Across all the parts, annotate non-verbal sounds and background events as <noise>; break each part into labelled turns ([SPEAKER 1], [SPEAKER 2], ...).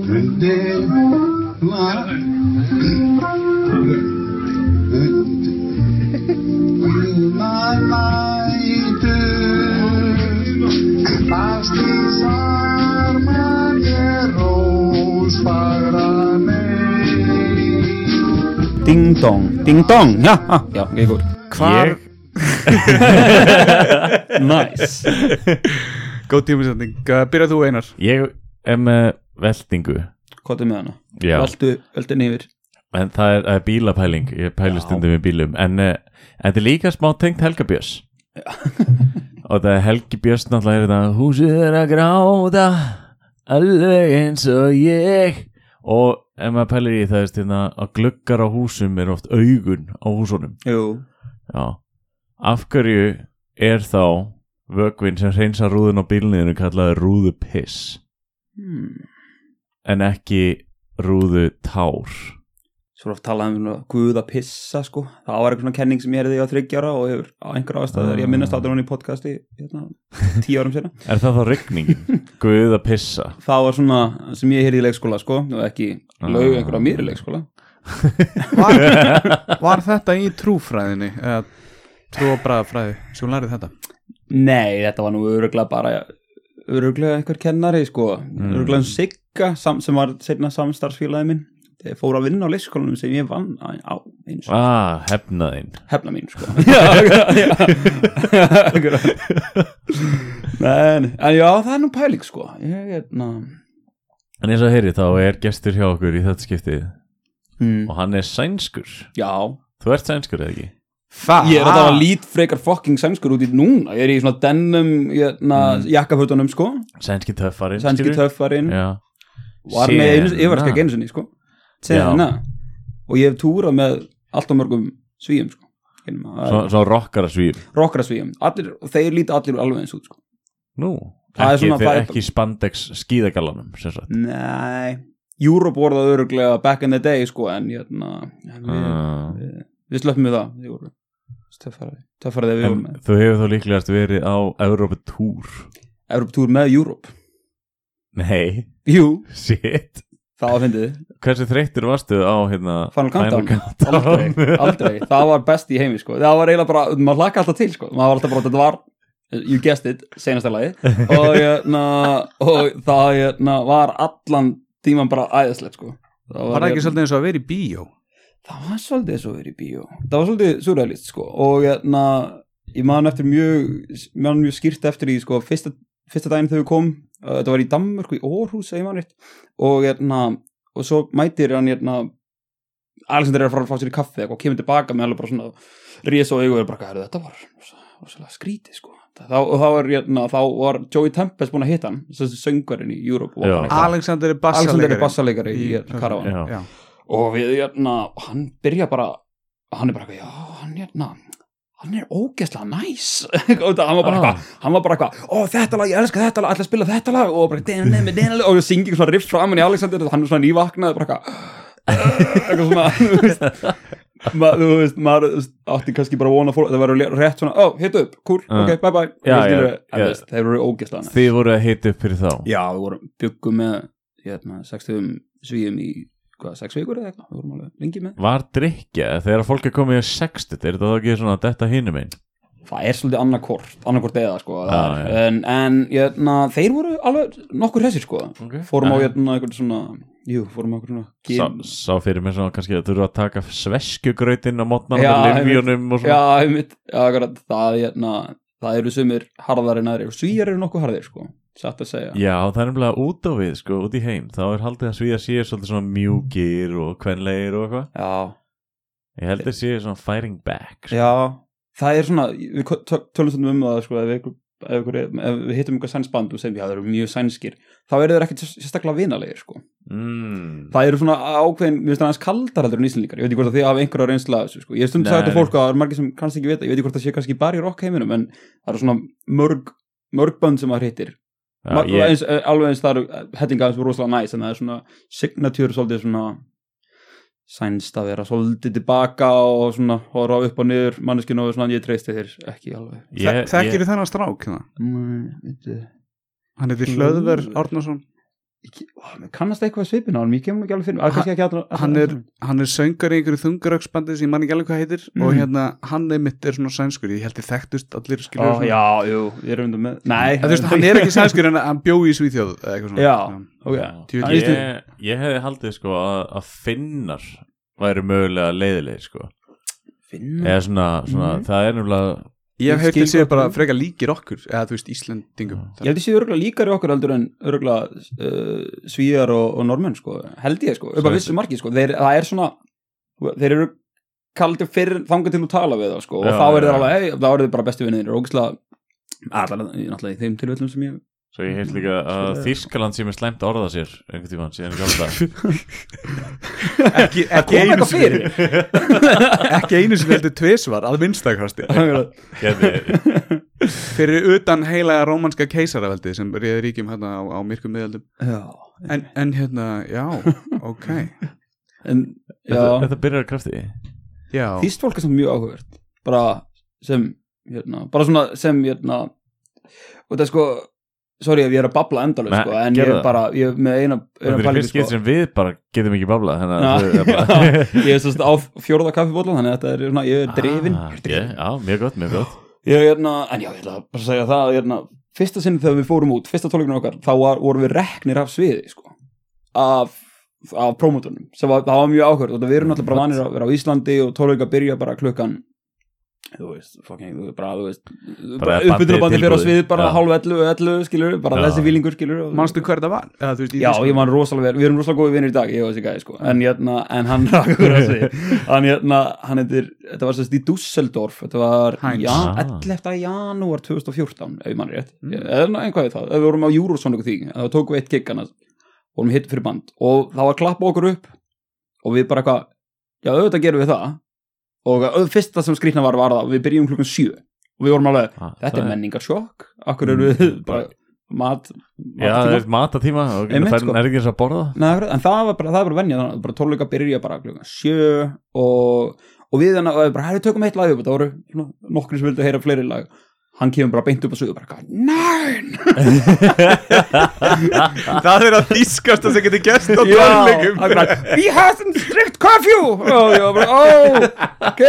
[SPEAKER 1] Önde var.
[SPEAKER 2] Ding dong, ding dong Já, á, já, ég er góð
[SPEAKER 3] Hvar
[SPEAKER 2] Nice
[SPEAKER 3] <laughs> Góð tímisending Byrjað þú Einar
[SPEAKER 4] Ég er með veltingu
[SPEAKER 2] Hvað er með hana?
[SPEAKER 4] Já,
[SPEAKER 2] Veldu, veldu nýfir
[SPEAKER 4] en það er, það er bílapæling Ég pælu stundum í bílum En eh, en þetta er líka smá tengt Helga Björns Og það er Helgi Björns náttúrulega er þetta Húsið er að gráða Alveg eins og ég Og ef maður pælir í það veist, hérna, Að gluggar á húsum er oft augun Á húsunum
[SPEAKER 2] Jú
[SPEAKER 4] Já. Af hverju er þá vögvinn sem reynsa rúðun á bílniðinu kallaði rúðupiss
[SPEAKER 2] hmm.
[SPEAKER 4] en ekki rúðutár
[SPEAKER 2] Svo er oft talað um svona guð að pissa sko Það var eitthvað svona kenning sem ég herði á þryggjara og hefur á einhverja ástæður Ég minnast áttur hún í podcasti hérna, tíu árum sinna
[SPEAKER 4] Er það þá
[SPEAKER 2] <laughs>
[SPEAKER 4] regningin? Guð að pissa
[SPEAKER 2] Það var svona sem ég heyrði í leikskóla sko og ekki lög einhverja mér í leikskóla
[SPEAKER 3] var, var þetta í trúfræðinni eða trú og bræðafræði sem hún lærið þetta
[SPEAKER 2] Nei, þetta var nú öruglega bara öruglega einhver kennari sko mm. öruglega um Sigga sam, sem var setna samstarfsfélagi minn Þeir fóru að vinna á leikskólanum sem ég vann á, á eins og
[SPEAKER 4] Ah, hefnaðinn
[SPEAKER 2] hefna mín sko já, <laughs> já, <laughs> en, en já, það er nú pæling sko ég er ná
[SPEAKER 4] En eins og heyri þá er gestur hjá okkur í þetta skiptið
[SPEAKER 2] mm.
[SPEAKER 4] og hann er sænskur
[SPEAKER 2] já,
[SPEAKER 4] Þú ert sænskur eða ekki?
[SPEAKER 3] Það
[SPEAKER 2] ég er að það var lít frekar fucking sæmskur út í núna ég er í svona dennum mm. jakkafötunum sko,
[SPEAKER 4] Sænski töffarinn
[SPEAKER 2] sænski
[SPEAKER 4] skilur?
[SPEAKER 2] töffarinn
[SPEAKER 4] Já Ah,
[SPEAKER 2] var með einu, ég var
[SPEAKER 4] Sena.
[SPEAKER 2] ekki einu sinni sko. Sena. og ég hef túrað með allt og mörgum svíum sko.
[SPEAKER 4] Svo, svo rockara svíf
[SPEAKER 2] rokkara svíum, allir, og þeir líta allir alveg eins út sko.
[SPEAKER 4] Nú,
[SPEAKER 2] Það er
[SPEAKER 4] ekki,
[SPEAKER 2] svona
[SPEAKER 4] þeir
[SPEAKER 2] bara-
[SPEAKER 4] ekki spandex skíðagallanum sem sagt
[SPEAKER 2] nei Júróp voru það öruglega back in the day sko, en hérna, en við,
[SPEAKER 4] Ah.
[SPEAKER 2] við slöppum við það við vorum töffaraði, töffaraði við
[SPEAKER 4] En
[SPEAKER 2] vorum með
[SPEAKER 4] þú hefur þá líklegast verið á Európa-túr
[SPEAKER 2] Evroptúr með Júróp
[SPEAKER 4] Nei, <laughs>
[SPEAKER 2] jú,
[SPEAKER 4] shit
[SPEAKER 2] það var fyndið
[SPEAKER 4] Hversu þreyttur varstu á hérna
[SPEAKER 2] Final Countdown,
[SPEAKER 4] Countdown?
[SPEAKER 2] aldrei,
[SPEAKER 4] <laughs>
[SPEAKER 2] aldrei það var best í heimi sko, það var eiginlega bara maður hlaka alltaf til sko, maður var alltaf bara þetta var you guessed it, senasta lagi og, na, og það na, var allan tíman bara æðislegt sko það
[SPEAKER 3] Var það ekki
[SPEAKER 2] hérna-
[SPEAKER 3] svolítið eins og að vera í bíó
[SPEAKER 2] það var svolítið eins og verið í bíó það var svolítið surrealist sko og na, ég man eftir mjög man mjög skýrt eftir því sko fyrsta, fyrsta daginn þegar við kom uh, þetta var í Danmörku í Orhus segir maður rétt og, na, og svo mætir hann na, Alexander er að fara að fá sér í kaffi og kemur tilbaka með alveg bara svona rís og augu og er bara, "Herðu, þetta var rosalega skrítið sko þá, og þá, er, na, þá var Joey Tempest búin að hitta hann þessi söngvarinn í Europe og var
[SPEAKER 4] Já.
[SPEAKER 2] bara eitthvað,
[SPEAKER 3] Alexander er
[SPEAKER 2] Alexander
[SPEAKER 3] bassalegar
[SPEAKER 2] er bassaleikari í, hérna í Karavan
[SPEAKER 4] Já.
[SPEAKER 2] og við hérna, og hann byrja bara hann er bara eitthvað, já, hann hérna hann er ógeðslega næs <laughs> og það, hann var bara
[SPEAKER 4] Ah.
[SPEAKER 2] eitthvað, hann var bara eitthvað ó, þetta lag, ég elska þetta lag, ætla að spila þetta lag og bara, dena, dena, dena, og það syngi svona riff framan í Alexander, hann er svona nývaknað bara eitthvað eitthvað svona <laughs> þú veist, ma, þú veist, maður þú veist, átti kannski bara að vona fólk, það verður rétt svona, ó, hit upp, cool,
[SPEAKER 4] Ah.
[SPEAKER 2] ok, bye bye
[SPEAKER 4] Já,
[SPEAKER 2] Þú skilur,
[SPEAKER 4] já,
[SPEAKER 2] en
[SPEAKER 4] já.
[SPEAKER 2] þú veist, þeir eru ógeðslega næs
[SPEAKER 4] Þið voru að heita upp fyrir þá
[SPEAKER 2] já, við vorum byggum með hérna, 60 svíum í hvað, 6 vikur eða eitthvað, við vorum alveg lengi með
[SPEAKER 4] Var drikja þegar fólk er komið í 60 Er það ekki svona detta hinum einn?
[SPEAKER 2] það er svolítið annarkort, annarkort eða sko,
[SPEAKER 4] Já,
[SPEAKER 2] það er. en, en jötna, þeir voru alveg nokkur hessir sko
[SPEAKER 4] Okay.
[SPEAKER 2] fórum á jötna, einhvern svona jú, fórum á einhvern svona
[SPEAKER 4] Sá,
[SPEAKER 2] gin-
[SPEAKER 4] sá fyrir mér svona kannski að þú eru að taka sveskjugrautinn á mótnar
[SPEAKER 2] Já,
[SPEAKER 4] með
[SPEAKER 2] einmitt.
[SPEAKER 4] limjónum og
[SPEAKER 2] já,
[SPEAKER 4] svona
[SPEAKER 2] einmitt, já, akkurat, það, jötna, það eru sumir harðari en aðri og svíjar eru nokkuð harðir sko, satt að segja
[SPEAKER 4] Já, það er nefnilega út á við, sko, út í heim Þá er haldið að svíða sér svolítið svona mjúkir og kvenleir og eitthvað
[SPEAKER 2] já,
[SPEAKER 4] Ég held að séu svona firing back sko.
[SPEAKER 2] Já, það er svona við ko- tö- tölum stundum um það sko, ef, ykkur, ef, ykkur, ef við hittum einhver sænsband og segjum já, það eru mjög sænskir, þá eru þeir ekkert sér- sérstaklega vinalegir sko.
[SPEAKER 4] mm.
[SPEAKER 2] Það eru svona ákveðin, mér finnst það aðeins kaldar heldur en íslendingar, ég veit ekki hvort að þið hafa einhverja reynsla af þessu, sko. ég hef stundum
[SPEAKER 4] Nei,
[SPEAKER 2] sagt að
[SPEAKER 4] nei.
[SPEAKER 2] fólk að það er margir sem kannski ekki vita, ég veit ekki hvort það sé kannski bara í rockheiminum, en það eru svona mörg, mörg bönd sem maður hittir
[SPEAKER 4] Já,
[SPEAKER 2] Mar-
[SPEAKER 4] ég,
[SPEAKER 2] eins, eh, alveg eins það eru eh, hellinga sem er rosalega næs en það er svona signature svolítið svona sænst að vera svolítið tilbaka og svona horfa upp og niður manneskinu og svona ég treysti þér ekki alveg
[SPEAKER 4] ég,
[SPEAKER 3] Þekkir þið þennan strák hérna?
[SPEAKER 2] Mm, veitu.
[SPEAKER 3] Hann heiti Hlöðver Árnason
[SPEAKER 2] ég, ó, mér kannast eitthvað svipin á hann, ég kemur ekki alveg fyrir mér, að kannski ekki allra- allra-
[SPEAKER 3] hann er, hann er söngar í einhverju þungaröksbandi sem ég man ekki alveg hvað heitir og
[SPEAKER 2] Mhm.
[SPEAKER 3] hérna hann einmitt er svona sænskur ég held ég þekktust allir
[SPEAKER 2] Ó,
[SPEAKER 3] skilur
[SPEAKER 2] já, jú, ég er undan með nei,
[SPEAKER 3] En, þú veist, hann er ekki sænskur en hann bjó í Svíþjóð eða eitthvað svona
[SPEAKER 2] Já. ok,
[SPEAKER 3] Djú-
[SPEAKER 2] Hann er
[SPEAKER 4] ég,
[SPEAKER 2] íslensk-
[SPEAKER 4] ég hefði haldið sko að, að finnar væri mögulega leiðilegir sko
[SPEAKER 2] Finnar?
[SPEAKER 4] eða svona, svona
[SPEAKER 2] Mhm.
[SPEAKER 4] það er nefnilega
[SPEAKER 3] ég hef heilt
[SPEAKER 2] Skilgötun.
[SPEAKER 3] þið séu bara frekar líkir okkur eða þú veist Íslendingum
[SPEAKER 2] ég held ég séu örgulega líkari okkur heldur en örgulega uh, svíjar og, og normenn sko, held ég sko, upp
[SPEAKER 4] Svo-
[SPEAKER 2] að vissu marki sko, þeir, það er svona þeir eru kaldir fyrir þangað til þú tala við þá sko, og
[SPEAKER 4] Já,
[SPEAKER 2] þá
[SPEAKER 4] já,
[SPEAKER 2] eru þeir
[SPEAKER 4] já.
[SPEAKER 2] alveg, hey, þá eru þeir bara bestu vinnir og ógislega, allan, náttúrulega í þeim tilvöldum
[SPEAKER 4] <laughs>
[SPEAKER 2] sem ég
[SPEAKER 4] Svo ég heilt líka að Þýskaland sé með slæmt orða sér einhvern tímann síðan í gamla
[SPEAKER 2] <laughs>
[SPEAKER 4] dag
[SPEAKER 3] ekki, ekki,
[SPEAKER 2] kom
[SPEAKER 3] einu
[SPEAKER 2] eitthvað
[SPEAKER 3] sinni,
[SPEAKER 2] fyrir
[SPEAKER 3] <laughs> ekki einu sem heldur tvisvar að vinstakvasti
[SPEAKER 4] Gerði-
[SPEAKER 3] fyrir utan heilaga rómanska keisaraveldi sem reyði ríkjum hérna á, á myrkum miðaldum
[SPEAKER 2] já,
[SPEAKER 3] en, en hérna, já, ok
[SPEAKER 2] en
[SPEAKER 4] Þetta
[SPEAKER 2] já,
[SPEAKER 4] þetta byrjar að krafti
[SPEAKER 3] já,
[SPEAKER 2] þýst fólk er samt mjög áhugavert bara sem hérna, bara svona sem hérna, og það er sko sorry ef ég er að babla endalveg
[SPEAKER 4] Nei,
[SPEAKER 2] sko, en ég
[SPEAKER 4] gerðu
[SPEAKER 2] er
[SPEAKER 4] það.
[SPEAKER 2] bara, ég er með eina, eina
[SPEAKER 4] Þetta er
[SPEAKER 2] pælingu, sko.
[SPEAKER 4] fyrst skipt sem við bara getum ekki babla þannig að
[SPEAKER 2] Já,
[SPEAKER 4] þau- bara-
[SPEAKER 2] <laughs> já, ég er svolítið á fjórða kaffibóla þannig að þetta er svona, ég er drifin
[SPEAKER 4] Ah, ég- Já, mjög gott, mjög gott
[SPEAKER 2] ég er hérna, en já, ég ætla bara að segja það hérna, fyrsta sinni þegar við fórum út, fyrsta tólkunum okkar þá var, vorum við reknir af sviði sko, af, af promotunum sem var, það var mjög áhverð og við erum alltaf bara vanir að vera á Íslandi og tólkunum byrja bara klukkan þú veist, fucking, þú veist, bara, þú veist bara
[SPEAKER 4] bandið
[SPEAKER 2] uppbytunabandi fyrir á
[SPEAKER 4] tilbúið.
[SPEAKER 2] sviðið bara
[SPEAKER 4] Já.
[SPEAKER 2] hálf 11, 11, skilur, bara
[SPEAKER 4] Já.
[SPEAKER 2] þessi fílingur skilur, og-
[SPEAKER 3] manstu hver það var eða, þú veist, í
[SPEAKER 2] Já,
[SPEAKER 3] Þýskalandi?
[SPEAKER 2] ég man rosalega vel, við erum rosalega góði vinnir í dag, ég og þessi gæði sko, en, hérna, en hann rakur að segja, hann hérna, hann heitir, þetta var sérst í Dusseldorf, þetta var
[SPEAKER 3] Heinz.
[SPEAKER 2] ja,
[SPEAKER 4] Ah.
[SPEAKER 2] 11. janúar 2014, ef ég man rétt, mm. eða einhvað við það, ef við vorum á Júrósson ykkur þig, þá tókum við eitt gig annars, vorum hitt fyrir band og það var að klappa okkur upp og við bara eitthvað, já auðvitað gerum við það og ö, fyrsta sem skrýtna var var það, við byrjum klukkan 7 og við vorum alveg,
[SPEAKER 4] Ah,
[SPEAKER 2] þetta
[SPEAKER 4] það
[SPEAKER 2] er menningarsjokk, akkur eru við bara mat, mat
[SPEAKER 4] Já, það er matatíma og
[SPEAKER 2] Einmitt,
[SPEAKER 4] það
[SPEAKER 2] sko.
[SPEAKER 4] er ekki eins og að borða
[SPEAKER 2] Nei, akkurat, en það var bara, það var bara venja þannig að bara tónleika byrja bara klukkan sjö og, og við þannig að við bara herri tökum eitt lag upp, það voru svona nokkrir sem vildu heyra fleiri lag hann kemur bara beint upp að sögu bara gaf, nein
[SPEAKER 3] það er að þýskast að það getur gæst á tónleikum
[SPEAKER 2] akkurat, we haven't strict curfew og ég var bara, oh, ok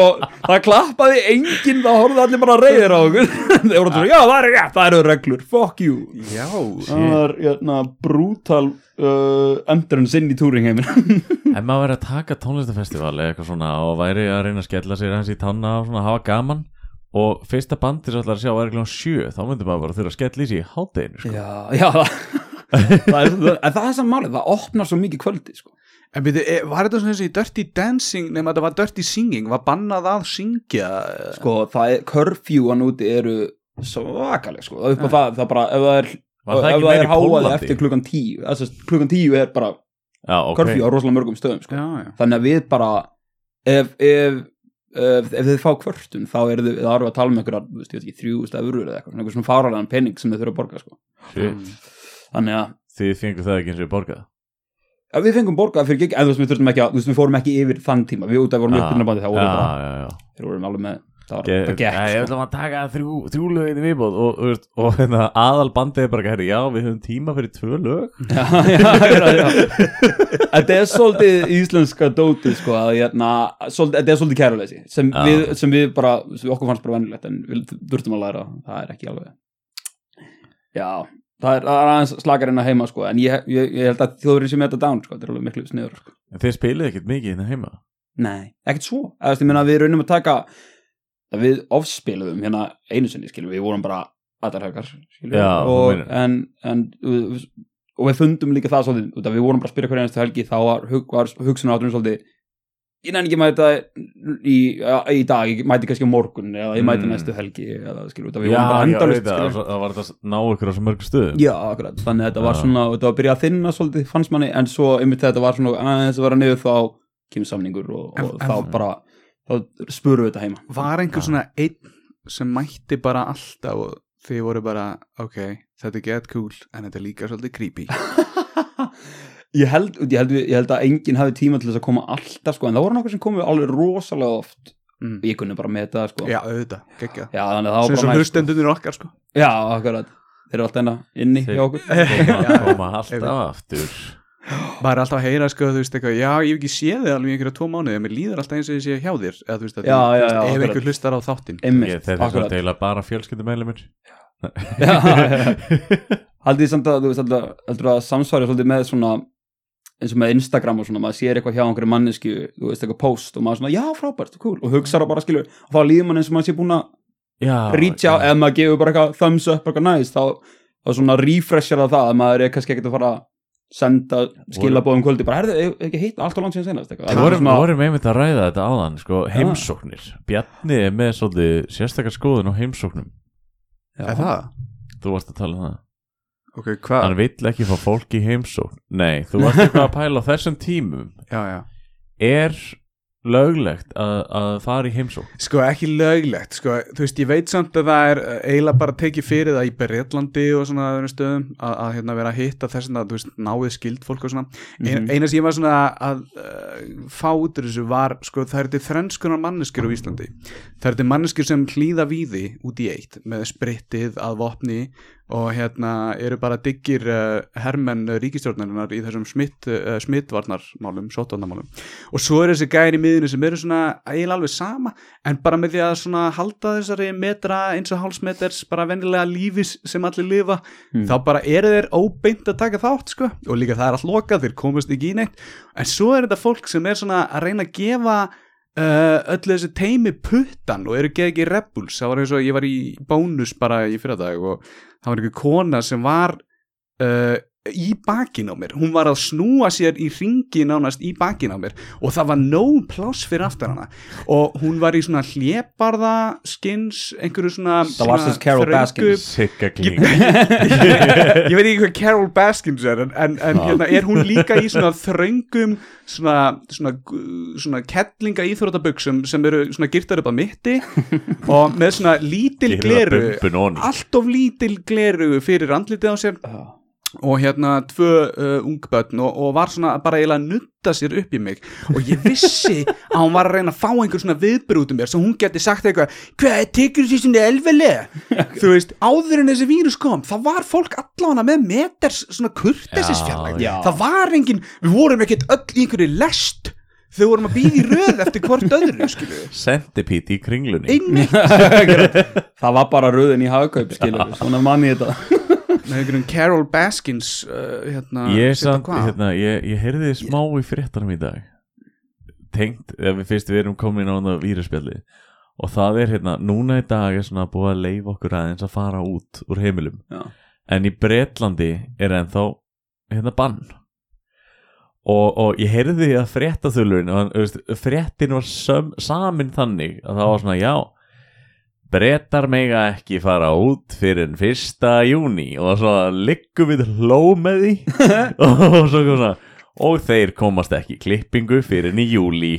[SPEAKER 2] og það klappaði enginn það horfði allir bara reyðir á okkur <laughs> þeir voru svona, já það er rétt, það eru reglur fuck you
[SPEAKER 3] já,
[SPEAKER 2] það var jörna, brútal uh, endurinn sinn í túringheimin
[SPEAKER 4] En maður væri að taka tónlistafestival eða eitthvað svona og væri að reyna að skella sér hans í tanna og svona hafa gaman og fyrsta bandi sem ætlar að sjá væri klón 7 þá myndum maður bara þurfa að skella í sig í hátdeinu sko.
[SPEAKER 2] Já, <laughs> já það, það er, það, en það er saman málið, það opnar svo mikið kvöldi sko.
[SPEAKER 3] En byrju, e, var þetta svona eins og í Dirty Dancing nema þetta var Dirty Singing, var bannað að syngja sko,
[SPEAKER 2] sko, það er, körfjúan úti eru svakaleg, sko, það er upp á það, það bara, ef það er
[SPEAKER 4] Var það
[SPEAKER 2] ef
[SPEAKER 4] ekki
[SPEAKER 2] það er
[SPEAKER 4] meira í
[SPEAKER 2] háað
[SPEAKER 4] Pólandi?
[SPEAKER 2] eftir klukkan tíu þess að klukkan tíu er bara okay.
[SPEAKER 4] Já, ok
[SPEAKER 2] körfjú á rosalega mörgum stöðum sko.
[SPEAKER 3] Já, já
[SPEAKER 2] þannig að við bara ef, ef, ef, ef þið fá kvörtun þá eru þið, það eru að tala um einhverja þú veist, ég veit ekki, 3.000 eurur eða eitthvað, einhver svona fáralegan pening sem þið þurfa að borga, sko,
[SPEAKER 4] Shit.
[SPEAKER 2] þannig að
[SPEAKER 4] Þið fengur það ekki eins og við borgað
[SPEAKER 2] að við fengum borgað fyrir gig, en þú veist, við þurftum ekki að, þú veist, við fórum ekki yfir þann tíma, við út að við vorum
[SPEAKER 4] Já.
[SPEAKER 2] uppbyrnabandi, þá vorum við bara
[SPEAKER 4] Já, já, já
[SPEAKER 2] þeir voru alveg með það var
[SPEAKER 4] Ég
[SPEAKER 2] það gekk
[SPEAKER 4] ég
[SPEAKER 2] sko.
[SPEAKER 4] ætla maður að taka þrjú, þrjú lög inn í viðbóð og, þú veist, og hérna, aðal bandið er bara herri, já, við höfum tíma fyrir tvö lög
[SPEAKER 2] <laughs> Já, já, já, já.
[SPEAKER 4] <laughs>
[SPEAKER 2] þetta er svolítið íslenska dótið sko að hérna, svolítið, þetta er svolítið kæruleysi sem,
[SPEAKER 4] Já.
[SPEAKER 2] við, sem við bara, sem okkur fannst bara venjulegt en við durftum að læra, það er ekki alveg já, það er, það er aðeins slakar en að heima sko en ég, ég, ég held að þjóðurinn sem þetta down sko, þetta er alveg miklu sniður sko.
[SPEAKER 4] En þið spilið ekkert mikið hérna heima
[SPEAKER 2] Nei, ekkert svo Eða, veist, ég meina, Við raunum að taka að við ofspiluðum hérna einu sinni skilur, við vorum bara allar högar
[SPEAKER 4] Já, þú
[SPEAKER 2] og,
[SPEAKER 4] meinar.
[SPEAKER 2] en, en, við- og við fundum líka það svolítið út af við vorum bara að spila hverja einstu helgi þá var, hug, var hugsun átunum svolítið ég nefn ekki að mæta í, í dag, ég mæti kannski á morgun eða ég mæti
[SPEAKER 4] Mm.
[SPEAKER 2] næstu helgi eða, skilur, út af
[SPEAKER 4] Já,
[SPEAKER 2] við vorum bara
[SPEAKER 4] já,
[SPEAKER 2] endalist
[SPEAKER 4] auðvitað, og svo- það var þetta að ná ykkur á svo mörg stöðum
[SPEAKER 2] Já, akkurat, þannig að þetta var
[SPEAKER 4] Já.
[SPEAKER 2] svona þetta var að byrja að þinna svolítið, fannst manni en svo einmitt þegar þetta var svona aðeins að vera niður þá kemur samningur og, og
[SPEAKER 3] En- en-
[SPEAKER 2] þá bara þá spurum við þetta heima
[SPEAKER 3] Var einhver svona einn sem mætti bara alltaf og þið voru bara ok, þetta er get cool en þetta er líka
[SPEAKER 2] <laughs>
[SPEAKER 3] svolítið creepy
[SPEAKER 2] ég held, ég, held, ég held að enginn hafi tíma til þess að koma alltaf sko, en það voru nokkur sem komu alveg rosalega oft
[SPEAKER 3] mm.
[SPEAKER 2] ég kunni bara með þetta sko
[SPEAKER 3] Já, auðvitað, geggja
[SPEAKER 2] Já, þannig að það var
[SPEAKER 3] Sem
[SPEAKER 2] bara
[SPEAKER 3] sem
[SPEAKER 2] næst
[SPEAKER 3] hlustendunir okkar sko
[SPEAKER 2] Já, akkurat þeir eru alltaf enna inni
[SPEAKER 4] Þeir-
[SPEAKER 2] hjá okkur
[SPEAKER 4] koma,
[SPEAKER 2] <laughs>
[SPEAKER 4] koma alltaf
[SPEAKER 3] einmitt.
[SPEAKER 4] aftur
[SPEAKER 3] maður er alltaf að heyra sko, þú veist eitthvað, já ég hef ekki séð þig alveg í einhverja tvo mánuði, en mér líður alltaf eins og ég sé hjá þér eða þú veist að
[SPEAKER 2] Já,
[SPEAKER 3] þú
[SPEAKER 2] já,
[SPEAKER 3] veist,
[SPEAKER 2] já,
[SPEAKER 3] ef
[SPEAKER 2] akkurat.
[SPEAKER 3] einhver hlustar á þáttinn
[SPEAKER 4] Ég-
[SPEAKER 2] einmitt,
[SPEAKER 4] Þeir eru
[SPEAKER 2] akkurat
[SPEAKER 4] deila bara
[SPEAKER 2] <laughs>
[SPEAKER 4] fjölskyldumælumir
[SPEAKER 2] Já, já,
[SPEAKER 4] <laughs>
[SPEAKER 2] já. haldið þið samt að þú veist alltaf, heldur að samsvarja svolítið með svona eins og með Instagram og svona, maður sér eitthvað hjá einhverju mannesku, þú veist eitthvað post og maður svona, já frábært, cool, og hugsar það bara skilur og þá líður mann eins og maður sé búin að
[SPEAKER 4] Já,
[SPEAKER 2] reach out,
[SPEAKER 4] já.
[SPEAKER 2] ef maður gefur bara eitthvað thumbs up, eitthvað nice, þá, þá svona refreshar það það, að maður er kannski ekkert að fara að senda skilabóðum kvöldi bara, herðu, eigum við ekki hitt allt og langt síðan senast eitthvað.
[SPEAKER 4] Við
[SPEAKER 2] Það er
[SPEAKER 4] vorum,
[SPEAKER 2] svona-
[SPEAKER 4] vorum einmitt að ræða þetta áðan sko,
[SPEAKER 2] Ah.
[SPEAKER 4] heimsóknir, Bjarni er með svolítið sérstakar skoðun á heimsóknum
[SPEAKER 3] er það?
[SPEAKER 4] þú varst að tala um það,
[SPEAKER 3] ok, hvað?
[SPEAKER 2] Ah.
[SPEAKER 4] hann vill ekki fá fólk í heimsókn nei, þú varst eitthvað að pæla á þessum tímum
[SPEAKER 3] já, já
[SPEAKER 4] er löglegt að, að fara í heimsókn
[SPEAKER 3] Sko ekki löglegt, sko, þú veist, ég veit samt að það er eh, eiginlega bara tekið fyrir það í Breitlandi og svona öðrum stöðum að, að hérna vera að hitta þess að, þú veist, náið skild fólk og svona. Mm
[SPEAKER 2] Mhm.
[SPEAKER 3] Eina sem ég var svona að uh, fá út úr þessu var, sko, það eru til þrenskunar manneskir á Íslandi. Það eru til manneskir sem hlýða víði út í eitt með sprittið að vopni og hérna eru bara diggir uh, hermenn ríkistjórnarinnar í þessum smitt, uh, smittvarnarmálum, sótvarnarmálum og svo eru þessi gæri í miðinu sem eru svona eiginlega alveg sama en bara með því að svona halda þessari metra eins og hálsmeters bara vennilega lífis sem allir lifa
[SPEAKER 2] Mm.
[SPEAKER 3] þá bara eru þeir óbeint að taka þátt sko og líka það er allt lokað, þeir komast ekki í neitt en svo er þetta fólk sem er svona að reyna að gefa uh, öllu þessi teimi puttan og eru geð ekki rebuls það var eins og ég var í bónus bara í fyrradag og það var einhver kona sem var uh, í bakin á mér hún var að snúa sér í ringi nánast í bakin á mér og það var nóg pláss fyrir aftan hana og hún var í svona hlébarða skins, einhverju svona
[SPEAKER 2] Það var sem sagt Carol
[SPEAKER 3] þröngu-
[SPEAKER 2] Baskins.
[SPEAKER 4] sigga
[SPEAKER 3] Ég-
[SPEAKER 2] <laughs>
[SPEAKER 3] ég veit ekki hvað Carol Baskins er en, en, en hérna er hún líka í svona þröngum svona, svona, gu- svona kettlinga íþrótabuxum sem eru svona girtar upp að mitti og með svona lítil gleru allt of lítil gleru fyrir andlitið á sér
[SPEAKER 2] Já.
[SPEAKER 3] og hérna tvö uh, ungbötn og, og var svona bara eiginlega að nutta sér upp í mig og ég vissi að hún var að reyna að fá einhver svona viðbyrð út um mér svo hún geti sagt eitthvað hvað tekur þessi svona elfilega þú veist, áður en þessi vírus kom þá var fólk allavega með meters svona kurtesisfjarlæg
[SPEAKER 2] Já, já.
[SPEAKER 3] það var engin, við vorum ekkert öll í einhverju lest þau vorum að býða í röð eftir hvort öðru skilu
[SPEAKER 4] sentipít í kringlunni
[SPEAKER 3] einmitt
[SPEAKER 2] <laughs> það var bara röðin í hagkaup skilur, svona manni þetta
[SPEAKER 3] með einhverjum Carol Baskins uh, hérna,
[SPEAKER 4] ég,
[SPEAKER 3] sitja
[SPEAKER 4] samt,
[SPEAKER 3] hvað?
[SPEAKER 4] hérna, ég, ég heyrði smá í fréttanum í dag tengt, ef við fyrst við erum komin á það víruspjalli og það er hérna, núna í dag er svona búið að leifa okkur aðeins að fara út úr heimilum
[SPEAKER 2] Já.
[SPEAKER 4] en í Bretlandi er ennþá hérna bann og, og ég heyrði að fréttaþulurinn og hann, þú veist, fréttin var söm, samin þannig að það var svona já Bretar mega ekki fara út fyrir en fyrsta júni og svo liggum við hló með
[SPEAKER 2] <laughs>
[SPEAKER 4] því og svo kom svona og þeir komast ekki í klippingu fyrir enn í júli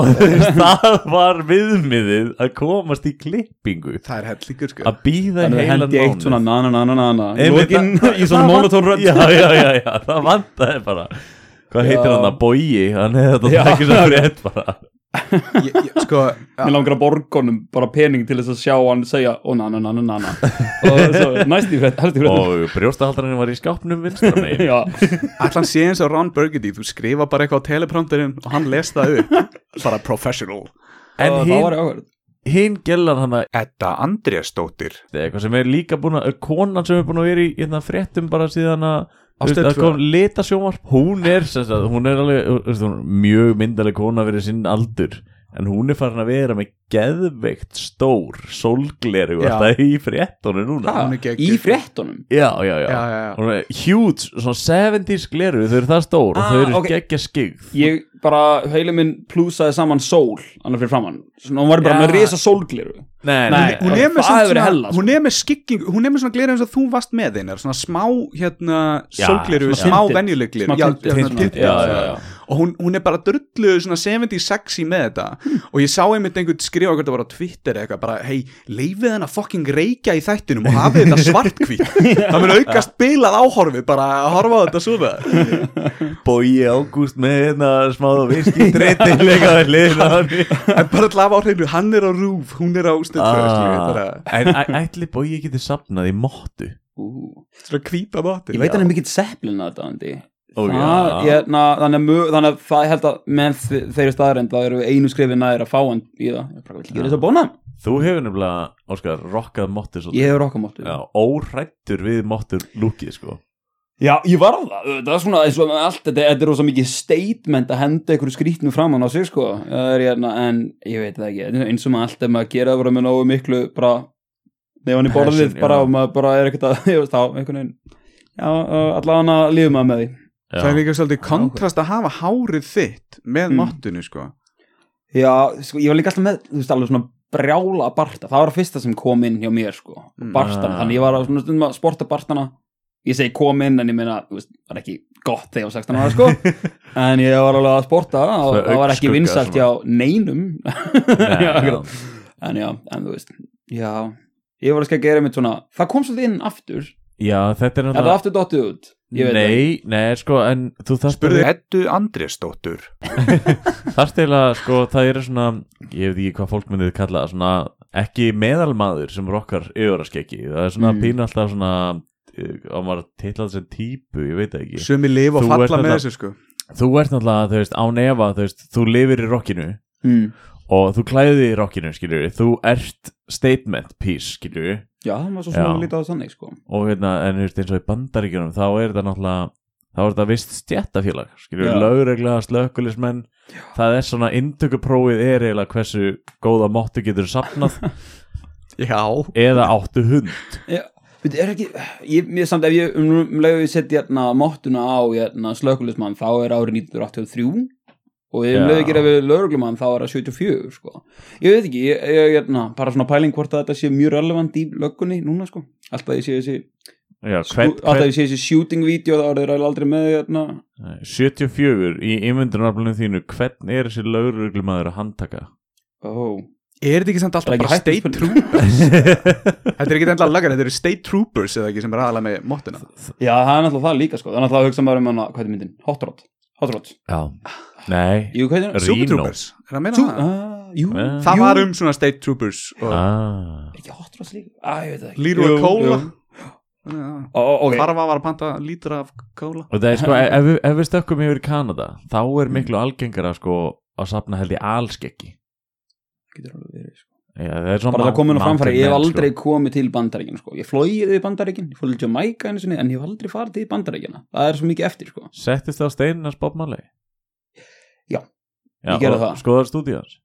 [SPEAKER 4] og þú veist,
[SPEAKER 2] <laughs>
[SPEAKER 4] það var viðmiðið að komast í klippingu
[SPEAKER 3] það er hellingur sko
[SPEAKER 4] að býða
[SPEAKER 2] þannig að
[SPEAKER 4] heilan
[SPEAKER 2] hendi eitt
[SPEAKER 4] mánuð.
[SPEAKER 2] svona na na na na na na
[SPEAKER 4] Einmitt,
[SPEAKER 2] Lokin,
[SPEAKER 4] það-
[SPEAKER 2] í svona
[SPEAKER 4] það vant-
[SPEAKER 2] monotón rödd
[SPEAKER 4] já, já, já, já, það vantaði bara hvað heitir
[SPEAKER 2] Já.
[SPEAKER 4] hann að bogi hann hefði
[SPEAKER 2] Já.
[SPEAKER 4] þetta <laughs> ekki svo frétt
[SPEAKER 2] <laughs>
[SPEAKER 4] bara
[SPEAKER 3] ég, ég, sko
[SPEAKER 2] mér langar að borgunum bara pening til þess að sjá hann segja ó na na na na na na og
[SPEAKER 4] <laughs>
[SPEAKER 2] svo næst í frétt, helst í frétt
[SPEAKER 4] og brjóstahaldarinn var í skápnum vinstra megin
[SPEAKER 2] <laughs> já,
[SPEAKER 3] allan sé eins og Ron Burgundy þú skrifa bara eitthvað á teleprompterinn og hann les það upp bara professional
[SPEAKER 2] og það
[SPEAKER 4] en
[SPEAKER 2] var
[SPEAKER 4] hinn
[SPEAKER 2] áhverð
[SPEAKER 4] hin gellan hann að
[SPEAKER 3] Edda Andriasdóttir
[SPEAKER 4] eitthvað sem er líka búin að konan sem er búin að vera í hérna, fréttum bara síðan að þú
[SPEAKER 3] Á
[SPEAKER 4] veist,
[SPEAKER 3] Stöð
[SPEAKER 4] að
[SPEAKER 3] tvö.
[SPEAKER 4] kom litasjómarp hún er, sem sagt, hún er alveg þú veist, hún, er mjög myndaleg kona fyrir sinn aldur en hún er farin að vera með geðveikt stór sólgleru
[SPEAKER 3] Já.
[SPEAKER 4] alltaf í fréttunum núna
[SPEAKER 3] hún er geggjuð.
[SPEAKER 2] í fréttunum
[SPEAKER 4] já, já, já,
[SPEAKER 3] já, já, já.
[SPEAKER 4] Hún er huge, svona 70s gleru þau eru það
[SPEAKER 2] Ah,
[SPEAKER 4] stór og þau eru
[SPEAKER 2] ok.
[SPEAKER 4] okay. geggja skigð
[SPEAKER 2] ég bara, heilin minn plúsaði saman sól annar fyrir framann, svona hún var bara
[SPEAKER 4] Já.
[SPEAKER 2] með risa sólgliru
[SPEAKER 4] nei,
[SPEAKER 2] Nei.
[SPEAKER 3] hún er með
[SPEAKER 2] Það
[SPEAKER 3] samt
[SPEAKER 2] hefur verið
[SPEAKER 3] svona,
[SPEAKER 2] hella, sko.
[SPEAKER 3] hún er með skikking hún er með svona gleru eins og þú varst með einar svona smá hérna
[SPEAKER 4] Já,
[SPEAKER 3] sólgleru,
[SPEAKER 4] svona
[SPEAKER 3] smá
[SPEAKER 2] tinted.
[SPEAKER 3] venjuleg gleru
[SPEAKER 2] Smá
[SPEAKER 3] Já,
[SPEAKER 2] tinted,
[SPEAKER 3] hérna,
[SPEAKER 2] svona.
[SPEAKER 3] tinted,
[SPEAKER 4] Já, já, já.
[SPEAKER 3] og hún, hún er bara drullu svona 70 sexy með þetta og ég sá einmitt einhvern skrifa hvort það var á Twitter eða eitthvað bara hei, leifið hann að fucking reykja í þættinum og hafið þetta
[SPEAKER 4] <laughs>
[SPEAKER 3] svartkvít það mun aukast bilað áhorfið bara að horfa á þetta svona
[SPEAKER 4] bói ágúst með hérna smáða <laughs> viski treytilega við <laughs> liðna hann
[SPEAKER 3] en bara til að hafa á hreinu,
[SPEAKER 2] Ah.
[SPEAKER 3] hann er á rúf hún er á stöðu
[SPEAKER 4] Ah, en æ- ætli bói ég geti sapnað í móttu
[SPEAKER 2] ú,
[SPEAKER 3] Svona hvíta
[SPEAKER 2] ég
[SPEAKER 3] vatni
[SPEAKER 2] veit hann er mikill seplin að þetta
[SPEAKER 4] Ó, já.
[SPEAKER 2] þannig að mö- þannig að það ég held að með þeirri staðarind það eru einu skrifin næðir að fá hann í það ég bara vil ekki gera þess að bóna
[SPEAKER 4] Þú hefur nefnilega, Óskar, rokkað móttur svolítið
[SPEAKER 2] ég hefur okkar móttu
[SPEAKER 4] Já, órættur við móttur lúkið sko
[SPEAKER 2] Já, ég var það, það er svona eins og með allt, þetta, þetta er rosa mikið statement að henda einhverju skrítnum framann á sig, sko, Það er, hérna, en ég veit það ekki, eins og með allt ef maður gera það bara með nógu miklu, bara, nefn hann í
[SPEAKER 4] Passion,
[SPEAKER 2] borðið, bara,
[SPEAKER 4] já.
[SPEAKER 2] og maður bara er ekkert að, <laughs> ég veist þá, einhvern veginn, já, allavega hann að lífa maður með því.
[SPEAKER 4] Já,
[SPEAKER 3] Það er líka svolítið kontrast að hafa hárið þitt með
[SPEAKER 2] Mm.
[SPEAKER 3] mottinu sko
[SPEAKER 2] Já, sko, ég var líka alltaf með, þú veist, alveg svona brjála barta, það var að fyrsta sem kom inn hjá mér, sko,
[SPEAKER 3] Mm.
[SPEAKER 2] barstana,
[SPEAKER 4] Ah.
[SPEAKER 2] þannig ég var að svona stundum að sporta barstana, ég segi kom inn, en ég meina, þú veist, var ekki gott þegar ég var 16 ára, sko, en ég var alveg að sporta, og
[SPEAKER 4] Svona
[SPEAKER 2] það var ekki
[SPEAKER 4] augnskugga,
[SPEAKER 2] vinsælt hjá neinum,
[SPEAKER 4] Nei,
[SPEAKER 2] <laughs> Já,
[SPEAKER 4] já.
[SPEAKER 2] akkurat. en já, en þú veist, já, ég var að skilja að gera mitt svona, það kom svolítið inn aftur,
[SPEAKER 4] já, þetta er
[SPEAKER 2] er það aftur dottið út, ég veit það,
[SPEAKER 4] Nei, nei, sko, en þú þarft
[SPEAKER 3] Spurði Eddu Andrésdóttur
[SPEAKER 4] þarft eiginlega, sko, það eru svona ég veit ekki hvað fólk myndið kalla það, svona ekki meðalmaður sem rokkar yfirarskeggi, það er svona
[SPEAKER 2] Mm.
[SPEAKER 4] pínu alltaf svona eh, á maður titlað sem típu, ég veit það ekki
[SPEAKER 3] Sumi lifa og
[SPEAKER 4] Þú ert
[SPEAKER 3] falla með
[SPEAKER 4] þetta-
[SPEAKER 3] þessu sko
[SPEAKER 4] þú ert náttúrulega, þú veist, án efa þú veist, þú lifir í rockinu
[SPEAKER 2] mm.
[SPEAKER 4] og þú klæðið þig í rockinu, skiljur þú ert statement piece, skiljur
[SPEAKER 2] já, það var svo
[SPEAKER 4] Já.
[SPEAKER 2] svona lítið á þannig, sko,
[SPEAKER 4] og hérna, en þú veist, eins og í bandaríkjunum þá er þetta náttúrulega, þá er þetta vist stjættafélag, skiljur,
[SPEAKER 2] Já.
[SPEAKER 4] lögregla slökkulismenn, það er svona inntökuprófið er eiginlega hversu góða móttu getur sapnað
[SPEAKER 3] Já
[SPEAKER 4] eða áttu hund
[SPEAKER 2] Veitu, er ekki, ég, ég samt ef ég um, um leiðu ég setja hérna móttuna á hérna, slökulismann þá er árið 1983 og ef
[SPEAKER 4] Já.
[SPEAKER 2] um leiðu gera við lögreglumann þá er það 74 sko. ég veit ekki, ég, ég, hérna, bara svona pæling hvort að þetta sé mjög relevant í löggunni núna sko, alltaf ég sé þessi
[SPEAKER 4] Já, hvern,
[SPEAKER 2] alltaf
[SPEAKER 4] hvern,
[SPEAKER 2] ég sé þessi shooting video þá er það aldrei með hérna.
[SPEAKER 4] 74 í ymmyndunarblunum þínu hvern er þessi lögreglumæður að handtaka
[SPEAKER 2] oh.
[SPEAKER 3] Er þetta ekki samt
[SPEAKER 2] Það er
[SPEAKER 3] alltaf
[SPEAKER 2] ekki
[SPEAKER 3] bara
[SPEAKER 2] hægt sko. að
[SPEAKER 3] state
[SPEAKER 2] spyrja.
[SPEAKER 3] troopers? þetta er ekki endla lagar, þetta eru state troopers eða ekki sem er aðalega með mottuna
[SPEAKER 2] <laughs> já, það er náttúrulega það líka sko. það er náttúrulega að hugsa maður um hana, hvað er myndin? Hot Rod Hot Rod
[SPEAKER 4] Já, nei
[SPEAKER 2] Jú, hvað er
[SPEAKER 4] Rino.
[SPEAKER 3] Super troopers, er það að meina
[SPEAKER 2] Sú,
[SPEAKER 3] það?
[SPEAKER 2] ah, jú,
[SPEAKER 4] Eh.
[SPEAKER 3] Það
[SPEAKER 2] jú.
[SPEAKER 3] var um svona state troopers og
[SPEAKER 4] ah,
[SPEAKER 2] ekki Hot Rod líka? Ah, ég veit það ekki.
[SPEAKER 3] Leroy
[SPEAKER 2] Jú,
[SPEAKER 3] Cola
[SPEAKER 2] jú. Ó, ok.
[SPEAKER 3] Farfa var að panta lítra af kóla
[SPEAKER 4] Og það er sko, ef, við- ef við stökkum yfir í Kanada þá er miklu algengara sko að sapna held ég allskeggi
[SPEAKER 2] getur alveg verið sko.
[SPEAKER 4] Já, það er svona
[SPEAKER 2] bara það
[SPEAKER 4] mount-
[SPEAKER 2] komin á framfæri, ég hef
[SPEAKER 4] mountain
[SPEAKER 2] aldrei
[SPEAKER 4] man, sko.
[SPEAKER 2] komið til bandaríkina sko. ég flóið í bandaríkin, ég flóið til Jamaica einu sinni, en ég hef aldrei farið til bandaríkina það er svo mikið eftir sko.
[SPEAKER 4] sko. Settist það á steinin að spopmáli
[SPEAKER 2] Já, ég gerði það.
[SPEAKER 4] Skoðar stúdíans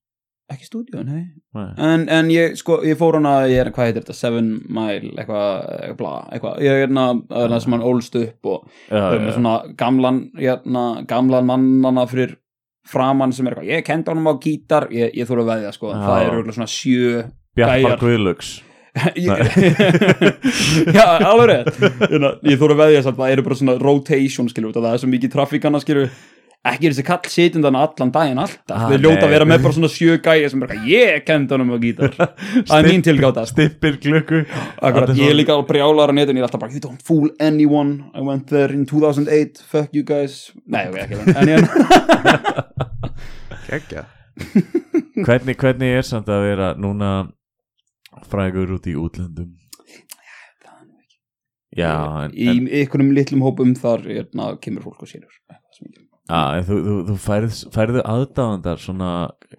[SPEAKER 2] ekki stúdíu, nei
[SPEAKER 4] Nei,
[SPEAKER 2] en, en ég, sko, ég fór hana, ég er, hvað heitir þetta Seven Mile, eitthvað eitthvað, bla, eitthvað, ég er hérna það sem hann ólst upp og
[SPEAKER 4] já,
[SPEAKER 2] það er með
[SPEAKER 4] já,
[SPEAKER 2] svona gamlan hérna, gamlan mannana fyrir framann sem er eitthvað, ég kendi honum á gítar ég, ég þurfa að veðja, sko,
[SPEAKER 4] Já.
[SPEAKER 2] það eru örugglega svona sjö
[SPEAKER 4] Bjarpar
[SPEAKER 2] gæjar.
[SPEAKER 4] Guðlöks
[SPEAKER 2] Ég- <laughs> já, alveg rétt Hérna, ég þóra að veðja samt að það eru bara svona rotation skilur, út af það er svo mikið trafikana skilur ekki er þessi kall sitjandana allan daginn alltaf,
[SPEAKER 4] Ah,
[SPEAKER 2] við ljóta
[SPEAKER 4] nei.
[SPEAKER 2] að vera með bara svona sjö gæja sem bara, eitthvað, ég kendi honum á gítar
[SPEAKER 4] <laughs>
[SPEAKER 2] það er mín tilgáta
[SPEAKER 4] Stippir glöku
[SPEAKER 2] Akkurat, ég
[SPEAKER 4] Allir
[SPEAKER 2] er
[SPEAKER 4] svona-
[SPEAKER 2] líka alveg brjálar á netinu, ég er alltaf bara, you don't fool anyone I went there in 2008, fuck you guys nei, ok, ekki en ég
[SPEAKER 3] Kekja
[SPEAKER 4] hvernig, hvernig er samt að vera núna frægur út í útlöndum <laughs> Já, en,
[SPEAKER 2] í
[SPEAKER 4] en,
[SPEAKER 2] einhvernum litlum hópum þar hérna, kemur fólk og sínur
[SPEAKER 4] á, en þú, þú, þú færð, færðu aðdáðandar svona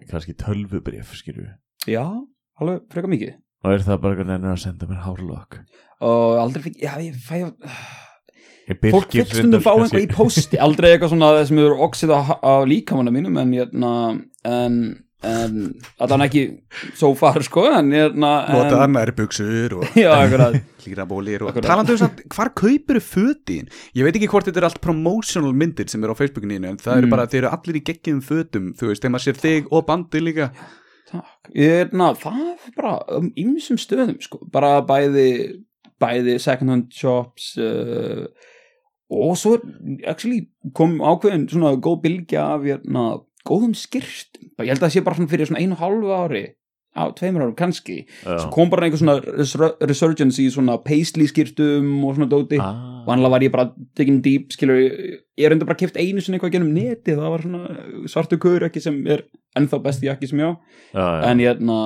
[SPEAKER 4] kannski tölvubrif skilju
[SPEAKER 2] já, alveg freka mikið
[SPEAKER 4] og er það bara hvernig ennur að senda mér hárlokk
[SPEAKER 2] og aldrei fikk, já ég fæ
[SPEAKER 4] Ég Birgir
[SPEAKER 2] fólk um fikk stundum
[SPEAKER 4] reyndar
[SPEAKER 2] fá
[SPEAKER 4] kannski-
[SPEAKER 2] einhver í pósti aldrei eitthvað svona sem eru oxið á, á líkamanna mínum en hérna en, en allan ekki so far sko en hérna
[SPEAKER 3] Notaðar
[SPEAKER 2] en,
[SPEAKER 3] nærbuksur og
[SPEAKER 2] já, akkurat,
[SPEAKER 3] líra bólir og
[SPEAKER 2] Akkurat.
[SPEAKER 3] Talandi um samt, hvar kaupir fötin? Ég veit ekki hvort þetta er allt promotional myndir sem eru á Facebookinu þínu, en það eru
[SPEAKER 2] Mm.
[SPEAKER 3] bara, þeir eru allir í geggjum fötum þú veist, þegar maður sér þig og bandi líka
[SPEAKER 2] takk hérna, það er bara um ymsum stöðum sko, bara bæði bæði second hand shops uh, og svo er- actually kom ákveðin svona góð bylgja af hérna, góðum skyrtum ég held að það sé bara svona fyrir svona einu og hálfu ári á tveimur árum kannski svo
[SPEAKER 4] Já.
[SPEAKER 2] kom bara einhver svona resur- resurgence í svona paisley skýrtum og svona dóti ah.
[SPEAKER 4] Ah.
[SPEAKER 2] og annarlega var ég bara tekin deep skilur, ég er enda bara kipt einu sinni eitthvað genum neti, það var svona svartu kaur ekki sem er ennþá besti jakki sem ég á
[SPEAKER 4] Já, já.
[SPEAKER 2] hérna, en ég, na,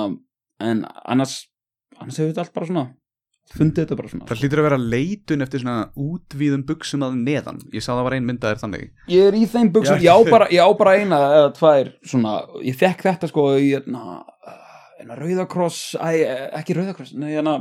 [SPEAKER 2] en annars annars hefur þetta allt bara svona fundið þetta bara svona
[SPEAKER 3] Það hlýtur að vera leitun eftir svona útvíðum buksum að neðan Ég sá það var ein myndaðir þannig
[SPEAKER 2] Ég er í þeim buksum, ég
[SPEAKER 3] Já,
[SPEAKER 2] á bara, ég á bara eina eða tvær svona, ég fekk þetta sko í hérna, hérna Rauðakross, æ, ekki Rauðakross, nei hérna,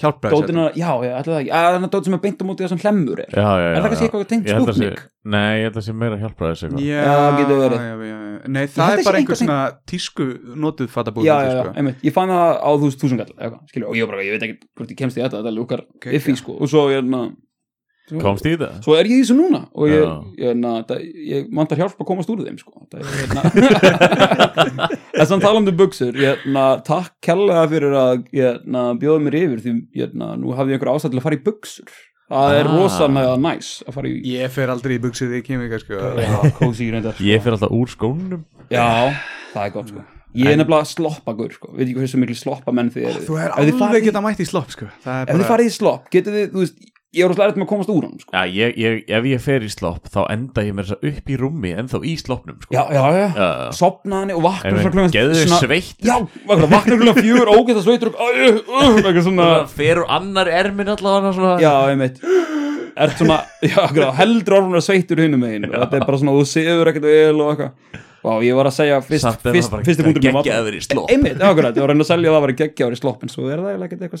[SPEAKER 3] Hjálpa þess
[SPEAKER 2] dótina, já, ég ætla það ekki, að hérna dót sem er beint á móti þessum hlemmur er.
[SPEAKER 4] já, já, já,
[SPEAKER 2] Er það kannski
[SPEAKER 4] já.
[SPEAKER 2] eitthvað tengt
[SPEAKER 4] Ég held að sé-
[SPEAKER 2] spútnik?
[SPEAKER 4] Nei, ég held að sé meira að hjálpa þessu eitthvað
[SPEAKER 3] Já,
[SPEAKER 2] Já, getur verið.
[SPEAKER 3] já, já, já. Nei,
[SPEAKER 2] held
[SPEAKER 3] það
[SPEAKER 2] að
[SPEAKER 3] er bara
[SPEAKER 2] sé
[SPEAKER 3] einhver
[SPEAKER 2] eitthvað
[SPEAKER 3] svona tísku notuð fattabúð
[SPEAKER 2] Já, já, já,
[SPEAKER 3] sko.
[SPEAKER 2] einmitt, ég fann það á þús túsungall, eitthvað, skilur, og ég var bara, ég veit ekki hvort ég kemst í þetta, þetta lúkar
[SPEAKER 3] Geggjað.
[SPEAKER 2] yffi, sko, og svo, hérna, svo-
[SPEAKER 4] Komst í það?
[SPEAKER 2] Svo er ég í þessu núna og ég,
[SPEAKER 4] Já.
[SPEAKER 2] ég, na, það, ég mandar hjálp að komast úr þeim sko. Það er,
[SPEAKER 4] <laughs>
[SPEAKER 2] na, þess að tala um þau buksur ég, na, takk kellega fyrir að ég, na, bjóða mér yfir því ég, na, nú hafði ég einhver ástæð til að fara í buksur það er
[SPEAKER 4] Ah.
[SPEAKER 2] rosalega næs að fara í
[SPEAKER 3] Ég fer aldrei í buksið í kemika sko.
[SPEAKER 2] kósi í reyndar sko.
[SPEAKER 4] Ég fyrir alltaf úr skónum
[SPEAKER 2] Já, það er gott sko Ég er nefnilega sloppagur sko, veit ekki hversu miklu sloppamenn þið eru
[SPEAKER 3] Þú er
[SPEAKER 2] Ef þið farið
[SPEAKER 3] alveg
[SPEAKER 2] í-
[SPEAKER 3] geta mætt í slopp sko. Það
[SPEAKER 2] Ef
[SPEAKER 3] er
[SPEAKER 2] þið
[SPEAKER 3] bara
[SPEAKER 2] farið í slopp, getið þið, þú veist Ég er rosalega erfitt með að komast úr hann sko
[SPEAKER 4] Já, ég, ég, ef ég fer í slopp þá enda ég mér þess að upp í rúmi en þá í sloppnum sko.
[SPEAKER 2] Já, já, já,
[SPEAKER 4] já, já.
[SPEAKER 2] sopnaðan og vaknar
[SPEAKER 4] En
[SPEAKER 2] svona klukkan-
[SPEAKER 4] geðu
[SPEAKER 2] svona-
[SPEAKER 4] sveitt
[SPEAKER 2] Já, vaknar vaknar klukkan fjögur, ógæsta sveitur og uh, uh, eitthvað svona
[SPEAKER 4] Fer og annar ermin allavega svona
[SPEAKER 2] Já, einmitt Ert svona, já, akkur, heldur orðunar sveitur hinum megin og þetta er bara svona, þú sefur ekkert vel og eitthvað Vá, ég var að segja fyrst,
[SPEAKER 4] Samt er
[SPEAKER 2] fyrst,
[SPEAKER 4] það bara
[SPEAKER 2] fyrsti punktur minn var
[SPEAKER 4] geggjaður í slopp.
[SPEAKER 2] Einmitt, já, akkur, ég var að reyna að selja að það var geggjaður í slopp en svo er það eiginlega ekkert eitthvað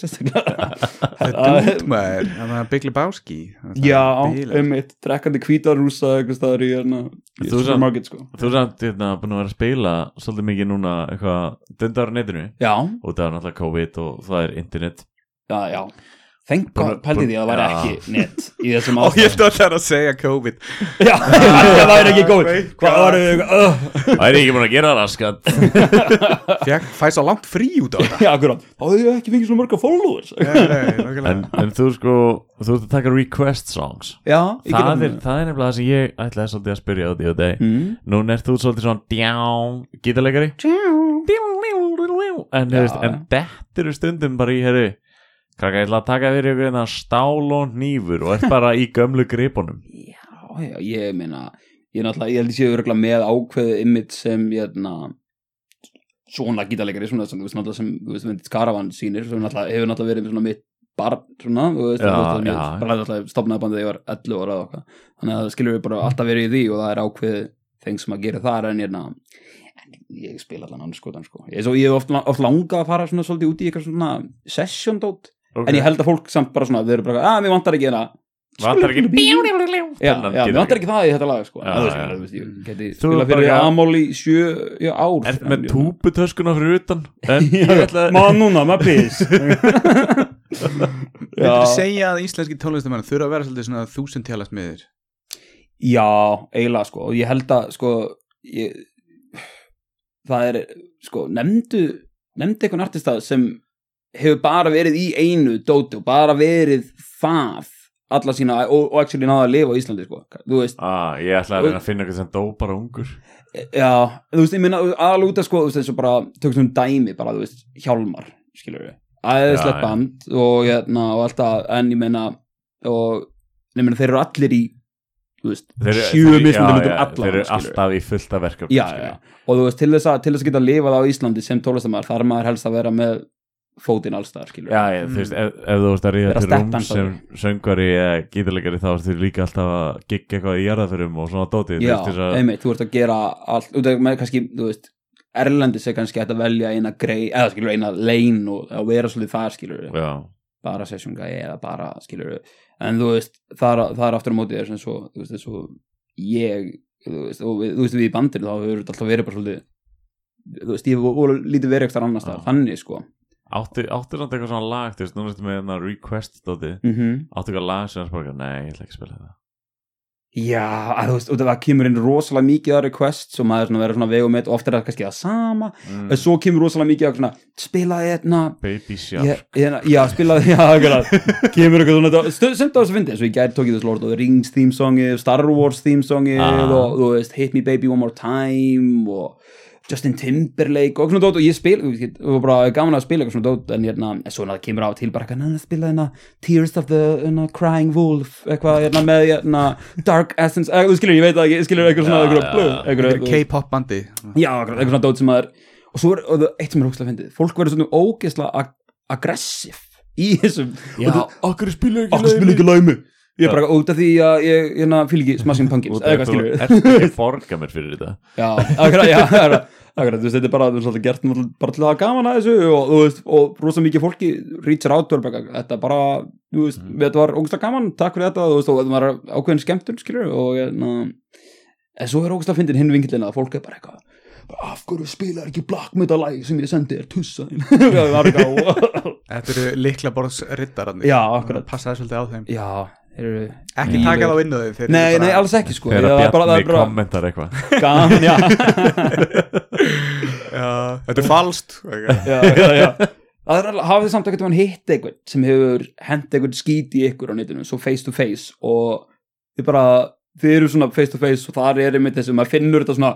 [SPEAKER 2] sérstaklega
[SPEAKER 4] <laughs>
[SPEAKER 3] Þetta er út maður Það er Big Lebowski Það er
[SPEAKER 2] Já, um-
[SPEAKER 3] bilað.
[SPEAKER 2] einmitt, trekkandi hvítarúsa eitthvað staðar í hérna í
[SPEAKER 4] Þú samt-
[SPEAKER 2] supermarket, sko
[SPEAKER 4] Þú er samt hérna, búin að vera að spila svolítið mikið núna eitthvað dundar á netinu
[SPEAKER 2] Já,
[SPEAKER 4] og það er náttúrulega COVID og það er
[SPEAKER 2] <laughs>
[SPEAKER 4] internet
[SPEAKER 2] já, já Þengt,
[SPEAKER 4] Búin-
[SPEAKER 2] pældi því að það var
[SPEAKER 4] Já.
[SPEAKER 2] ekki net í
[SPEAKER 4] <laughs>
[SPEAKER 2] þessum
[SPEAKER 3] Ó, ég ætti alltaf að segja COVID
[SPEAKER 2] <laughs> Já, það væri ekki góð
[SPEAKER 3] veit
[SPEAKER 2] Hvað
[SPEAKER 3] það.
[SPEAKER 2] var þau?
[SPEAKER 4] Það er ekki búin að gera það raskat
[SPEAKER 3] Fæk, Fæ svo langt frí út <laughs> á það
[SPEAKER 2] Já, akkurat Þá hefur ég ekki fengið svona mörga followers Já,
[SPEAKER 3] Nei, nei, nákvæmlega.
[SPEAKER 4] en, en þú sko, þú ert að taka request songs
[SPEAKER 2] ég
[SPEAKER 4] það er,
[SPEAKER 2] gerum
[SPEAKER 4] það er nefnilega það sem ég ætlaði svolítið að spyrja á því og deg
[SPEAKER 2] Mm.
[SPEAKER 4] Núna ert þú svolítið svona djá, gítarleikari En, hefist,
[SPEAKER 2] Já,
[SPEAKER 4] en þetta eru stundum bara í herru Krakka, ég ætla að taka fyrir ykkur hérna stál og nýfur og ert bara í gömlu gripunum
[SPEAKER 2] Já, já, ég meina Ég er náttúrulega, ég held ég séu örgulega með ákveðið image sem ég na, svona gítalegari, svona sem, þú veist, náttúrulega sem, þú veist, vendið Karavan sýnir sem náttúrulega hefur náttúrulega verið svona mitt barn svona, þú veist,
[SPEAKER 4] Já,
[SPEAKER 2] náttúrulega,
[SPEAKER 4] já.
[SPEAKER 2] mér- bara náttúrulega stopnaði bandið þegar ég var 11 ára og eitthvað, þannig að það skilur við bara alltaf verið í því og það er ákveðið þeng sem að gera þar en ég na, en ég spila allan annars skotan sko, ég, er svo, ég hef oft, oft langað að fara svona svolítið út í eitthvað svona session dót, en ég held að fólk samt bara svona, þau eru bara, að mér vantar ekki hérna
[SPEAKER 4] Vantar ekki
[SPEAKER 2] Já,
[SPEAKER 4] Þennan
[SPEAKER 2] já,
[SPEAKER 4] getur
[SPEAKER 2] mér vantar ekki það í þetta lag sko.
[SPEAKER 4] Já,
[SPEAKER 2] já, þú veist,
[SPEAKER 4] já.
[SPEAKER 2] þú veist, ég geti
[SPEAKER 4] Þú
[SPEAKER 2] spila
[SPEAKER 4] er bara
[SPEAKER 2] fyrir
[SPEAKER 4] ekki að-
[SPEAKER 2] Amol í sjö já, ár sko,
[SPEAKER 4] Ert með
[SPEAKER 2] <laughs>
[SPEAKER 4] túputöskuna fyrir utan En ég ætla
[SPEAKER 2] Má núna, maður bís <laughs>
[SPEAKER 3] Myndirðu
[SPEAKER 2] Já,
[SPEAKER 3] segja að íslenski tónlistamenn þurfa að vera svolítið svona þúsund tjálast miður
[SPEAKER 2] já, eiginlega sko og ég held að sko ég, það er sko, nefndu nefndu einhvern artistað sem hefur bara verið í einu dóti og bara verið það alla sína og, og actually náða að lifa á Íslandi sko, þú veist
[SPEAKER 4] ah, Ég ætla að reyna að finna eitthvað sem dó bara ungur
[SPEAKER 2] Já, þú veist, ég minna alveg út að sko, þú veist, eins og bara tökum svona dæmi bara, þú veist, hjálmar, skilur við
[SPEAKER 4] Já,
[SPEAKER 2] æðislegt
[SPEAKER 4] já.
[SPEAKER 2] band og hérna og alltaf, en ég meina og, ég meina, þeir eru allir í þú veist,
[SPEAKER 4] Þeir-
[SPEAKER 2] sjö
[SPEAKER 4] þeir-
[SPEAKER 2] mismunum
[SPEAKER 4] já,
[SPEAKER 2] myndum
[SPEAKER 4] já, Þeir
[SPEAKER 2] allan,
[SPEAKER 4] eru alltaf í fullta verkefni
[SPEAKER 2] já, já, já. og þú veist, til þess að, til þess að geta lifað á Íslandi sem tólastamæður, þar er maður helst að vera með fótinn allstaðar, skilur
[SPEAKER 4] Já, ég, þú veist, ef, ef þú veist að
[SPEAKER 2] Mm.
[SPEAKER 4] ríða
[SPEAKER 2] Vera
[SPEAKER 4] til rúm
[SPEAKER 2] steppdansari.
[SPEAKER 4] sem söngvari eða gítarleikari þá ertu líka alltaf að gigga eitthvað í jarðaförum og svona dóti þú
[SPEAKER 2] Já,
[SPEAKER 4] veist, þess að-
[SPEAKER 2] einmitt, þú ert að gera allt út af með kannski, þú veist Erlendis er kannski hægt að velja eina grei eða skilur eina lein og að vera svolítið þar skilur
[SPEAKER 4] Já,
[SPEAKER 2] bara sessjónga eða bara skilur en þú veist, það er, það er aftur á móti þess að svo, þú veist, svo ég, þú veist, og við, þú veist, við í bandinu þá hefur þetta alltaf verið bara svolítið þú veist, ég voru lítið verið eitthvað annars
[SPEAKER 4] Já.
[SPEAKER 2] það, þannig sko
[SPEAKER 4] áttu, áttu samt eitthvað svona lag þú veist, núna ertu með hérna request dóti
[SPEAKER 2] mm
[SPEAKER 4] áttu eitthvað lag sem er bara, nei, ég ætla ekki að spila það
[SPEAKER 2] já, að, þú veist, og það kemur inn rosalega mikið að requests og maður er svona verið svona vegum eitt og oft er það kannski það sama en svo kemur rosalega mikið að svona spilaði hérna
[SPEAKER 4] Mm. Baby Shark
[SPEAKER 2] Ég, ég, já, spilaði, <laughs> já, akkurat kemur eitthvað svona, stu- sumt á þessu fyndi eins og ég gæti tókið þessu lort og Rings theme songið Star Wars theme songið
[SPEAKER 4] Ah.
[SPEAKER 2] og þú veist, Hit Me Baby One More Time og Justin Timberlake og svona dót og ég spil, þú veist, og bara gaman að spila eitthvað svona dót en hérna, en svona það kemur á til bara eitthvað, neða spila hérna Tears of the hérna, Crying Wolf eitthvað hérna með hérna Dark Essence, eh, þú skilur, ég veit það ekki, skilur eitthvað svona,
[SPEAKER 4] Já,
[SPEAKER 2] eitthvað
[SPEAKER 4] já.
[SPEAKER 2] blöð,
[SPEAKER 3] Þetta
[SPEAKER 2] eitthvað,
[SPEAKER 3] er
[SPEAKER 2] þú veist.
[SPEAKER 3] K-pop bandi
[SPEAKER 2] Já, akkurat, eitthvað svona dót sem maður og svo er og það- eitt sem er hókslega fyndið, fólk verður svona ógeðslega ag aggressiv í þessum
[SPEAKER 4] Já,
[SPEAKER 2] og þú,
[SPEAKER 4] okkur spilur ekki
[SPEAKER 2] okkur spilur ekki læmi ég er bara út af því að ég hérna, fíl ekki smashing pumpkins eða hvað skilur við
[SPEAKER 4] Ertu ekki forga mér fyrir þetta
[SPEAKER 2] já, <laughs> akkurat, já, akkurat, akkurat þú veist, þetta er bara, þú veist, alltaf gert náttúrulega bara til að hafa gaman að þessu og, þú veist, og rosa mikið fólki reachar out, og er bara, þetta er bara þú veist, þetta var ógustlega gaman, takk fyrir þetta þú veist, og þetta var ákveðin skemmtun, skilur og hérna, en svo er ógustlega fyndin hinn vingillin að fólk er bara eitthvað af hverju spilar ekki Black Metal lag sem ég sendi er tussa þín <laughs> Það var eitthvað, wow.
[SPEAKER 3] Þetta eru líkla borðs rittararnir
[SPEAKER 2] já, akkurat
[SPEAKER 3] Passa það svolítið á þeim
[SPEAKER 2] já, eru
[SPEAKER 3] Ekki
[SPEAKER 2] Mm.
[SPEAKER 3] taka þá innu þeim þeir eru
[SPEAKER 2] Nei,
[SPEAKER 3] bara-
[SPEAKER 2] nei, alls ekki sko
[SPEAKER 4] Þegar
[SPEAKER 2] Það er bara- það er
[SPEAKER 4] Bjarni
[SPEAKER 2] bara-
[SPEAKER 4] kommentar eitthvað
[SPEAKER 2] Gaman, <laughs> já
[SPEAKER 3] Já, Þetta er falskt okay.
[SPEAKER 2] <laughs> já, já, já. Það er alveg, hafið þið samt ekkert um hann hitt einhvern sem hefur hent einhvern skít í ykkur á netinu, svo face to face og þið bara, þið eru svona face to face og þar er einmitt þessi, maður finnur þetta svona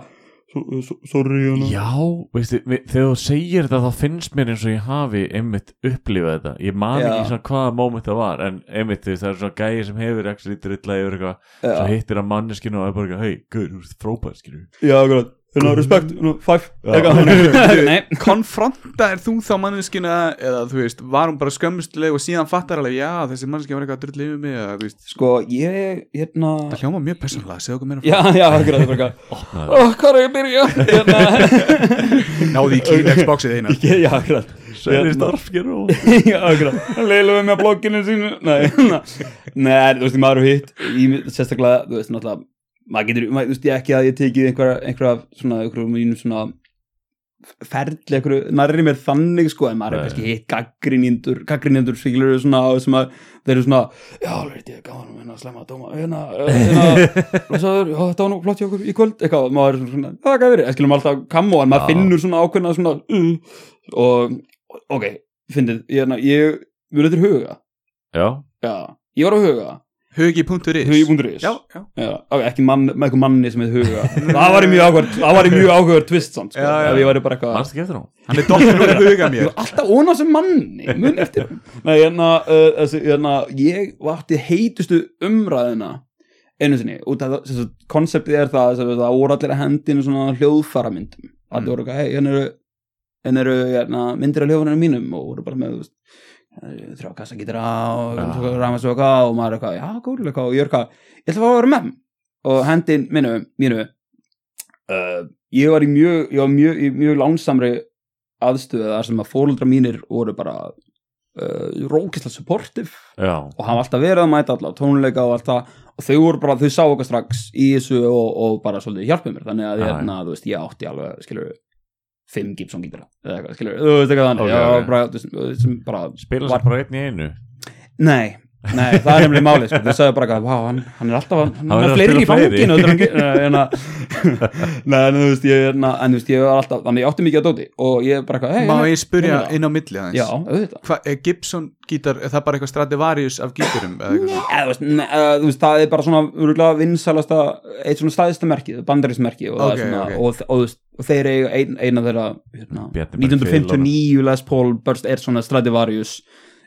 [SPEAKER 2] so- so- sorry hana
[SPEAKER 4] Já, veistu, við, þegar þú segir þetta þá finnst mér eins og ég hafi einmitt upplifað þetta, ég man
[SPEAKER 2] Já.
[SPEAKER 4] ekki svona hvaða moment það var, en einmitt þú veist, það er svona gæi sem hefur actually drilla yfir eitthvað svo
[SPEAKER 2] já,
[SPEAKER 4] hittir að manneskinu og er bara eitthvað hei, guður, þú ert frábæð, skilur
[SPEAKER 2] já, grátt, hérna, respect hérna, five,
[SPEAKER 4] Já.
[SPEAKER 2] eitthvað
[SPEAKER 4] <laughs>
[SPEAKER 2] <laughs> Nei,
[SPEAKER 3] Konfrontaðir þú þá manneskina eða þú veist, var hún bara skömmustileg og síðan fattar alveg, já, þessi manneski var eitthvað að drullið yfir mig eða, þú veist,
[SPEAKER 2] sko, ég, hérna
[SPEAKER 3] það hljóma mjög persónulega, segja okkur meira frá
[SPEAKER 2] já, já, grátt, bara eitthvað
[SPEAKER 4] Opnaði,
[SPEAKER 2] oh, hvað er ég að byrja hérna,
[SPEAKER 3] Náði í Kleenex boxið eina
[SPEAKER 2] ég, <laughs> já, Hérna. grátt
[SPEAKER 4] Svenni starfger
[SPEAKER 2] <laughs>
[SPEAKER 4] og
[SPEAKER 2] Já, akkurat, hann leilu við með blogginu sínu Nei, <laughs> nei, þú veist, maður og hitt í- Sérstaklega, þú veist, náttúrulega maður getur, maður, þú veist, ég ekki að ég tekið einhverja, einhverja svona, einhverjum mínum svona ferli, einhverju, nærri mér þannig sko, en maður
[SPEAKER 4] Nei.
[SPEAKER 2] er kannski hitt gaggrinindur gaggrinindur sigilur svona og sem að þeir eru svona, já, alveg rétt, ég er gaman hérna, slemma að dóma, hérna, eh, <laughs> hérna og svo, já, þetta var nú flott hjá okkur í kvöld eitthvað, og maður er svona, "Já, það gæði verið, en skilum alltaf kammo, en maður
[SPEAKER 4] Já.
[SPEAKER 2] finnur svona ákveðna svona, uh, og, ok, fyndið, ég, hérna, ég mun þetta er huga,
[SPEAKER 4] Já,
[SPEAKER 2] já, ég var á huga
[SPEAKER 3] Hugi.is
[SPEAKER 2] hugi.is
[SPEAKER 3] Já, já,
[SPEAKER 2] Já, ok, ekki mann, með einhver manni sem hefði
[SPEAKER 3] <laughs>
[SPEAKER 2] huga það var í mjög áhverð það var í mjög áhverð tvist samt sko,
[SPEAKER 3] Já, já.
[SPEAKER 2] ef ég væri bara eitthvað
[SPEAKER 4] mannstu ekki eftir hún
[SPEAKER 3] hann er dottin úr <laughs> huga
[SPEAKER 2] ég
[SPEAKER 3] mér
[SPEAKER 2] var alltaf ón á þessum manni mun eftir
[SPEAKER 3] <laughs>
[SPEAKER 2] honum. nei, hérna, uh, þessi, hérna ég varti heitustu umræðina einu sinni út af það, sem sagt, konceptið er það sem sagt, það voru allir að hendinu svona hljóðfara myndum allir voru eitthvað, hei, hérna eru hérna eru hérna, myndir af hljóðunum mínum og voru bara með þú veist, eh, þrjá kassa gítra og
[SPEAKER 4] Já.
[SPEAKER 2] rámasöka og maður er eitthvað, já, góðlega eitthvað og ég er eitthvað, ég ætla að fá að vera með þeim. og hendin mínu, mínu uh, ég var í mjög, ég var mjög, í mjög lánsamri aðstöðu þar sem að fóruldra mínir voru bara uh, rókislega supportive
[SPEAKER 4] Já,
[SPEAKER 2] og hann var alltaf verið að mæta alltaf tónleika og alltaf og þau voru bara, þau sá okkar strax í þessu og, og bara svolítið hjálpið mér þannig að
[SPEAKER 4] Já, já.
[SPEAKER 2] hérna, þú veist, ég átti alveg, skilur fimm Gibson gítara eða eitthvað, skilur, þú veist eitthvað þannig
[SPEAKER 4] Ok,
[SPEAKER 2] okay,
[SPEAKER 4] ok.
[SPEAKER 2] bara, þú veist, þú veist, sem bara,
[SPEAKER 4] spila
[SPEAKER 2] Var-
[SPEAKER 4] sem bara einn í einu
[SPEAKER 2] nei, nei, það er nefnilega málið sko. þau sagði bara eitthvað, vá, hann, hann er alltaf hann, hann
[SPEAKER 4] verður
[SPEAKER 2] er
[SPEAKER 4] að
[SPEAKER 2] fleiri í
[SPEAKER 4] spila fleiri."
[SPEAKER 2] fanginu en,
[SPEAKER 4] <laughs>
[SPEAKER 2] en, en, en þú veist, ég, na, en þú veist, ég var alltaf þannig ég átti mikið að dóti og ég bara eitthvað, hey,
[SPEAKER 3] Má
[SPEAKER 2] hérna,
[SPEAKER 3] ég spurja
[SPEAKER 2] Hérna.
[SPEAKER 3] inn á milli
[SPEAKER 2] já,
[SPEAKER 3] aðeins
[SPEAKER 2] auðvitað
[SPEAKER 3] Hva, er Gibson gítar, er það bara eitthvað Stradivarius af gítarum eða eitthvað svona?
[SPEAKER 2] Eða, þú veist, ne, eða, þú veist, það er bara svona örgulega vinsalasta, eitt svona staðista merki bandarísmerki og,
[SPEAKER 3] Ok,
[SPEAKER 2] okay, svona,
[SPEAKER 3] ok.
[SPEAKER 2] okay. Og, og, þú veist, og þeir eiga ein, eina þeirra hérna,
[SPEAKER 4] Bjarni Berg
[SPEAKER 2] 1959 Les Paul Burst er svona Stradivarius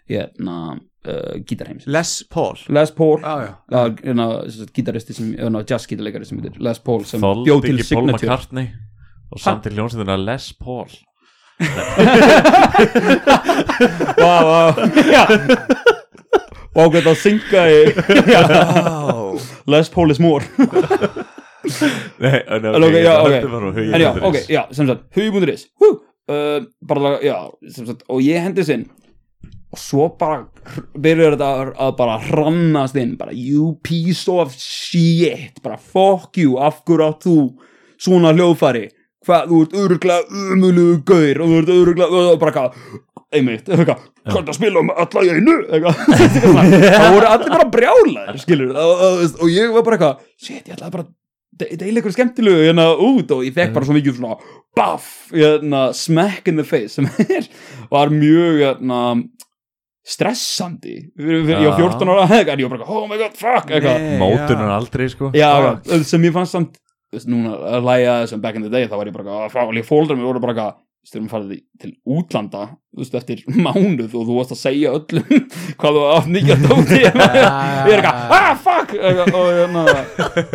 [SPEAKER 2] hérna, uh, gítarheims
[SPEAKER 3] Les <laughs> Paul
[SPEAKER 2] Les Paul
[SPEAKER 3] Já, já.
[SPEAKER 2] Uh, hérna, sem sagt, gítaristi sem, hérna, jazzgítarleikari sem heitir Les Paul sem
[SPEAKER 4] Þoldi
[SPEAKER 2] bjó til
[SPEAKER 4] ekki Paul
[SPEAKER 2] signature
[SPEAKER 4] McCartney og samt í hljónsindina Les
[SPEAKER 2] <laughs>
[SPEAKER 4] Paul
[SPEAKER 2] Vá, <laughs> vá, <laughs> já Vá, hvað það synga í
[SPEAKER 3] Wow.
[SPEAKER 2] Les Paul is more
[SPEAKER 4] Nei, en
[SPEAKER 2] En ok,
[SPEAKER 4] ok,
[SPEAKER 2] já, ok.
[SPEAKER 4] þetta var nú hugið
[SPEAKER 2] en já,
[SPEAKER 4] undir
[SPEAKER 2] ok,
[SPEAKER 4] þess.
[SPEAKER 2] já, sem sagt, hugi.is hú, uh, bara, já, sem sagt og ég hendis inn og svo bara hr- byrjar þetta að- að bara hrannast inn, bara you piece of shit, bara fuck you af hverju átt þú svona hljóðfæri, hvað, þú ert öruglega umulugu gaur og þú ert öruglega og bara hvað, einmitt, eitthvað hvað það spila um alla í einu eitthvað. <laughs> það voru allir bara brjálaðir skilur, og, og, og ég var bara eitthvað shit, ég ætlaði bara að de- deila ykkur skemmtilegu hérna út og ég fekk bara svo mikið svona baff, hérna, smack in the face sem er, var mjög hérna, stressandi fyrir, fyrir, ég var
[SPEAKER 4] Já.
[SPEAKER 2] 14 ára eitthvað, en ég var bara, eitthvað, oh my god, fuck eitthvað,
[SPEAKER 3] Nei,
[SPEAKER 4] Mótunar
[SPEAKER 3] <laughs> já.
[SPEAKER 4] aldrei, sko
[SPEAKER 2] já, já, sem ég fannst samt þú veist, núna að læja þessum back in the day þá var ég bara að fá, og ég fóldra mér voru bara að styrum að fara því til útlanda þú veist, eftir <laughs> mánuð og þú varst að segja öllum <laughs> hvað þú átt nýja dóti ég
[SPEAKER 3] <laughs>
[SPEAKER 2] er eitthvað, ah, fuck eitthvað, og hérna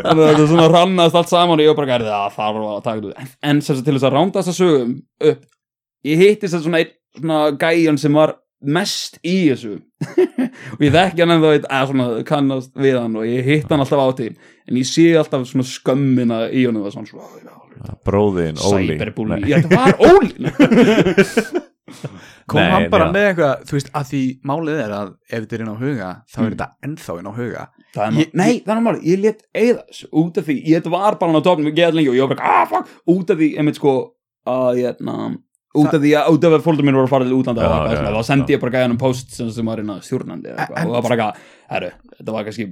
[SPEAKER 2] þannig að þetta svona rannast allt saman og ég var bara að það þarf að taka þetta út." en, en sem sagt til þess að ránda þess að sögum upp ég hitti þess að svona einn svona gæjan sem var mest í þessu <laughs> og ég þekki hann en það veit að svona kannast við hann og ég hitt hann alltaf á til en ég sé alltaf svona skömmina í honum og svona svona
[SPEAKER 4] bróðin, Óli
[SPEAKER 2] cyberbullying,
[SPEAKER 4] Nei.
[SPEAKER 2] Já, þetta var Óli
[SPEAKER 4] <laughs>
[SPEAKER 3] kom
[SPEAKER 4] Nei,
[SPEAKER 3] hann bara
[SPEAKER 4] já.
[SPEAKER 3] með eitthvað þú veist að því málið er að ef þetta er inn á huga þá
[SPEAKER 4] Hmm.
[SPEAKER 3] er þetta ennþá inn á huga
[SPEAKER 2] Það er ég,
[SPEAKER 3] Ég-
[SPEAKER 2] nei, það er mál, ég let eigða þessu út af því, ég þetta var bara hann á topnum geðað lengi og ég var bara, ah, fuck, út af því einmitt sko, að ég, na, út af því að, út af að fólkdur mín voru að fara til útlanda
[SPEAKER 4] Já,
[SPEAKER 2] og eitthvað
[SPEAKER 4] já,
[SPEAKER 2] svona,
[SPEAKER 4] já,
[SPEAKER 2] þá sendi ég bara gæðanum post sem, sem var inn að stjórnandi eða
[SPEAKER 3] En-
[SPEAKER 2] eitthvað og það var bara eitthvað, herru, þetta var kannski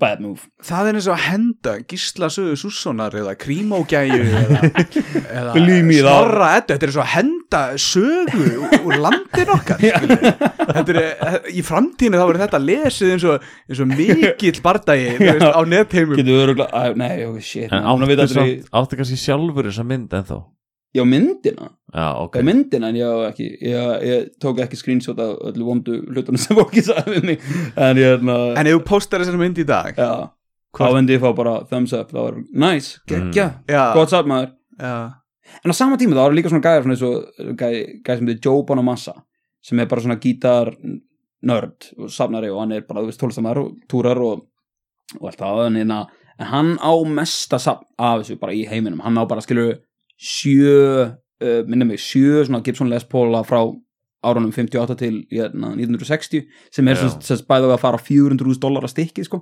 [SPEAKER 2] bad move,
[SPEAKER 3] það er eins og að henda Gísla Söðu Sússonar eða
[SPEAKER 2] <laughs>
[SPEAKER 3] Krímógæju eða, eða
[SPEAKER 2] Glím í þá.
[SPEAKER 3] Snorra Eddu, þetta er eins og að henda sögu úr- úr landin okkar skilur við. þetta er, eh, í framtíðinu þá verður þetta lesið eins og, eins og mikill bardagi þú veist, á netheimum
[SPEAKER 2] getur öruglega, að, nei, ok, shit,
[SPEAKER 4] En
[SPEAKER 2] hún að
[SPEAKER 4] áttu,
[SPEAKER 2] vita aldrei,
[SPEAKER 4] samt, áttu kannski sjálfur þessa mynd ennþá
[SPEAKER 2] já, myndina,
[SPEAKER 4] Já, ok
[SPEAKER 2] okay. myndina, en ég, á ekki, ég, ég tók ekki screenshot af öllu vondu hlutunum sem fólki sagði við mig, en hérna- ég, na,
[SPEAKER 3] en ef þú postar þessar mynd í dag
[SPEAKER 2] já,
[SPEAKER 3] Hvort-
[SPEAKER 2] þá vendi ég fá bara thumbs up, það var nice, geggja,
[SPEAKER 3] já,
[SPEAKER 2] gott satt maður
[SPEAKER 3] já,
[SPEAKER 2] en á sama tíma þá eru líka svona gæðar svona eins og gæði gæ sem þið Joe Bonamassa sem er bara svona gítar nörd og safnari og hann er bara þú veist tólestamæður og túrar og, og allt það en, hérna, en hann á mesta safn af þessu bara í heiminum hann á bara skilur sjö uh, minna mig sjö svona Gibson Les Paula frá árunum 58 til hérna, 1960 sem er
[SPEAKER 4] Já.
[SPEAKER 2] sem, sem bæði að fara á 400.000 dólar að stykki sko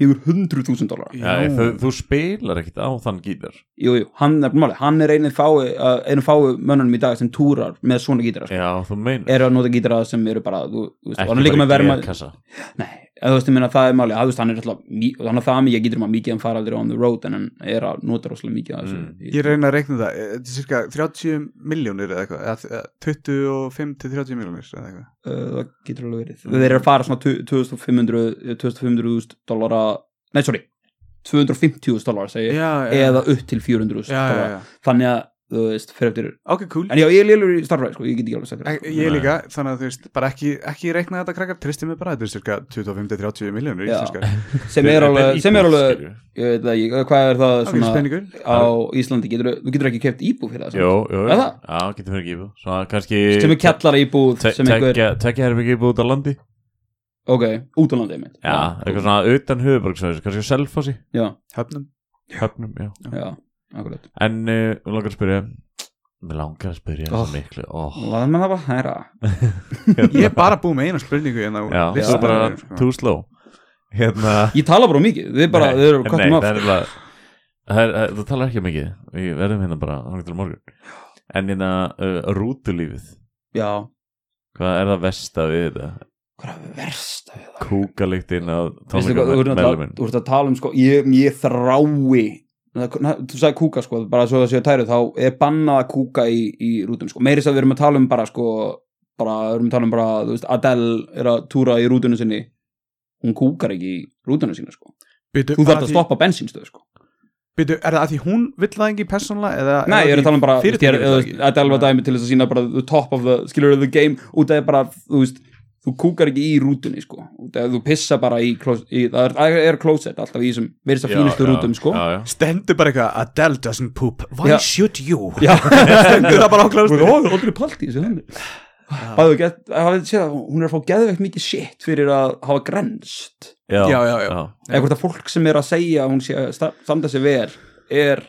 [SPEAKER 2] 400.000 dólar
[SPEAKER 4] Já, ég, þú, þú spilar ekkert á þann gítar
[SPEAKER 2] Jú, jú, hann er, máli, hann er einu fái, uh, einu fái mönnunum í dag sem túrar með svona gítara sko.
[SPEAKER 4] Já, þú meinar
[SPEAKER 2] eru að nota gítara sem eru bara þú, þú veist, og hann er
[SPEAKER 4] Ekki
[SPEAKER 2] líka
[SPEAKER 4] bara
[SPEAKER 2] með
[SPEAKER 4] í
[SPEAKER 2] verma
[SPEAKER 4] glerkassa.
[SPEAKER 2] nei, eða þú veist, ég meina það er máli að, þú veist, hann er alltaf, mi- og hann er það mikið gítur maður mikið hann fara aldrei on the road en hann er að nota rosalega mikið af þessu
[SPEAKER 4] Mm.
[SPEAKER 3] ég reyna að reikna það eh, þetta er cirka 30 miljónir eða eitthvað eða, eða 25 til 30 miljónir eða eitthvað
[SPEAKER 2] uh, það getur alveg verið
[SPEAKER 4] Mm.
[SPEAKER 2] þeir eru að fara svona 2500 eh, 2500.000 dollara nei, sorry, 250.000 dollara segi, ég,
[SPEAKER 3] já,
[SPEAKER 2] eða upp til
[SPEAKER 3] já,
[SPEAKER 2] 400.000
[SPEAKER 3] já,
[SPEAKER 2] dollara
[SPEAKER 3] já.
[SPEAKER 2] þannig að, þú veist, fyrir eftir
[SPEAKER 3] ok, cool
[SPEAKER 2] en já, ég er lélur í starfræði, sko, ég get ekki alveg sagt þér.
[SPEAKER 3] Ek- Ég
[SPEAKER 4] Nei.
[SPEAKER 3] líka, þannig að þú veist, bara ekki, ekki reikna þetta krakkar, tristið mig bara, þetta er cirka 25-30 miljónur
[SPEAKER 2] Já.
[SPEAKER 3] íslenskar.
[SPEAKER 2] sem er
[SPEAKER 4] Þetta
[SPEAKER 2] alveg, sem er
[SPEAKER 4] íbúð,
[SPEAKER 2] alveg
[SPEAKER 4] skilju.
[SPEAKER 2] ég veit það ekki, hvað er það
[SPEAKER 3] Ok,
[SPEAKER 2] svona
[SPEAKER 3] spenningur.
[SPEAKER 2] á Íslandi, getur, þú getur ekki keft íbúð fyrir það
[SPEAKER 4] Jó,
[SPEAKER 2] samt.
[SPEAKER 4] jó,
[SPEAKER 2] Er
[SPEAKER 4] jó.
[SPEAKER 2] það?
[SPEAKER 4] já, getur fyrir íbúð Svona kannski
[SPEAKER 2] sem er kjallara íbúð
[SPEAKER 4] te-
[SPEAKER 2] sem einhver,
[SPEAKER 4] tekja- Tekja herbyggi íbúð út á landi
[SPEAKER 2] ok, út á landið mitt
[SPEAKER 4] Já, eitthvað svona utan höfuborgsvæðis Kannski á Selfossi,
[SPEAKER 2] já,
[SPEAKER 3] Höfnum.
[SPEAKER 4] höfnum, já
[SPEAKER 2] já, akkurat
[SPEAKER 4] En uh, mig langar að spyrja Mér langar að spyrja oh.
[SPEAKER 3] Oh.
[SPEAKER 4] miklu oh.
[SPEAKER 2] laðum við það bara hæra
[SPEAKER 3] Ég er bara búið með eina spurningu hérna en
[SPEAKER 4] Hérna. Já,
[SPEAKER 3] þá
[SPEAKER 4] þú er bara
[SPEAKER 3] sko.
[SPEAKER 4] too slow Hérna
[SPEAKER 2] ég tala bara um mikið, þið bara, þið eru
[SPEAKER 4] nei,
[SPEAKER 2] kvartum
[SPEAKER 4] það
[SPEAKER 2] af
[SPEAKER 4] er nefnilega- það er- það- þú talar ekki um mikið Við verðum hérna bara hann til á morgun En hérna uh, rútulífið
[SPEAKER 2] já,
[SPEAKER 4] Hvað er það versta við þetta?
[SPEAKER 2] hvað er verst að það
[SPEAKER 4] Kúkaliktin af
[SPEAKER 2] Veistu hvað, þú ert að tala-
[SPEAKER 4] tónleikamelluminn
[SPEAKER 2] þú ert að tala um sko, ég, ég þrái Na, þú sagði kúka sko, bara svo það séu tæru þá er bannað að kúka í, í rútum sko. meiris að við erum að tala um bara sko bara, við erum að tala um bara, þú veist, Adele er að túra í rútunum sinni hún kúkar ekki í rútunum sinni sko
[SPEAKER 3] Byttu,
[SPEAKER 2] þú þarf að stoppa bensinstöð sko
[SPEAKER 3] Byttu, er það að því hún vill það ekki persónlega eða...
[SPEAKER 2] nei, ég er að tala um bara, þú veist, ég er-
[SPEAKER 3] Fyrirtækið
[SPEAKER 2] þú veist, Adele var dæmi til þess að sína bara the top of the, skilur the game út af bara, þú veist þú kúkar ekki í rútunni sko út af þú pissa bara í, klós, í það er, það er closet alltaf í þessum, verðist að fínustu rútum sko
[SPEAKER 4] já, já.
[SPEAKER 3] Stendur bara eitthvað, Adele doesn't poop, why
[SPEAKER 2] Já.
[SPEAKER 3] should you?
[SPEAKER 2] Já,
[SPEAKER 3] Stendur það bara á
[SPEAKER 2] Þú
[SPEAKER 3] klástur.
[SPEAKER 2] er aldrei palt í þessu þannig Bæðu gett, hafið þið séð að hún er að fá geðveikt mikið shit fyrir að hafa grenst
[SPEAKER 4] Já,
[SPEAKER 3] Já, já, já.
[SPEAKER 2] eða hvort að fólk sem er að segja að hún sé að sta- standa sig vel er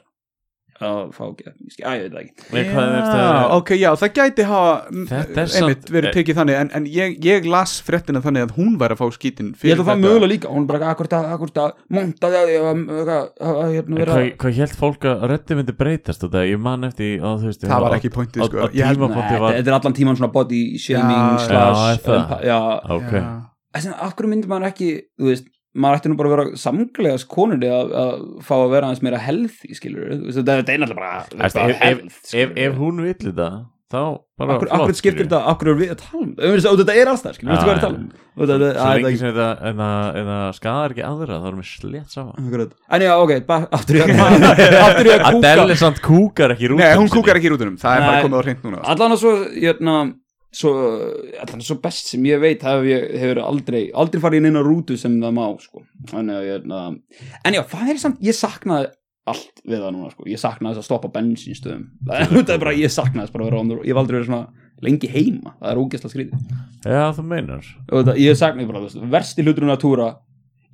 [SPEAKER 2] að fá geðveikt mikið shit, að ég veit það ekki
[SPEAKER 4] Nei, hvað er þetta?
[SPEAKER 3] Já, ok, já, það gæti hafa m,
[SPEAKER 4] Þetta er samt-
[SPEAKER 3] einmitt verið tekið þannig en, en ég, ég las fréttina þannig að hún væri að fá skítin
[SPEAKER 2] Ég
[SPEAKER 3] fyrir
[SPEAKER 2] held að það mögulega líka, hún er bara akkur það, akkur það, monta það að hérna
[SPEAKER 4] En
[SPEAKER 2] vera
[SPEAKER 4] Hvað, hvað held fólk að röddi myndi breytast þetta? Ég man eftir á, þú veist,
[SPEAKER 3] það
[SPEAKER 4] á-
[SPEAKER 3] var ekki pointið
[SPEAKER 4] á-
[SPEAKER 3] sko.
[SPEAKER 4] á
[SPEAKER 3] Ég held-
[SPEAKER 4] tíma-
[SPEAKER 2] Nei,
[SPEAKER 4] Potið
[SPEAKER 2] Þetta
[SPEAKER 4] var-
[SPEAKER 2] þetta er allan tíman svona body shaming
[SPEAKER 3] Já,
[SPEAKER 4] já, er
[SPEAKER 2] slash
[SPEAKER 4] það?
[SPEAKER 2] empa- Já,
[SPEAKER 4] Ok,
[SPEAKER 3] Já.
[SPEAKER 2] En sem, af hverju myndir maður ekki þú veist, maður ætti nú bara að vera samglegas konunni að, að fá að vera aðeins meira healthy skilur, þú veist, þetta er- þetta er náttúrulega bara, þú veist,
[SPEAKER 4] Æst,
[SPEAKER 2] bara
[SPEAKER 4] ef, ef,
[SPEAKER 2] health,
[SPEAKER 4] ef,
[SPEAKER 2] skilur við.
[SPEAKER 4] ef hún vill þetta þá bara
[SPEAKER 2] Akkur,
[SPEAKER 4] flott,
[SPEAKER 2] akkur skiptir
[SPEAKER 4] skilju.
[SPEAKER 2] þetta, akkur er við að tala um þetta Þú veist, þetta er allstað, skilur, veistu
[SPEAKER 4] Já,
[SPEAKER 2] hvað er að tala um Þú veist, þetta-
[SPEAKER 4] Svo
[SPEAKER 2] að-
[SPEAKER 4] lengi
[SPEAKER 2] þetta-
[SPEAKER 4] sem þetta en það- en það skadar ekki aðra þá erum við slétt sama
[SPEAKER 2] akkurat. En já, ok, bara aftur í að aftur í að
[SPEAKER 4] Adele
[SPEAKER 2] kúka
[SPEAKER 4] samt kúkar ekki rútum
[SPEAKER 3] Nei, hún kúkar ekki í rútunum, það er bara
[SPEAKER 2] Nei.
[SPEAKER 3] komið á hreint núna
[SPEAKER 2] Allan að svo, jörna Svo, allan að svo best sem ég veit hef ég hefur aldrei, hérna, aldrei farið inn á rútu sem það má sko. en, jörna, en já, það er samt, ég saknaði allt við það núna sko. ég sakna þess að stoppa á bensinstöðum <laughs> það er bara, ég sakna þess bara að vera on the road ég hef aldrei verið svona lengi heima það er ógeðslega skrítið
[SPEAKER 4] já þú meinar
[SPEAKER 2] Og þetta- ég sakna bara, þú veist, versti hluturinn að túra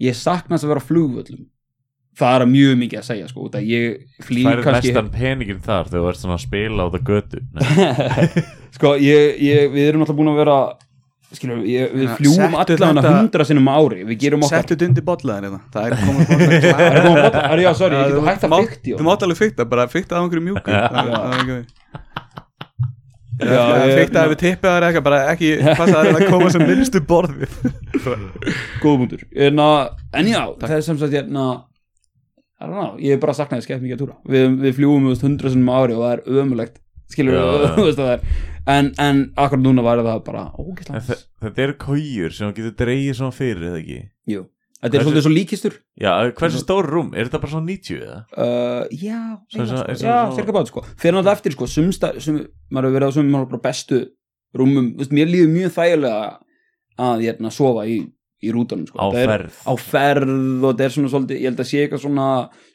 [SPEAKER 2] ég sakna þess að vera á flugvöllum það er mjög mikið að segja sko, út að ég flýg
[SPEAKER 4] færir
[SPEAKER 2] kannski
[SPEAKER 4] mestan peningin þar þegar þú ert svona að spila á það
[SPEAKER 2] <laughs>
[SPEAKER 4] götu Nei,
[SPEAKER 2] sko, ég, ég, við erum alltaf búin að vera skilur, ég, við
[SPEAKER 3] Ja,
[SPEAKER 2] fljúum
[SPEAKER 3] Hérna, settu
[SPEAKER 2] allavega
[SPEAKER 3] þetta-
[SPEAKER 2] hundra sinnum á ári við gerum okkar
[SPEAKER 3] Settu þetta undir bollaðin eða Það er komið bollaðin
[SPEAKER 2] <laughs> Það er komið að bota- Herra, já, sorry, ég
[SPEAKER 3] Já,
[SPEAKER 2] getur
[SPEAKER 3] þú-
[SPEAKER 2] hægt að
[SPEAKER 3] mátt-
[SPEAKER 2] fykti
[SPEAKER 3] Þú mátt alveg fykta, bara fykta á einhverju mjúku
[SPEAKER 2] Já.
[SPEAKER 3] Það það er ekki við
[SPEAKER 2] Já, ég-
[SPEAKER 3] Fykta ef við tippið það eitthvað bara ekki passa að reyna að koma sem minnstu borðið
[SPEAKER 2] góðbundur en, að- en já, það er sem sagt hérna I don't know, ég er bara saknaði skemmt mikið að túra við, við fljúum hundra sinnum á ári og það er ömulegt skilur
[SPEAKER 4] Já, já.
[SPEAKER 2] <laughs> þú veist að það er en, en akkur núna væri það bara
[SPEAKER 4] en
[SPEAKER 2] ógæslega
[SPEAKER 4] þe- þetta eru kójur sem þú getur dreigið svona fyrir eða ekki
[SPEAKER 2] Jú, þetta er
[SPEAKER 4] Hversu-
[SPEAKER 2] svolítið svo líkistur
[SPEAKER 4] já, hversu stór rúm, er þetta bara svona 90 eða?
[SPEAKER 2] uh, Já,
[SPEAKER 4] Svo-
[SPEAKER 2] eiginlega,
[SPEAKER 4] svo-
[SPEAKER 2] sko.
[SPEAKER 4] svo-
[SPEAKER 2] já,
[SPEAKER 4] svo-
[SPEAKER 2] cirka bát sko fyrir náttúrulega eftir sko, sumsta sum, maður hefur verið á sumum maður bara bestu rúmum, þú veist, mér líður mjög þægilega að hérna sofa í, í rútanum sko.
[SPEAKER 4] á
[SPEAKER 2] Það er-
[SPEAKER 4] ferð
[SPEAKER 2] á ferð og þetta er svona svolítið, ég held að sé eitthvað svona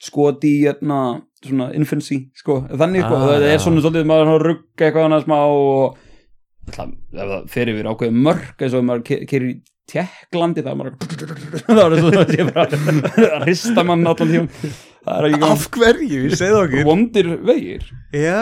[SPEAKER 2] skoti í hérna svona infancy, sko, þannig sko
[SPEAKER 4] Ah,
[SPEAKER 2] það
[SPEAKER 4] já.
[SPEAKER 2] er svona svolítið, maður er að rugga eitthvað annað smá og það, ef það fer yfir ákveðið mörk eins og ef maður keirir í Tjekklandi það er maður <laughs> það er <laughs> svona að sé bara að rista mann allan tíum það er ekki
[SPEAKER 3] Af hverju, ég segði
[SPEAKER 2] gaman
[SPEAKER 3] okkur
[SPEAKER 2] vondir vegir,
[SPEAKER 3] Já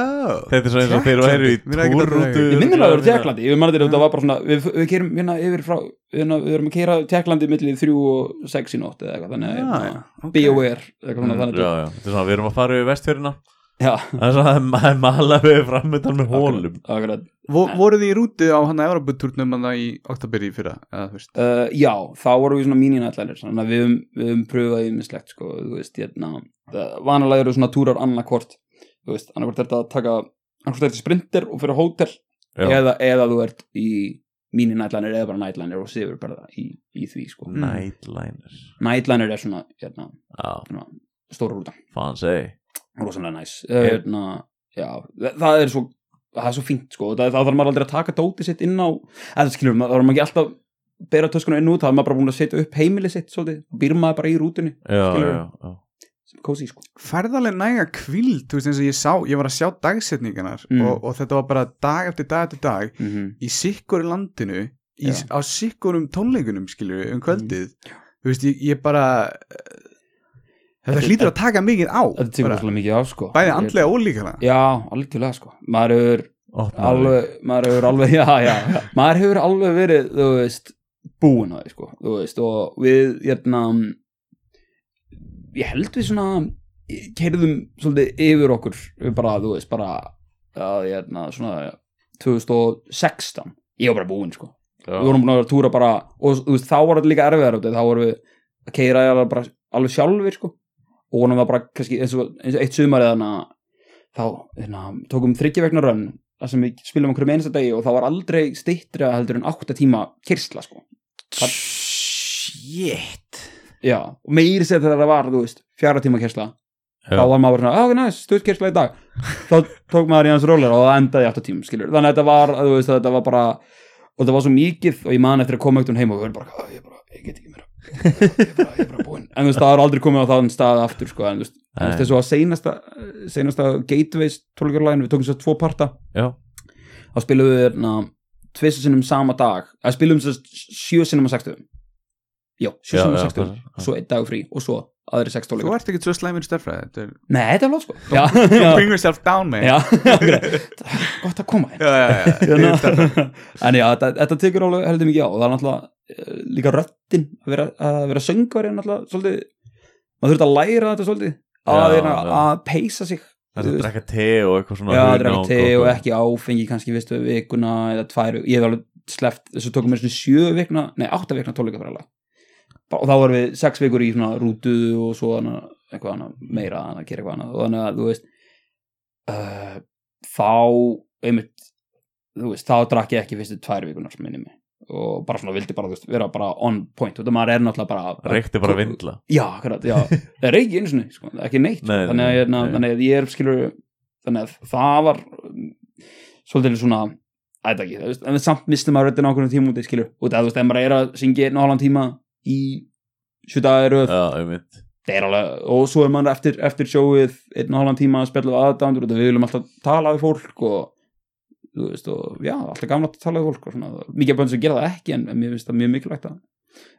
[SPEAKER 4] þetta er svona eins og þeir eru í
[SPEAKER 3] Mér er ekkert að draga.
[SPEAKER 4] túrrútu
[SPEAKER 2] ég minnir að það eru Tjekklandi ég mann að þetta var bara svona, við, við keirum hérna yfir frá, hérna, við erum að keira Tjekklandi millið þrjú og sex í nótt eða eitthvað þannig að
[SPEAKER 3] Já,
[SPEAKER 2] hérna,
[SPEAKER 3] já, ok.
[SPEAKER 2] BOR eitthvað svona þannig
[SPEAKER 4] Já, já, þetta er svona, við erum að fara yfir vestfjörina
[SPEAKER 2] Já,
[SPEAKER 4] Það er svona, það er mala við framöndan með hólum
[SPEAKER 2] akkurat.
[SPEAKER 3] Vo, Voruð þið í rútu á hann að Evropatúrnum hann í oktober í fyrra eða, þú veist?
[SPEAKER 2] Uh, já, þá vorum við svona míninætlanir þannig að við höfum, við höfum pröfað ymmislegt sko, þú veist, hérna uh, vanalega eru svona túrar annarkvort þú veist, annarkvort er þetta að taka annarkvort er þetta sprinter og fyrir hótel
[SPEAKER 4] Já.
[SPEAKER 2] eða, eða þú ert í míninætlanir eða bara nætlanir og sefur bara í, í því sko.
[SPEAKER 4] Nightliner
[SPEAKER 2] Nætlanir er svona, hérna,
[SPEAKER 4] Já,
[SPEAKER 2] stóra rúta
[SPEAKER 4] fann segi
[SPEAKER 2] rosalega næs uh,
[SPEAKER 4] Er-
[SPEAKER 2] hérna, já, þa- það er svo það er svo fínt sko, það, það þarf maður aldrei að taka dótið sitt inn á, eða skilur maður, það þarf maður ekki alltaf að bera töskuna inn út, það er maður bara búin að setja upp heimilið sitt svolítið, býr maður bara í rútunni
[SPEAKER 4] Já,
[SPEAKER 2] Skilurðu?
[SPEAKER 4] já, já
[SPEAKER 2] sem kósi sko,
[SPEAKER 3] Færðarlega næga kvild, þú veist eins og ég sá, ég var að sjá dagsetningarnar
[SPEAKER 2] Mm.
[SPEAKER 3] og, og þetta var bara dag eftir dag eftir dag
[SPEAKER 2] mm -hmm.
[SPEAKER 3] í sikkur landinu í,
[SPEAKER 2] Já. Mm.
[SPEAKER 3] á sikkurum tónleikunum skilur um kvöldið þú veist, ég, ég bara eh, þetta
[SPEAKER 2] Þetta-
[SPEAKER 3] hlýtur að taka mikið á
[SPEAKER 2] þetta tekur
[SPEAKER 3] bara,
[SPEAKER 2] rosalega mikið á sko
[SPEAKER 3] bæði andlega og líkana
[SPEAKER 2] já, algjörlega sko, maður hefur
[SPEAKER 4] Opnaðu.
[SPEAKER 2] alveg, maður hefur alveg, <laughs> já, já maður hefur alveg verið, þú veist búin að því, sko, þú veist og við, hérna ég held við svona keirðum svolítið yfir okkur bara, þú veist, bara að, hérna, svona 2016, ég var bara búin, sko við
[SPEAKER 4] Já.
[SPEAKER 2] vorum búin að vera að túra bara og þú veist, þá var þetta líka erfiðar út af því, þá vorum við að keira alveg, bara, alveg sjálfur sko. og honum var bara kannski, eins, og, eins og eitt sumar eða hana, þá hana, tókum þryggjavegna rönn þar sem við spilum okkur um einasta degi og það var aldrei styttra heldur en 8 tíma kyrsla sko.
[SPEAKER 4] Shit
[SPEAKER 2] já, og meiri sér þegar það var þú veist, fjara tíma kyrsla
[SPEAKER 4] Já.
[SPEAKER 2] þá var maður svona, ah, ok, næst, stutt kyrsla í dag þá tók maður í hans rólar og það endaði í 8 tímum, skilur, þannig að þetta var þú veist, þetta var bara, og það var svo mikið og ég man eftir að koma eitthvað heim og við erum bara, "Ah, ég bara, ég get ekki meira ég er bara, ég er bara búinn en þú veist, það er aldrei komið á þann stað aftur sko, en þú veist, en þú veist,
[SPEAKER 4] Nei.
[SPEAKER 2] þessu að seinasta seinasta gateways tólkjörlægin, við tókum svo tvo parta
[SPEAKER 4] Já,
[SPEAKER 2] þá spilum við na, tvissu sinnum sama dag að spilum við sjö sinnum að sextuðum já, sjö
[SPEAKER 4] Já,
[SPEAKER 2] sinnum að
[SPEAKER 4] já,
[SPEAKER 2] sextuðum
[SPEAKER 4] bara- já.
[SPEAKER 2] svo einn dag frí og svo aðri sex
[SPEAKER 3] þú
[SPEAKER 2] tólkjörlægin
[SPEAKER 3] ert ekkert svo slæmur stærfræði þetta er,
[SPEAKER 2] nei, þetta er lóð sko já, já,
[SPEAKER 3] bring yourself down man
[SPEAKER 2] já, já, gott að koma inn
[SPEAKER 3] já, já,
[SPEAKER 2] <laughs>
[SPEAKER 3] já.
[SPEAKER 2] Hérna. en já, þetta, þetta tekur alveg heldur mikið á og það er náttúrulega eh, líka röttin að vera, að vera söngvari er náttúrulega svolítið, maður þurft að læra þetta svolítið að,
[SPEAKER 4] Já,
[SPEAKER 2] já,
[SPEAKER 4] já.
[SPEAKER 2] að peysa sig
[SPEAKER 4] það er að drekka te og eitthvað svona
[SPEAKER 2] já,
[SPEAKER 4] hunang
[SPEAKER 2] drekka te
[SPEAKER 4] eitthvað.
[SPEAKER 2] og ekki áfengi kannski vistu vikuna eða tvær ég hef alveg sleppt, þessu tókum við svona sjö vikna nei, átta vikna tónleika fyrir alveg og þá varum við sex vikur í svona rútu og svo hana, eitthvað annað meira hana, gera eitthvað annað og þannig að þú veist uh, þá einmitt, þú veist, þá drakk ég ekki fyrstu tvær vikunar minni mig og bara svona vildi bara, þú veist, vera bara on point og það maður er náttúrulega bara
[SPEAKER 4] Reykti bara vindla
[SPEAKER 2] já, akkurat,
[SPEAKER 4] <laughs>
[SPEAKER 2] já, það er ekki einu sinni sko, ekki neitt,
[SPEAKER 4] Nei, nei,
[SPEAKER 2] þannig, að, hérna,
[SPEAKER 4] nei.
[SPEAKER 2] þannig að ég er skilur þannig að það var um, svolítið svona ætla ekki, það veist, en samt mistum maður röddina á okkur tíma úti, skilur, og það, þú veist, ef maður er að syngja einu og halvan tíma í sjö dagar í röð,
[SPEAKER 4] Já, um mitt
[SPEAKER 2] það er alveg, og svo er mann eftir, eftir sjóið einn og halvan tíma að spjalla við aðdæmdur og við viljum alltaf tala við fólk og þú veist og já, alltaf gamla að tala við fólk og svona, mikið bönn sem gera það ekki en, en mér finnst það mjög mikilvægt að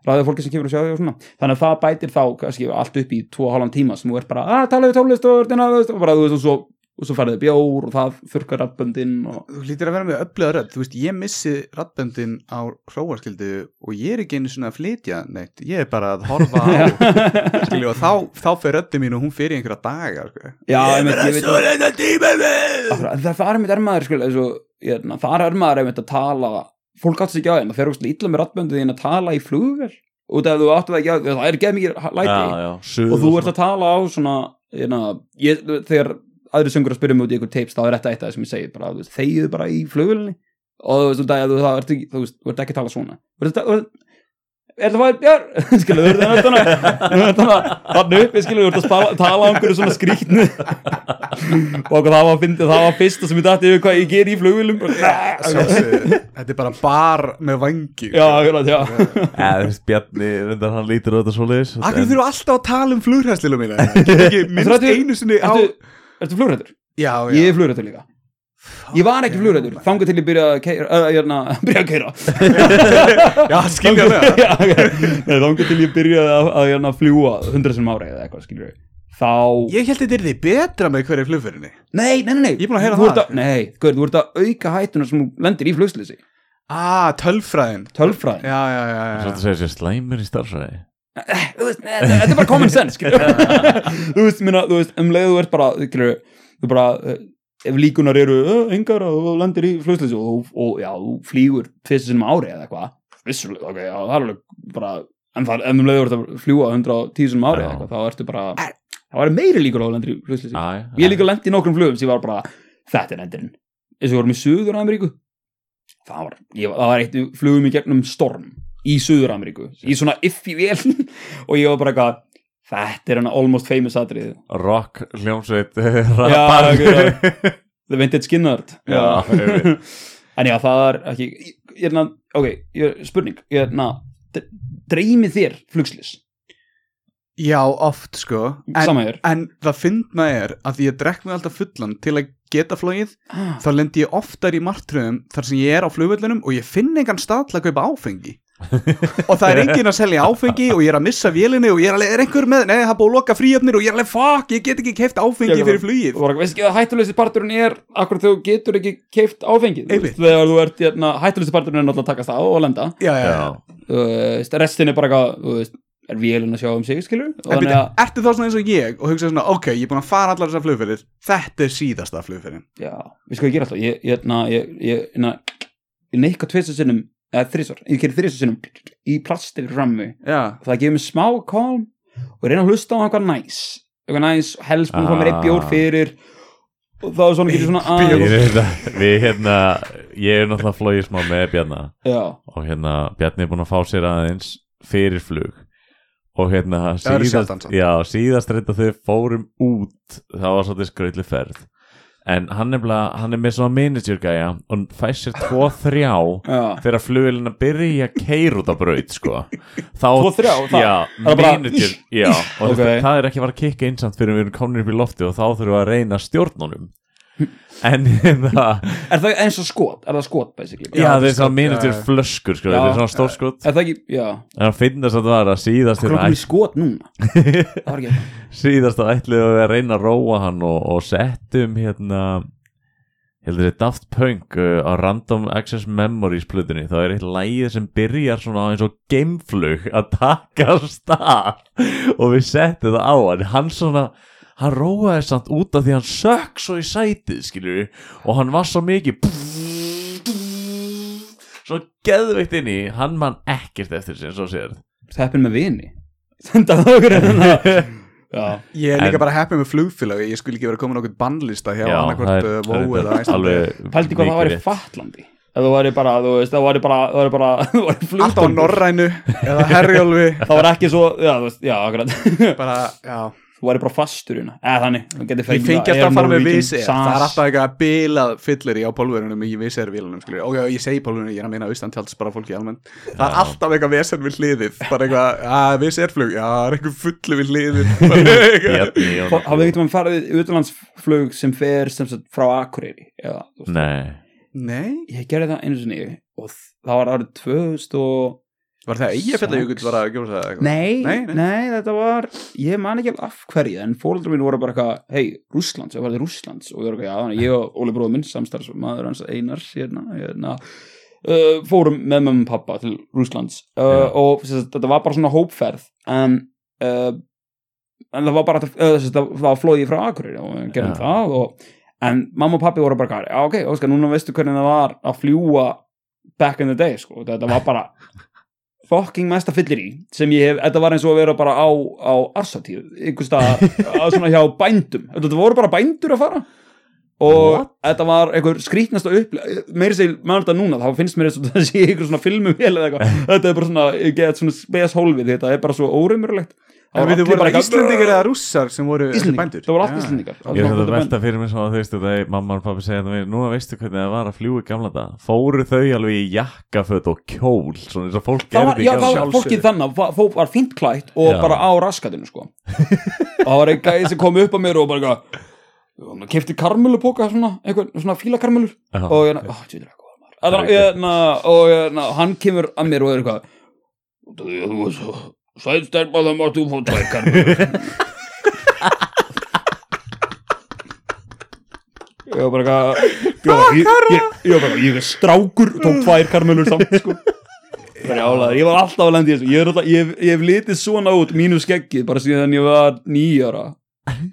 [SPEAKER 2] ræða fólki sem kemur að sjá því og svona þannig að það bætir þá kannski allt upp í tvo og halvan tíma sem þú ert bara að tala við tólist og, ordina, þú veist, og bara þú veist og svo, og svo færðu bjór og það furkar rappöndin og
[SPEAKER 3] þú lítir að vera með öfluga rödd þú veist, ég missi röddböndin á hróarskildu og ég er ekki einu svona að flytja neitt, ég er bara að
[SPEAKER 2] <laughs>
[SPEAKER 3] horfa á skilju, og þá, þá fer röddin mín og hún fer í einhverja daga sko.
[SPEAKER 2] já, einmitt, ég veit
[SPEAKER 3] þetta tíma með
[SPEAKER 2] Akkurat, það það er mitt ermaður skil, eins og, hérna, það er ermaður einmitt að tala fólk átti sig ekki á þeim, það fer úrst illa með rattböndu þín að tala í flugvel út af þú áttu það ekki á, það er geð mikið læti
[SPEAKER 4] já, suð
[SPEAKER 2] og þú ert að tala á svona hérna, ég, þegar aðri söngur að spyrja mig út í einhver tapes, þá er þetta eitt af það sem ég segi bara, þú veist, þegiðu bara í flugvelni og þú veist, um þú, þú, það ert ekki, þú veist, þú ert ekki að tala svona þú veist, þú veist Er það fæðið <laughs> björ? Skilu, þú ert þannig Þannig uppi, skilu, þú ert að spala, tala um hverju svona skrýtnu <laughs> Og okkur það var að fyndi, það var fyrsta sem ég dætti yfir hvað ég ger í flugvillum
[SPEAKER 3] þetta er bara bar með vangi
[SPEAKER 2] Já, akkurat, já
[SPEAKER 4] Eða, Bjarni, reyndar hann lítur á þetta svoleiðis
[SPEAKER 3] Akkur
[SPEAKER 4] En-
[SPEAKER 3] þurfum alltaf að tala um flugræslilu mína Get <laughs> ekki minnst
[SPEAKER 2] Ertu-
[SPEAKER 3] einu sinni á
[SPEAKER 2] Ertu, ertu flugrættur?
[SPEAKER 3] Já, já
[SPEAKER 2] Ég er flugrættur líka Ég var ekki flugrættur, þangað til ég byrja að keira uh, <laughs> Jörna, byrja að keira
[SPEAKER 3] <laughs> Já, skilja það
[SPEAKER 2] Já, ok. Nei, Þangað til ég byrjaði að, hérna, að jörna, fljúa hundra sem ári eða eitthvað, skilur Þá
[SPEAKER 3] Ég held þetta er því betra með hverju flugferinni
[SPEAKER 2] Nei, nei, nei, nei
[SPEAKER 3] Ég er búin að heyra
[SPEAKER 2] Þú
[SPEAKER 3] það.
[SPEAKER 2] ert Nei, gaur, þú ert að auka hættuna sem þú lendir í flugslýsi
[SPEAKER 3] Ah, tölfræðin
[SPEAKER 2] Tölfræðin
[SPEAKER 3] Já, já, já,
[SPEAKER 4] Svo
[SPEAKER 3] já.
[SPEAKER 4] þetta segir sér slæmur í starfræði
[SPEAKER 2] Þú veist, nei, Þetta þetta er bara common sense skilur. <laughs> Þú veist, minna, þú veist, um leið þú ert bara skilur, Þú bara eh, Ef líkunar eru eh, engar og þú lendir í flugslýsi og, þú- og já, þú flýgur fyrst sem ári eða eitthvað Vissulega, ok, já, það er alveg bara En það, ef um leið þú ert að fljúa 110 sem ári
[SPEAKER 4] Já.
[SPEAKER 2] eða eitthvað, þá ertu bara Það var meiri líkur á að þú lendir í flugslýsi Ég hef líka lendi í nokkrum flugum sem ég var bara Þetta er endurinn eins og við vorum í Suður-Ameríku það var, ég, það var eitt flugum í gegnum storm í Suður-Ameríku í svona iffi vél <laughs> og ég var bara eitthvað Þetta er hann almost famous atrið
[SPEAKER 4] Rock, hljómsveit, <laughs>
[SPEAKER 2] Já,
[SPEAKER 4] rappar
[SPEAKER 2] ok, The Vintage Skinnard
[SPEAKER 3] <laughs>
[SPEAKER 4] Já, einmitt.
[SPEAKER 2] En já, það er ekki ég, ég, na, Ok, ég, spurning ég, na, Dreymið þér flugslis
[SPEAKER 3] já oft sko en,
[SPEAKER 2] Samæður
[SPEAKER 3] en það fyndna er að ég drekk mig alltaf fullan til að geta flogið
[SPEAKER 2] ah,
[SPEAKER 3] þá lendi ég oftar í martröðum þar sem ég er á flugvöllunum og ég finn engan stað til að kaupa áfengi og það er enginn að selja áfengi og ég er að missa vélinni og ég er alveg, er einhver með, nei, það er búið að loka fríöfnir og ég er alveg, fuck, ég get ekki keift áfengi
[SPEAKER 2] Ég-
[SPEAKER 3] fyrir flugið
[SPEAKER 2] Þú var ekki, veist ekki að hættuleysi parturinn er akkur þú getur ekki keift áfengið þú
[SPEAKER 3] Einmitt.
[SPEAKER 2] veist, þegar þú ert, hérna, hættuleysi parturinn er náttúrulega að takast á og lenda
[SPEAKER 3] já, já,
[SPEAKER 4] <laughs>
[SPEAKER 3] já.
[SPEAKER 4] Já,
[SPEAKER 2] Þú veist, restin er bara eitthvað, þú veist, er vélun að sjá um sig, skilur og
[SPEAKER 3] En
[SPEAKER 2] þannig
[SPEAKER 3] byrja,
[SPEAKER 2] að,
[SPEAKER 3] ertu þá svona eins og ég og hugsa svona, ok, ég er búin að fara allar þessar flugferðir þetta er síðasta flugferðin
[SPEAKER 2] já, við sko ég gera alltaf ég, ég, na, ég, ég, na, ég neikka tvisar sinnum, eða þrísar ég gerir þrísar sinnum í plastikrammi
[SPEAKER 3] Já,
[SPEAKER 2] það gefur mér smá calm og reyna að hlusta á eitthvað næs eitthvað næs, helst búin að koma mér eitt bjór
[SPEAKER 4] Ah.
[SPEAKER 2] fyrir og þá svona getur svona
[SPEAKER 4] ég
[SPEAKER 2] aðeins-
[SPEAKER 4] er þetta- við hérna Ég er náttúrulega flóið smá með Bjarna
[SPEAKER 2] já,
[SPEAKER 4] Og hérna, Bjarni er búin að fá sér aðeins Fyrir flug Og hérna,
[SPEAKER 3] Það eru
[SPEAKER 4] síðast,
[SPEAKER 3] sjaldan samt.
[SPEAKER 4] já, síðast reynda þau fórum út Það var svolítið skröðli ferð En hann er, bara, hann er með svona manager gæja og fær sér tvo
[SPEAKER 2] <laughs>
[SPEAKER 4] þrjá
[SPEAKER 2] já
[SPEAKER 4] þegar flugilin að byrja að keira út á braut sko. þá,
[SPEAKER 2] Tvo þrjá, það-
[SPEAKER 4] já,
[SPEAKER 2] það er bara-
[SPEAKER 4] manager, já, og
[SPEAKER 2] Ok.
[SPEAKER 4] okay. það er ekki að fara að kikka einsamt fyrir við erum komin upp í lofti og þá þurfum við að reyna
[SPEAKER 2] <laughs>
[SPEAKER 4] stjórnunum en það
[SPEAKER 2] er það eins og skot, er það skot basically
[SPEAKER 4] já, það er
[SPEAKER 3] skot,
[SPEAKER 4] svona manager
[SPEAKER 3] já.
[SPEAKER 4] flöskur sko,
[SPEAKER 2] Já.
[SPEAKER 4] það er svona stór skot
[SPEAKER 2] er það ekki, já,
[SPEAKER 4] en það finnast að það var að síðast
[SPEAKER 2] hvað er
[SPEAKER 4] hérna,
[SPEAKER 2] komið skot núna það var ekki eitthvað.
[SPEAKER 4] síðast að ætliðu við að reyna að róa hann og, og settum hérna heldur þið Daft Punk uh, á Random Access Memories plötunni þá er eitt lægið sem byrjar svona á eins og geimflug að taka af stað og við settum það á hann hann svona hann róaði samt út af því hann sökk svo í sætið skilur og hann var svo mikið svo geðveikt inn í hann mann ekkert eftir sér svo sér
[SPEAKER 2] heppin með vini <laughs> senda það okkur hérna. já,
[SPEAKER 3] ég er líka
[SPEAKER 4] En-
[SPEAKER 3] bara happy með flugfélagi ég skulle ekki vera komin okkur bannlista hjá annarkvort uh, Vó eða Æslandi
[SPEAKER 4] alveg
[SPEAKER 2] pældi hvað
[SPEAKER 4] mikið
[SPEAKER 2] það var í
[SPEAKER 4] rétt.
[SPEAKER 2] Fatlandi ef þú væri bara, þú veist, það væri bara það væri bara, <laughs> það væri
[SPEAKER 3] alltaf á
[SPEAKER 2] flugstöngur
[SPEAKER 3] Norrænu eða Herjólfi
[SPEAKER 2] það var ekki svo, já, þú veist, já, akkurat <laughs>
[SPEAKER 3] bara, já
[SPEAKER 2] þú væri bara fastur hérna eða þannig, þú getur
[SPEAKER 3] Ég fengi alltaf að fara með viser Það er alltaf eitthvað bilað fyllir í á pólverunum í viservílunum, skilur Og já, ég segi pólverunum, ég er að meina austan tjáls bara fólki almennt Það er alltaf eitthvað vesen við hliðið Bara eitthvað, að viserflug, já, það er eitthvað fullu við hliðið <laughs> Bara
[SPEAKER 2] <laughs>
[SPEAKER 3] eitthvað.
[SPEAKER 4] Bjarni Jón
[SPEAKER 2] hafið ekkert mann farið utlandsflug sem fer sem sagt frá Akureyri eða, þú veist.
[SPEAKER 4] Nei,
[SPEAKER 3] Nei,
[SPEAKER 2] ég gerði það einu sinni og það var árið 2000 og
[SPEAKER 3] var það Eyjafjallajökull var að gjósa eitthvað?
[SPEAKER 2] nei,
[SPEAKER 3] Nei,
[SPEAKER 2] nei,
[SPEAKER 3] nei.
[SPEAKER 2] þetta var ég man ekki alveg af hverju en fólöldur mín voru bara eitthvað, hei, Rússlands ég var til Rússlands og ég var eitthvað, já, þannig að ég og Óli bróður minn samstarfsmaður hans Einars hérna, hérna uh, fórum með mömmu og pappa til Rússlands uh,
[SPEAKER 4] Já.
[SPEAKER 2] og sem sagt, þetta var bara svona hópferð en uh, en það var bara uh, sem sagt, það var flóðið frá Akureyri og við gerðum
[SPEAKER 4] Já.
[SPEAKER 2] það og, en mamma og pappi voru bara eitthvað, já, ok, óskar, núna veistu hvernig það var að fljúa back in the day, sko, þetta var bara fucking mesta fyllir í sem ég hef, þetta var eins og að vera bara á, á arsatíð, einhvers
[SPEAKER 3] <laughs>
[SPEAKER 2] staðar á svona hjá bændum, þetta voru bara bændur að fara og
[SPEAKER 4] What?
[SPEAKER 2] þetta var einhver skrítnasta upplega meiri segil, maður þetta núna, þá finnst mér eins og <laughs> það sé einhver svona filmum vel eða
[SPEAKER 3] <laughs>
[SPEAKER 2] eitthvað þetta er bara svona, ég get svona spes hólfið þetta er bara svo óreimurlegt
[SPEAKER 3] En við voru það Íslendingar eða rússar sem voru
[SPEAKER 2] Íslendingar,
[SPEAKER 3] bændur?
[SPEAKER 2] það voru allt
[SPEAKER 3] Já.
[SPEAKER 2] Íslendingar
[SPEAKER 4] ég er þetta velta fyrir mér svona þú veist þetta er mamma og pappi segja þetta við núna veistu hvernig það var að fljúa í gamla dag fóru þau alveg í jakkaföt og kjól svona eins og fólk
[SPEAKER 2] það var,
[SPEAKER 4] gerði í
[SPEAKER 2] já, það
[SPEAKER 4] gamla
[SPEAKER 2] var fólkið þannig var, fólk var fínt klætt og
[SPEAKER 4] Já.
[SPEAKER 2] bara á raskatinu sko. og það var einn gæði sem kom upp að mér og bara eitthvað, og maður kefti karmölupóka svona, einhver, svona fílakarmölur
[SPEAKER 4] Já.
[SPEAKER 2] og hérna, ó, tjóður ekki góða maður
[SPEAKER 4] Það er
[SPEAKER 2] Allan- hérna, og hérna, hann kemur að mér og er eitthvað "Út af því að þú var svo sæð stelpa það máttu fá tvær karmölur ég var bara eitthvað ég var- ég- ég- ég var bara, ég er strákur og tók tvær karmölur samt sko Brjálaður, ég var alltaf að lendi þessu ég, er alltaf, ég, hef- ég hef litið svona út mínu skeggið bara síðan ég var nýjara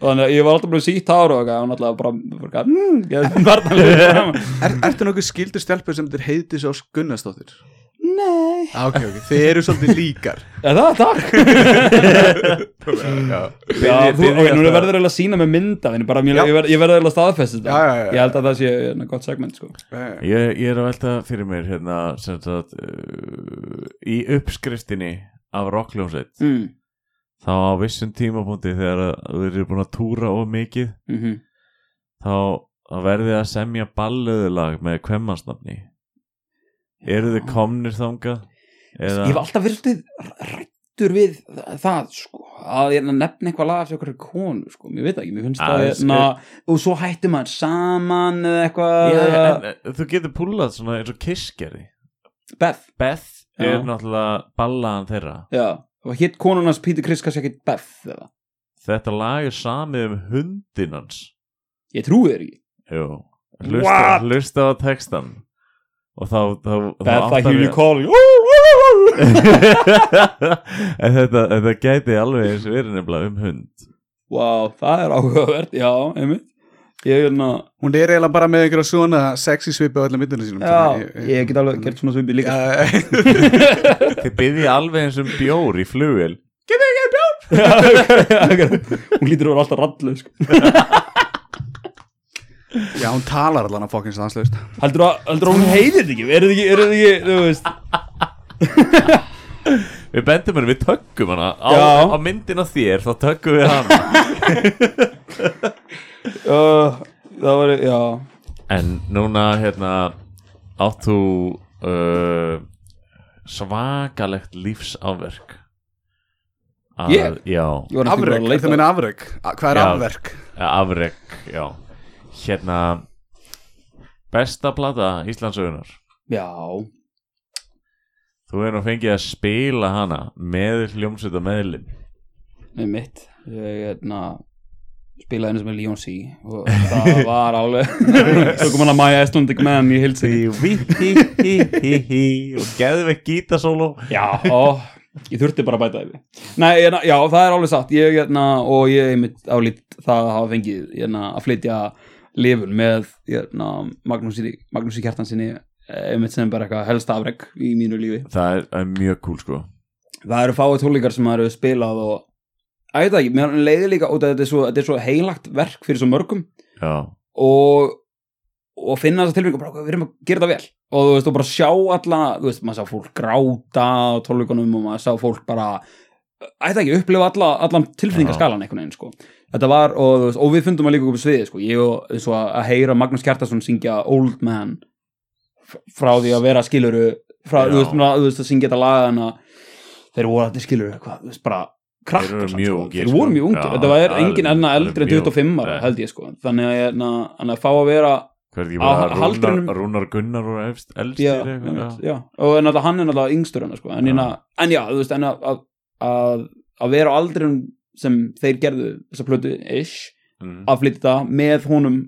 [SPEAKER 2] þannig að ég var alltaf bara sítt hára og eitthvað, hún alltaf bara, bara mm, ég var alltaf
[SPEAKER 3] Er, ertu nokkuð skildur stelpur sem þetta heitir svo Gunnarsdóttir?
[SPEAKER 2] Nei
[SPEAKER 3] Ah, ok, ok, þið eru svolítið líkar
[SPEAKER 2] Er það, takk
[SPEAKER 3] <laughs> Já,
[SPEAKER 2] Já, þú,
[SPEAKER 4] byrja
[SPEAKER 2] ok, núna
[SPEAKER 4] þetta.
[SPEAKER 2] verður eiginlega að sína með myndafinni bara, mér,
[SPEAKER 3] Já.
[SPEAKER 2] ég, verð, ég verður eiginlega að staðfesta þetta
[SPEAKER 3] Já, já, já.
[SPEAKER 2] Ég held að það sé hérna, gott segment sko.
[SPEAKER 3] já
[SPEAKER 4] Ég, ég er að velta fyrir mér hérna sem sagt uh, í uppskriftinni af rockljómsveit
[SPEAKER 2] mm.
[SPEAKER 4] þá á vissum tímapunkti þegar að þú eru búin að túra of mikið
[SPEAKER 2] Mm
[SPEAKER 4] þá, þá verðið að semja ballöðulag með kvemmansnafni eru þið komnir þangað? Eða,
[SPEAKER 2] Ég hef alltaf verið svolítið rættur við það sko, að ég nefna eitthvað lag eftir okkur konu, sko, ég veit það ekki mér finnst
[SPEAKER 4] Að
[SPEAKER 2] það,
[SPEAKER 4] þessi-
[SPEAKER 2] na, og svo hættum maður saman eða eitthvað
[SPEAKER 4] Já, en, eh, þú getur púlað svona eins og kissgerði
[SPEAKER 2] Beth,
[SPEAKER 4] Beth
[SPEAKER 2] Já.
[SPEAKER 4] er náttúrulega ballaðan þeirra
[SPEAKER 2] já, og hitt konunans Pítur Chris kannski ekki Beth eða,
[SPEAKER 4] þetta lag er samið um hundinn hans
[SPEAKER 2] ég trúi þér ekki
[SPEAKER 4] Jú,
[SPEAKER 2] What?
[SPEAKER 4] hlusta, hlusta á textan og þá, þá, þá
[SPEAKER 2] Beth, I
[SPEAKER 4] áttar
[SPEAKER 2] hear
[SPEAKER 4] við-
[SPEAKER 2] you calling Ú, ú, ú, ú.
[SPEAKER 4] <laughs> en þetta, þetta gæti alveg eins verið nefnilega um hund
[SPEAKER 2] Vá, það er áhugavert, já, einmitt Ég er hérna
[SPEAKER 3] Hún er eiginlega bara með einhverja svona sexy svipi á öllum myndunum sínum
[SPEAKER 2] Já, ég get alveg gert svona svipið líka <laughs>
[SPEAKER 3] Já,
[SPEAKER 4] þið byggði alveg eins um bjór í flugil
[SPEAKER 2] <laughs> Hún lítur úr alltaf rallu sko.
[SPEAKER 3] já, hún talar allan að fokkin stanslaust
[SPEAKER 2] Heldur að, heldur að hún heiðir þetta ekki? Er þetta ekki, er þetta ekki, þú veist
[SPEAKER 4] við bendum henni, við töggum hana á,
[SPEAKER 2] Já.
[SPEAKER 4] á myndin af þér, þá töggum við hana
[SPEAKER 2] <laughs> uh, Það var, já
[SPEAKER 4] en núna hérna átt þú uh, svakalegt lífsafverk Að-
[SPEAKER 2] Ég?
[SPEAKER 4] já,
[SPEAKER 2] Ég var næstum bara
[SPEAKER 3] Afrek,
[SPEAKER 2] að
[SPEAKER 3] þetta
[SPEAKER 2] leita
[SPEAKER 3] meina afrek A- Hvað er
[SPEAKER 4] Já.
[SPEAKER 3] afrek?
[SPEAKER 4] afrek, já hérna besta plata Íslandsögunar
[SPEAKER 2] Já,
[SPEAKER 4] þú hefur nú fengið að spila hana með hljómsveita meðlum
[SPEAKER 2] með mitt Ég hérna spilaði henni sem er Leon C og <laughs> það var alveg svo kom hann að Maja Icelandic Man í hilsi
[SPEAKER 4] og geðveikt gítasóló
[SPEAKER 2] já, ó, ég þurfti bara að bæta yfir nei, hérna, já, það er alveg satt ég, hérna, og ég einmitt álít það að hafa fengið hérna, að flytja lifun með hérna, Magnúsi, Magnúsi Kjartansinni einmitt sem bara eitthvað helst afreg í mínu lífi
[SPEAKER 4] það er, er mjög cool sko
[SPEAKER 2] það eru fáið tónleikar sem maður hefur spilað og Æ, ég veit það ekki, mér leiði líka út að þetta er, svo, þetta er svo heilagt verk fyrir svo mörgum
[SPEAKER 4] já,
[SPEAKER 2] og, og finna þessa tilbyggjum bara, við erum að gera þetta vel og þú veist, og bara sjá alla, þú veist, maður sá fólk gráta á tólvíkunum og maður sá fólk bara ætti ekki að upplifa alla, allan tilfinningaskalan einhvern veginn sko. þetta var, og, þú veist, og við fundum að líka upp á sviði, sko. ég og eins og að- að heyra Magnús Kjartason syngja Old Man f- frá því að vera skiluru frá,
[SPEAKER 4] Já.
[SPEAKER 2] þú veist, maður- þú veist, að syngja þetta laga en að þeir voru þetta skiluru eitthvað, þú veist, bara krakkar
[SPEAKER 4] Þeir eru
[SPEAKER 2] samt,
[SPEAKER 4] mjög
[SPEAKER 2] sko.
[SPEAKER 4] ungir,
[SPEAKER 2] þeir
[SPEAKER 4] sko.
[SPEAKER 2] voru mjög ungir,
[SPEAKER 4] Já,
[SPEAKER 2] þetta var
[SPEAKER 4] það er-
[SPEAKER 2] engin enna
[SPEAKER 4] það er
[SPEAKER 2] eldri en
[SPEAKER 4] mjög-
[SPEAKER 2] 25 ára,
[SPEAKER 4] Nei.
[SPEAKER 2] held ég sko þannig að, ég- na- þannig að fá að vera
[SPEAKER 4] Hvað er ekki
[SPEAKER 2] Á
[SPEAKER 4] bara
[SPEAKER 2] haldrinum-
[SPEAKER 4] Rúnar, Rúnar Gunnar og efst, elst
[SPEAKER 2] já, einmitt, já. og en alltaf, hann er náttúrulega yngstur hennar sko. en,
[SPEAKER 4] Já.
[SPEAKER 2] já. en já, þú veist en að, að- að, að vera á aldrinum sem þeir gerðu þessa plötu ish,
[SPEAKER 4] Mm.
[SPEAKER 2] að flytta það með honum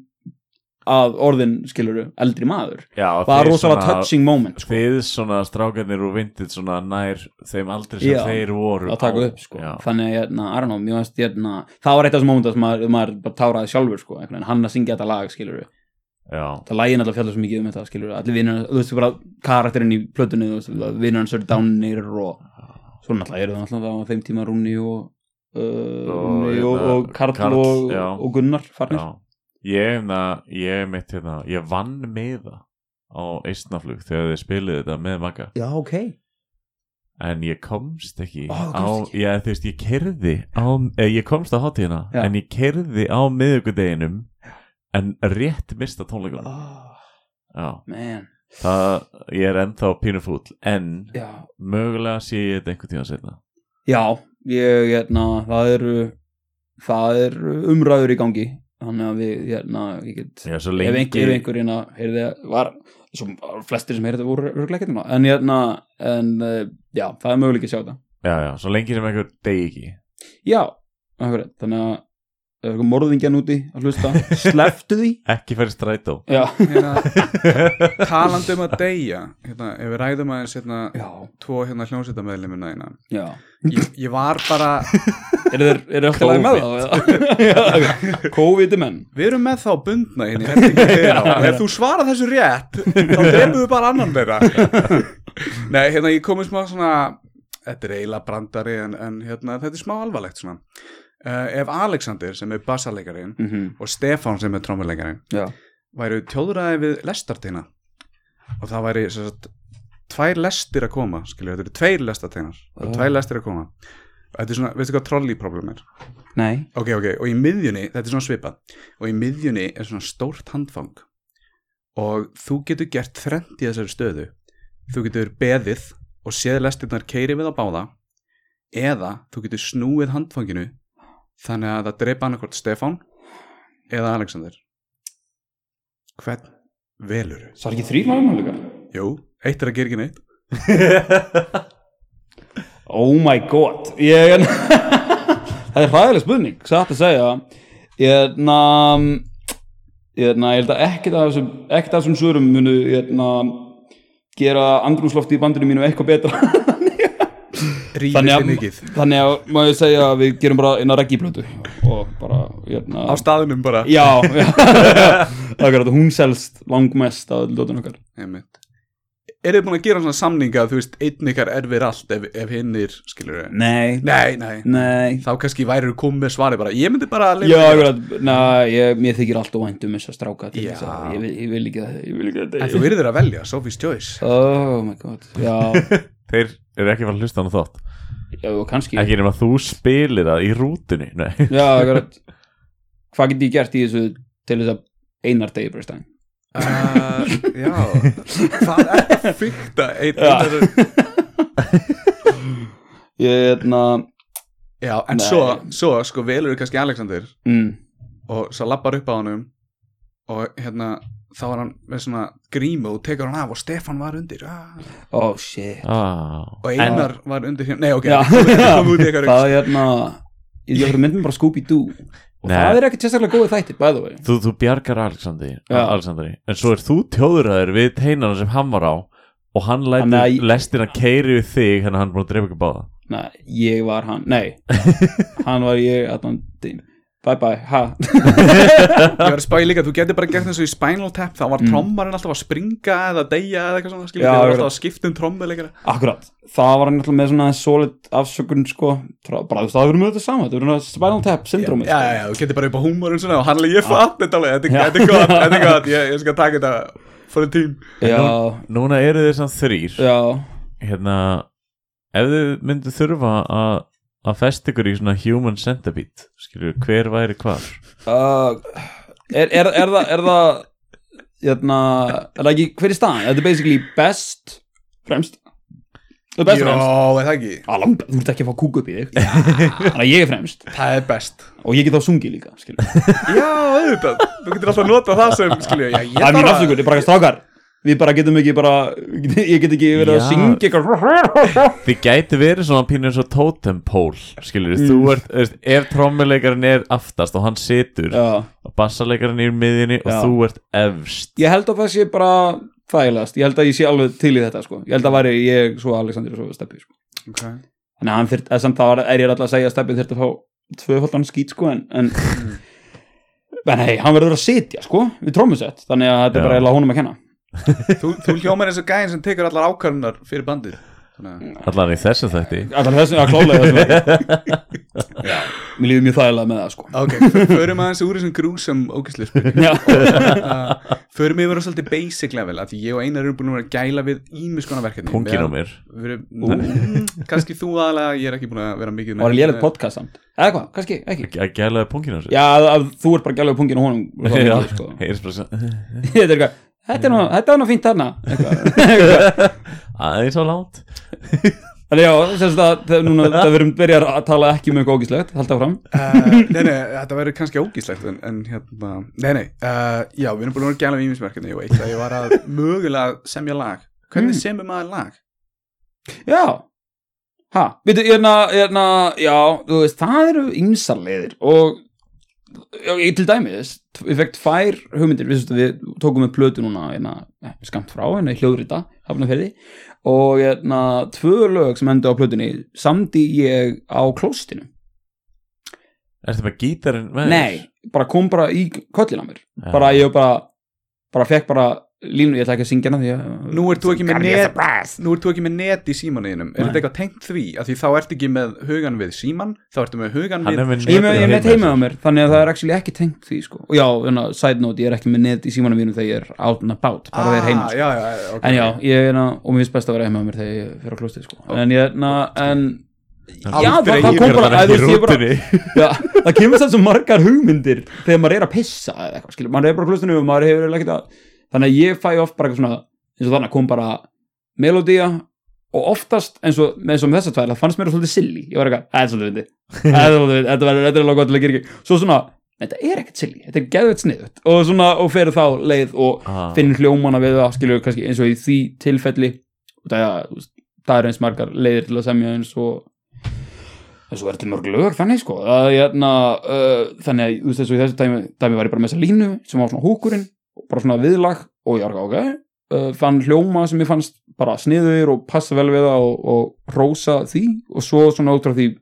[SPEAKER 2] að orðin skiluru eldri maður það var rosalega touching moment sko,
[SPEAKER 4] Þið svona strákarnir og vindið svona nær þeim aldrei sem
[SPEAKER 2] Já,
[SPEAKER 4] þeir voru
[SPEAKER 2] að taka
[SPEAKER 4] á.
[SPEAKER 2] upp sko.
[SPEAKER 4] Já.
[SPEAKER 2] þannig að hérna, I don't know, mjög veist hérna, það var eitt af þessum mómenta sem maður, maður bara táraði sjálfur sko, einhvern veginn, hann að syngja þetta lag skiluru
[SPEAKER 4] Já,
[SPEAKER 2] það lægin alltaf fjallar svo mikið um þetta skilur allir vinnur, þú veist bara karakterinn í plötunni þú veist, vinnur hans eru dánir og svo náttúrulega eru það náttúrulega á þeim tíma Rúni og uh,
[SPEAKER 4] Og,
[SPEAKER 2] Rúni og,
[SPEAKER 4] hérna,
[SPEAKER 2] og Karl,
[SPEAKER 4] Karl,
[SPEAKER 2] og,
[SPEAKER 4] já.
[SPEAKER 2] og Gunnar farnir
[SPEAKER 4] já Ég, na, ég mitt hérna Ég vann með það á eistnaflug þegar þið spiliði þetta með Magga
[SPEAKER 2] já, ok
[SPEAKER 4] en ég komst ekki
[SPEAKER 2] Ó,
[SPEAKER 4] á,
[SPEAKER 2] komst
[SPEAKER 4] já, þú veist, ég kerði á, eh, ég komst á hátíðina,
[SPEAKER 2] Já.
[SPEAKER 4] en ég kerði á miðugudeginum en rétt mista tónleikunum
[SPEAKER 2] oh,
[SPEAKER 4] já,
[SPEAKER 2] man,
[SPEAKER 4] það, ég er ennþá pínufúll, en
[SPEAKER 2] já
[SPEAKER 4] mögulega sé ég þetta einhvern tíma setna
[SPEAKER 2] já, ég, hérna, það eru það eru umræður í gangi þannig að við, hérna, ég get
[SPEAKER 4] já, svo
[SPEAKER 2] ef
[SPEAKER 4] lengi,
[SPEAKER 2] einhver, ef einhver hérna, heyrði að var svo flestir sem heyrði voru örgleikertina en hérna, en uh, já, það er möguleik að sjá þetta
[SPEAKER 4] já, já, svo lengi sem einhver degi ekki
[SPEAKER 2] já, akkurat, þannig að ef eitthvað morðingjan úti að <laughs> hlusta sleftu því
[SPEAKER 4] <laughs> ekki færi strætó
[SPEAKER 2] já, <laughs>
[SPEAKER 3] hérna, talandi um að deyja hérna, ef við ræðum aðeins hérna,
[SPEAKER 2] já,
[SPEAKER 3] tvo hérna hljómsveitameðlimina eina
[SPEAKER 2] já
[SPEAKER 3] ég, ég var bara,
[SPEAKER 2] eru þeir, eru alltaf lagi með <laughs> það Já, ok. COVID er menn
[SPEAKER 3] við erum með þá bundna hérna í herberginu þeirra og ef þú svarar þessu rétt þá drefum við bara annan þeirra nei, hérna ég komið smá svona þetta er eiginlega brandari en, en hérna, þetta er smá alvarlegt svona uh, ef Alexander sem er bassalegarinn
[SPEAKER 2] mm -hmm.
[SPEAKER 3] og Stefán sem er trommuleikarinn
[SPEAKER 2] já,
[SPEAKER 3] væru tjóðræði við lestartina og það væri sem sagt, tvær lestir að koma skilur, þetta eru tveir lestartinar og
[SPEAKER 2] Ah.
[SPEAKER 3] tvær lestir að koma þetta er svona, veistu hvað trolley-problem er
[SPEAKER 2] nei
[SPEAKER 3] ok, ok, og í miðjunni, þetta er svona svipað og í miðjunni er svona stórt handfang og þú getur gert þrennt í þessari stöðu þú getur beðið og séð lestirnar keiri við á báða eða þú getur snúið handfanginu þannig að það dreipa annarkvort Stefán eða Alexander hvern veluru?
[SPEAKER 2] það er ekki þrýr maður líka
[SPEAKER 3] Jú, eitt er að gera ekki neitt
[SPEAKER 2] oh my god ég, það er <laughs> hræðileg spurning satt að segja ég, na, ég, na, ég held að ekkert af þessum ekkert af þessum svörum munu ég, na, gera andrúmslofti í bandinu mínu eitthvað betra <laughs> þannig
[SPEAKER 3] rýfið þið
[SPEAKER 2] að,
[SPEAKER 3] mikið
[SPEAKER 2] þannig að má ég segja að við gerum bara eina reggiblötu og bara hérna,
[SPEAKER 3] á staðunum bara
[SPEAKER 2] já, já <laughs> akkurat, hún selst langmest af ljótun okkar
[SPEAKER 3] Einmitt. Er þið búin að gera svona samninga að þú veist, einn ykkar erfir allt ef, ef hinnir, skilur við?
[SPEAKER 2] nei,
[SPEAKER 3] Nei, nei.
[SPEAKER 2] nei
[SPEAKER 3] Þá kannski væri þú komið með svari bara, ég myndi bara að
[SPEAKER 2] já, akkurat, nei, ég, mér þykir alltaf vænt um þess að stráka til
[SPEAKER 3] Já.
[SPEAKER 2] þess að ég, vil- ég vil ekki að ég vil ekki að
[SPEAKER 3] En þú
[SPEAKER 2] deyja
[SPEAKER 3] verður að velja, Sophie's Choice.
[SPEAKER 2] oh my god, já,
[SPEAKER 4] þeir eru ekki að fara að hlusta hann þátt
[SPEAKER 2] já og kannski
[SPEAKER 4] ekki nema þú spilir það í rútunni nei, <laughs>
[SPEAKER 2] já, akkurat hvað get ég gert í þessu til þess að einar degi bara stæðin
[SPEAKER 3] Uh, já, það er fyrta einn
[SPEAKER 2] Já.
[SPEAKER 3] ykkar.
[SPEAKER 2] ég, hérna
[SPEAKER 3] Já, en
[SPEAKER 2] Nei.
[SPEAKER 3] svo, svo, sko, velur kannski Alexander
[SPEAKER 2] mm,
[SPEAKER 3] og svo lappar upp á honum og hérna, þá var hann með svona grímu og tekur hann af og Stefan var undir. Ah.
[SPEAKER 2] oh shit
[SPEAKER 4] ah,
[SPEAKER 3] Og Einar var undir hérna. Nei, ok,
[SPEAKER 2] Já.
[SPEAKER 3] kom út í ykkar.
[SPEAKER 2] það er hérna ég þarf að mynda bara Scooby-Doo og
[SPEAKER 4] Nei.
[SPEAKER 2] það er ekkert sérstaklega góði þættir by the way
[SPEAKER 4] þú, þú bjargar Alexander,
[SPEAKER 2] Já.
[SPEAKER 4] Alexandri en svo er þú tjóðuræður við teinana sem hann var á og hann lætur
[SPEAKER 2] Þannig að
[SPEAKER 4] Anna,
[SPEAKER 2] ég-
[SPEAKER 4] lestina keiri við þig þannig að hann er búin að drepa ekki báða
[SPEAKER 2] Nei, ég var hann,
[SPEAKER 3] <laughs>
[SPEAKER 2] nei hann var ég, allan dým bye bye, ha
[SPEAKER 3] Ég var að spæði líka, þú getur bara gert þessu í Spinal Tap þá var trommarinn alltaf að springa eða deyja eða eitthvað svona, skilur,
[SPEAKER 2] Mm. Já,
[SPEAKER 3] þau var
[SPEAKER 2] akkurat.
[SPEAKER 3] alltaf að skipta um trommuleikara
[SPEAKER 2] akkurat, það var hann alltaf með svona solid afsökun sko, Trá- bara þú veist, það verður með þetta sama það verður með spinal tap syndromi
[SPEAKER 3] Já, já, já, þú getur bara upp á húmorinn svona og hann er ég fatt þetta alveg, þetta er- þetta er gott, þetta
[SPEAKER 2] <laughs>
[SPEAKER 3] er gott ég, ég skal taka þetta for a team
[SPEAKER 2] já,
[SPEAKER 4] núna eru þið samt þrýr
[SPEAKER 2] já,
[SPEAKER 4] hérna, ef þið myndu þurfa að að festa ykkur í svona human centipede skilur, hver væri hvar
[SPEAKER 2] uh, er, er, er það er það hérna, er það ekki, hver er staðan? Þetta er basically best fremst Það er best
[SPEAKER 3] Jó,
[SPEAKER 2] fremst
[SPEAKER 3] er það ekki?
[SPEAKER 2] Á, langt- Þú ert ekki að fá kúk upp í þig Þannig að ég er fremst
[SPEAKER 3] Það er best
[SPEAKER 2] og ég get þá sungið líka skilur.
[SPEAKER 3] Já, auðvitað, þú getur alltaf að nota það sem skilju, já, ég
[SPEAKER 2] Það er mín
[SPEAKER 3] bara
[SPEAKER 2] afsökun, ég er bara strákar Við bara getum ekki bara <laughs> Ég get ekki verið að
[SPEAKER 4] Já.
[SPEAKER 2] syngja eitthvað
[SPEAKER 4] þið gæti verið svona pínu eins og totem pole skilur, þú
[SPEAKER 2] Mm.
[SPEAKER 4] ert, veist, ef trommuleikarinn er aftast og hann situr
[SPEAKER 2] Já.
[SPEAKER 4] og bassarleikarinn er í miðjunni og
[SPEAKER 2] Já.
[SPEAKER 4] þú ert efst
[SPEAKER 2] Ég held að það sé bara þægilegast Ég held að ég sé alveg til í þetta sko. Ég held að væri ég svo Alexander og svo Steppi sko.
[SPEAKER 3] okay.
[SPEAKER 2] Þannig að hann þyrt, eða samt þá er- er ég alltaf að segja að Steppi þurft að fá tvöfaldan skýt sko, en, en, en hei, hann verður að sitja sko, við trómusett, þannig að þetta er
[SPEAKER 4] Já.
[SPEAKER 2] bara eiginlega honum að kenna
[SPEAKER 3] þú, þú hljómar eins og gæðin sem tekur allar ákvarðunar fyrir bandið Þannig
[SPEAKER 2] Mm.
[SPEAKER 4] allan í þessum þætti
[SPEAKER 2] Alltaf þessum að klálega þessum <laughs> veginn. Mér líður mjög þægilega með það sko.
[SPEAKER 3] að- Ok, f- förum aðeins úr þessum grúsum ógæslu
[SPEAKER 2] <laughs> Já.
[SPEAKER 3] Förum yfir á svolítið basic level af Því ég og Einar erum búin að vera að gæla við ímis konar verkefni
[SPEAKER 4] pungin á
[SPEAKER 3] Við-
[SPEAKER 4] mér
[SPEAKER 3] við erum- Mm, Kannski þú aðalega, ég er ekki búin að vera mikið
[SPEAKER 2] Það var lélegt podcast samt Eða hvað, kannski, ekki
[SPEAKER 4] að gælaði pungin á sér <laughs>
[SPEAKER 2] Já, að, að þú ert bara gælaðu pungin og <laughs> honum og það er ekki, sko.
[SPEAKER 4] heyrðis
[SPEAKER 2] <laughs>
[SPEAKER 4] bara svona
[SPEAKER 2] Þetta er eitthvað Þetta er nú, þetta er nú fínt þarna Eitthvað.
[SPEAKER 4] aðeins á langt
[SPEAKER 2] Þannig já, sem sagt að þegar <laughs> núna það verðum byrjar að tala ekki um eitthvað ógíslegt Halda fram
[SPEAKER 3] Uh, nei, nei, þetta verður kannski ógíslegt en, en hérna, nei, nei uh, já, við erum búin að vera að gæla við ímisverkefni og eitt að ég var að mögulega semja lag hvernig
[SPEAKER 2] Mm.
[SPEAKER 3] semur maður lag?
[SPEAKER 2] Já Ha, veitu, hérna, hérna, já, þú veist, það eru ymsar leiðir og já, ég til dæmis, ég fekk tvær hugmyndir, við, þú veist, við tókum með plötu núna, hérna, eh, skamt frá, hérna, í hljóðrita, hafnaferði og hérna, tvö lög sem endur á plötunni samdi ég á klóstinu
[SPEAKER 4] ertu með gítarinn með
[SPEAKER 2] Nei, bara kom bara í kollin á mér
[SPEAKER 4] Já.
[SPEAKER 2] bara ég bara bara fekk bara línu, ég ætla ekki að syngja hana því að
[SPEAKER 3] Nú ert þú ekki með
[SPEAKER 2] Garnier
[SPEAKER 3] net
[SPEAKER 2] Surprise.
[SPEAKER 3] Nú ert þú ekki með net í símanuðinum er
[SPEAKER 2] Nei.
[SPEAKER 3] þetta eitthvað tengt því? Af því þá ertu ekki með hugan við síman þá ertu með hugan
[SPEAKER 4] Hann
[SPEAKER 3] við
[SPEAKER 4] er með
[SPEAKER 2] Ég er með- ég er
[SPEAKER 4] netið
[SPEAKER 2] með heima á mér, þannig að það er actually ekki tengt því sko. og já, þannig að side note, ég er ekki með net í símanum mínum þegar ég er out and about bara þegar heima,
[SPEAKER 3] ah,
[SPEAKER 2] sko.
[SPEAKER 3] já, já, já, okay.
[SPEAKER 2] en já, ég er og mér finnst best að vera heima á mér þegar ég fyrir á klostið sko. en ég, na, en já, það,
[SPEAKER 4] Aldrei
[SPEAKER 2] það kom
[SPEAKER 4] er
[SPEAKER 2] bara,
[SPEAKER 4] þarna
[SPEAKER 2] að, þú
[SPEAKER 4] í
[SPEAKER 2] veist, ég bara
[SPEAKER 4] rútunni.
[SPEAKER 2] já, það kemur samt svo margar hugmyndir þegar maður er að pissa eða eitthvað, skilur, maður er bara á klostinu og maður hefur eiginlega ekkert að, þannig að ég fæ oft bara eitthvað svona, eins og þannig kom bara melodía og oftast eins og, eins og með þessar tvær, það fannst mér svolítið silly, ég var eitthvað, "Æ, þetta er svolítið fyndið. Æ, þetta er svolítið fyndið, þetta verður þetta er alveg gott til að gera ekki, svo svona þetta er ekkert silly, þetta er geðveitt sniðut og svona, og fer þá leið og
[SPEAKER 4] Ah.
[SPEAKER 2] finnir hljómana við það, skilur, kannski eins og í því tilfelli, og það, er, þú veist, það er eins margar leiðir til að semja eins og þessu er til mörg lög þannig sko að, jæna, uh, þannig að þú veist þessu í þessu dæmi, dæmi var ég bara með þessa línu sem var svona húkurinn og bara svona viðlag og ég var ekki ok uh, fann hljóma sem ég fannst bara sniður og passa vel við það og, og rósa því og svo svona út frá því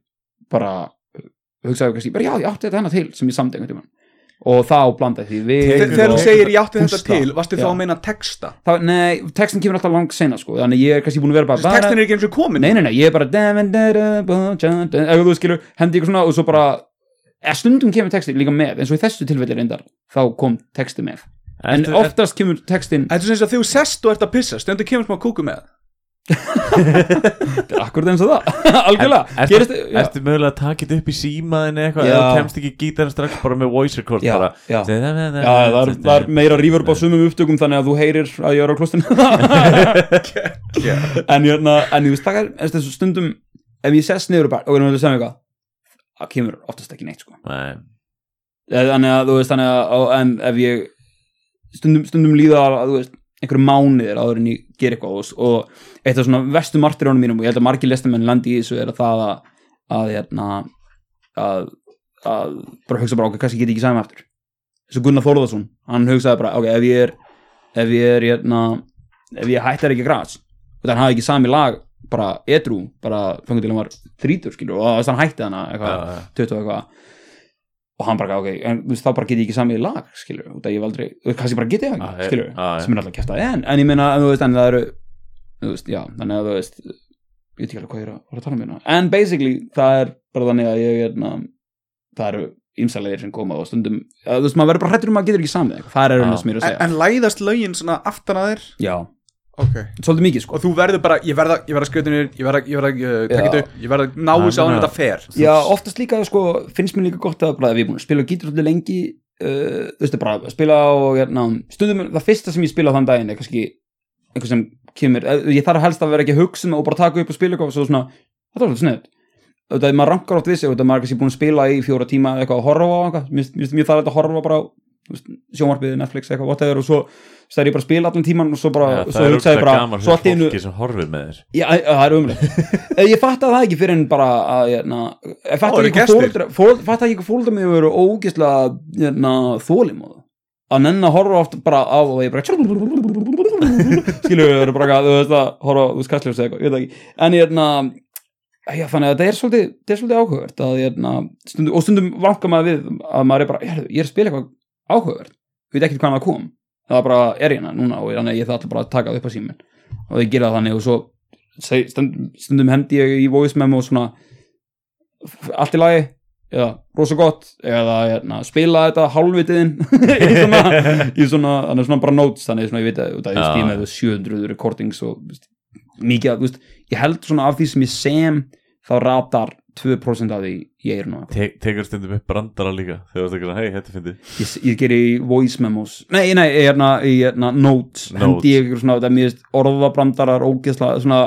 [SPEAKER 2] bara uh, hugsaði kannski bara já ég átti þetta hennar til sem ég samdi einhvern tímann og þá blandaði því við
[SPEAKER 3] Þe- þegar þú
[SPEAKER 2] og-
[SPEAKER 3] segir ég átti þetta
[SPEAKER 2] Púsla.
[SPEAKER 3] til varstu þá
[SPEAKER 2] Já.
[SPEAKER 3] að meina texta?
[SPEAKER 2] þá, nei, textin kemur alltaf langt sena sko þannig ég er kannski búin að vera bara bara-
[SPEAKER 3] textin er ekki eins og komin
[SPEAKER 2] Nei, nei, nei, ég er bara eða þú skilur, hendi ykkur svona og svo bara eða stundum kemur texti líka með eins og í þessu tilfelli reyndar, þá kom texti með en
[SPEAKER 4] Ertu-
[SPEAKER 2] oftast kemur textin
[SPEAKER 3] Þetta er sem að þegar þú sest og ert að pissa stundu kemur smá kúku með
[SPEAKER 2] akkurat eins og það, <laughs> algjörlega
[SPEAKER 4] ertu,
[SPEAKER 2] gerist, já,
[SPEAKER 4] ertu mögulega að taka þetta upp í símaðin eitthvað
[SPEAKER 2] Já.
[SPEAKER 4] eða þú kemst ekki gítarinn strax bara með voice record
[SPEAKER 2] Já,
[SPEAKER 4] bara
[SPEAKER 2] já.
[SPEAKER 4] Segðu það, það,
[SPEAKER 2] já, það er, það er meira rífur á sumum upptökum þannig að þú heyrir að ég er á
[SPEAKER 4] <laughs>
[SPEAKER 2] klostinu
[SPEAKER 3] það
[SPEAKER 2] en hérna, en ég veist það er en þessu stundum, ef ég sest niður og bara, ok, nú vil ég segja mig eitthvað það kemur oftast ekki neitt sko
[SPEAKER 4] Nei.
[SPEAKER 2] Eh, þannig að þú veist þannig að á- en ef ég stundum, stundum líða að þú veist einhverju mánuðir áður en ég ger eitthvað og, og eitt af svona vestu martirónum mínum og ég held að margir lestamenn landi í þessu er að það að að, hérna, að, að bara hugsa bara okkur, kannski get ég ekki sæmi aftur þessu Gunnar Þórðarsson, hann hugsaði bara ok, ef ég er ef ég er hérna, ef ég hættar ekki græs og hann hafði ekki sami lag bara edru, bara fengur til hann var þrítur skilur, og þess að hann hætti hana eitthvað,
[SPEAKER 4] Já, já.
[SPEAKER 2] 20 og eitthvað og hann bara, ok, en þú veist, þá bara get ég ekki samið lag, skilur, út að ég hef aldrei þú veist, kannski bara get ég það,
[SPEAKER 4] Ah,
[SPEAKER 2] ekki,
[SPEAKER 4] já,
[SPEAKER 2] skilur
[SPEAKER 4] ah, já.
[SPEAKER 2] sem er alltaf kæft að, en, en ég meina, en þú veist, en það eru þú veist, já, þannig að þú veist ég veit ekki alveg hvað ég er að, var að tala um hérna en basically, það er bara þannig að ég er na, það eru ymsalegir sem koma og stundum, að,
[SPEAKER 4] Ah.
[SPEAKER 2] þú veist, maður verður bara hrættur um að maður getur ekki samið eitthvað, það er
[SPEAKER 4] Já.
[SPEAKER 2] einu sem ég er að
[SPEAKER 3] en,
[SPEAKER 2] segja
[SPEAKER 3] en læðast lögin svona aftan að þér
[SPEAKER 2] já,
[SPEAKER 3] ok
[SPEAKER 2] svolítið mikið sko
[SPEAKER 3] og þú verður bara, ég verða, ég verða skautinir ég uh, verða, ég verða, ég
[SPEAKER 2] Já.
[SPEAKER 3] verða, ég verða náu sá hann
[SPEAKER 4] Þannig að-
[SPEAKER 3] þetta fer
[SPEAKER 2] Já, oftast líka sko, finnst mér líka gott að bara, við erum búin að spila gítur allir lengi uh, þú veist að bara spila og hérna, stundum, það fyrsta sem ég spila á þann daginn er kannski einhver sem kemur, eh, ég þarf helst að vera ekki að hugsa um það og bara taka upp og spila eitthvað og svo svona, þetta var svolítið sniðut auðvitað maður rankar oft við sig, auðvitað maður er kannski búin að spila í fjóra tíma eða eitthvað að horfa á eitthvað Mér finnst- mér finnst mjög þarf að horfa bara á þú veist, sjónvarpið, Netflix eitthvað, whatever og svo það er ég bara að spila allan tíman og svo bara,
[SPEAKER 4] Já,
[SPEAKER 2] svo
[SPEAKER 4] það er
[SPEAKER 2] hugsa ég
[SPEAKER 4] úrslag
[SPEAKER 2] bara,
[SPEAKER 4] gaman
[SPEAKER 2] svo allt í
[SPEAKER 4] fyrir
[SPEAKER 2] einu
[SPEAKER 4] fólki sem horfir með þér
[SPEAKER 2] Já, æ, það er
[SPEAKER 3] <laughs>
[SPEAKER 2] umlega Ég fatt að það ekki fyrir en bara að, hérna, ég fatt
[SPEAKER 3] Þá eru
[SPEAKER 2] ekki hvað
[SPEAKER 3] gestir.
[SPEAKER 2] fóldra fatt ekki hvað fóldra mig eru ógislega hérna, þólim og að nenn að horfa oft bara á og ég bara skilur við eru bara eitthvað, þú veist að horfa út skastljós eða eitthvað, ég veit það ekki en hérna, já, þannig að þetta er svolítið, þetta er svolítið áhugavert að, hérna, stundum, og stundum vankar maður við að maður er bara, "Heyrðu, ég er að spila eitthvað áhugavert við veit ekkert hvað það kom það bara er hérna núna og þannig að ég það alltaf bara að taka það upp á síminn og ég gera það þannig og svo seg- stund- stundum hendi ég í voice memo og svona f- allt í lagi eða rosa gott eða hérna, spila þetta hálfvitiðin <laughs> í svona, í svona, þannig svona bara notes þannig svona ég veit að, út að ég
[SPEAKER 4] Já.
[SPEAKER 2] stíma eða 700 recordings og þú veist, mikið að, þú veist, ég held svona af því sem ég sem þá ratar 2% af því ég er nú
[SPEAKER 4] Te tekur stundum upp brandara líka þegar þú tekur svona, hei, þetta finnir
[SPEAKER 2] ég, ég geri í voice memos nei, nei, ég hérna, ég hérna notes,
[SPEAKER 4] Notes.
[SPEAKER 2] hendi ég ykkur svona þetta er mjög orðabrandarar, ógeðslega svona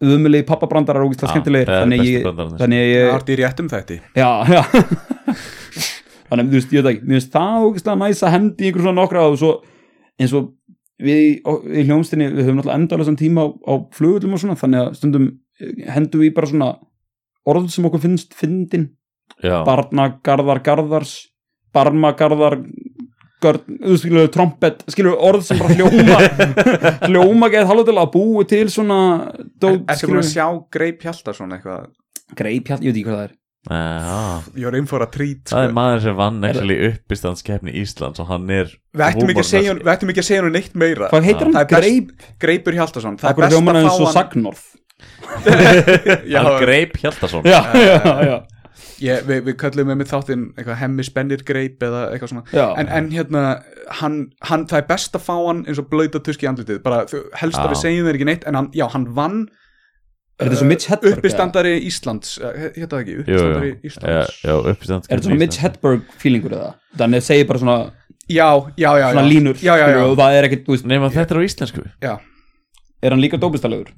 [SPEAKER 2] umulegi pappabrandarar, ógeðslega
[SPEAKER 4] Já,
[SPEAKER 2] skemmtilegir
[SPEAKER 4] það eru
[SPEAKER 2] þannig að
[SPEAKER 4] bestu
[SPEAKER 2] ég,
[SPEAKER 4] brandararnir.
[SPEAKER 2] þannig að
[SPEAKER 3] það
[SPEAKER 2] ég
[SPEAKER 3] ert í réttum þætti
[SPEAKER 2] já, já <laughs> þannig að þú veist, ég veit ekki, mér finnst það ógeðslega næs að hendi ykkur svona nokkra og svo eins og við í- ó- í hljómstinni, við höfum náttúrulega endalasan tíma á, á flugullum og svona, þannig að stundum eh, hendum við í bara svona orð sem okkur finnst fyndin
[SPEAKER 4] Já,
[SPEAKER 2] barnagarðar garðars barmagarðar görn, þú skilur, trompet skilur, orð sem bara hljóma <laughs> hljóma geð halvdala að búi til svona dót,
[SPEAKER 3] Ertu búin að sjá Grey Pjalta svona eitthvað?
[SPEAKER 2] greip hjalt, ég veit ekki hvað það er
[SPEAKER 4] Já.
[SPEAKER 3] Ég var innfóra trít
[SPEAKER 4] það er
[SPEAKER 3] sko.
[SPEAKER 4] maður sem vann actually uppistandskeppni Íslands og hann er
[SPEAKER 3] Við ættum ekki að segja honum-
[SPEAKER 4] húmormennski.
[SPEAKER 3] við ættum ekki að segja hún neitt meira
[SPEAKER 2] hvað heitir
[SPEAKER 3] Það
[SPEAKER 2] hann?
[SPEAKER 3] er best-
[SPEAKER 2] greip,
[SPEAKER 3] Greipur Hjaltason Það
[SPEAKER 2] akkur
[SPEAKER 3] er best
[SPEAKER 2] hljóma
[SPEAKER 3] að
[SPEAKER 2] hann
[SPEAKER 3] fá
[SPEAKER 2] eins og
[SPEAKER 3] hann
[SPEAKER 2] sagnorð
[SPEAKER 3] Já,
[SPEAKER 4] hann greip Hjaltason
[SPEAKER 2] já, já, já,
[SPEAKER 3] ég, við, við köllum með þáttinn eitthvað hemmi spennir Greip eða eitthvað svona
[SPEAKER 2] já.
[SPEAKER 3] en, en hérna, hann, hann, það er best að fá hann eins og blöyta tusk í andlitið bara þú- helst að
[SPEAKER 4] Já.
[SPEAKER 3] við segjum þeir ekki neitt en hann, já, hann vann
[SPEAKER 2] er þetta svo Mitch Hedberg? eða?
[SPEAKER 3] uppistandari Íslands eh, hétt það ekki,
[SPEAKER 4] Jú, jú,
[SPEAKER 3] uppistandari
[SPEAKER 4] já,
[SPEAKER 3] Íslands
[SPEAKER 2] er
[SPEAKER 4] já
[SPEAKER 2] þetta
[SPEAKER 4] uppistandskeppni
[SPEAKER 2] svo Mitch Hedberg feelingur eða? þannig að segja bara svona,
[SPEAKER 3] já, já, já,
[SPEAKER 2] svona
[SPEAKER 3] já.
[SPEAKER 2] línur
[SPEAKER 3] já, já,
[SPEAKER 2] skilurðu,
[SPEAKER 3] já,
[SPEAKER 2] og það er ekkit, þú veist,
[SPEAKER 4] nema þetta er á íslensku
[SPEAKER 3] já.
[SPEAKER 2] er hann líka dópistalegur?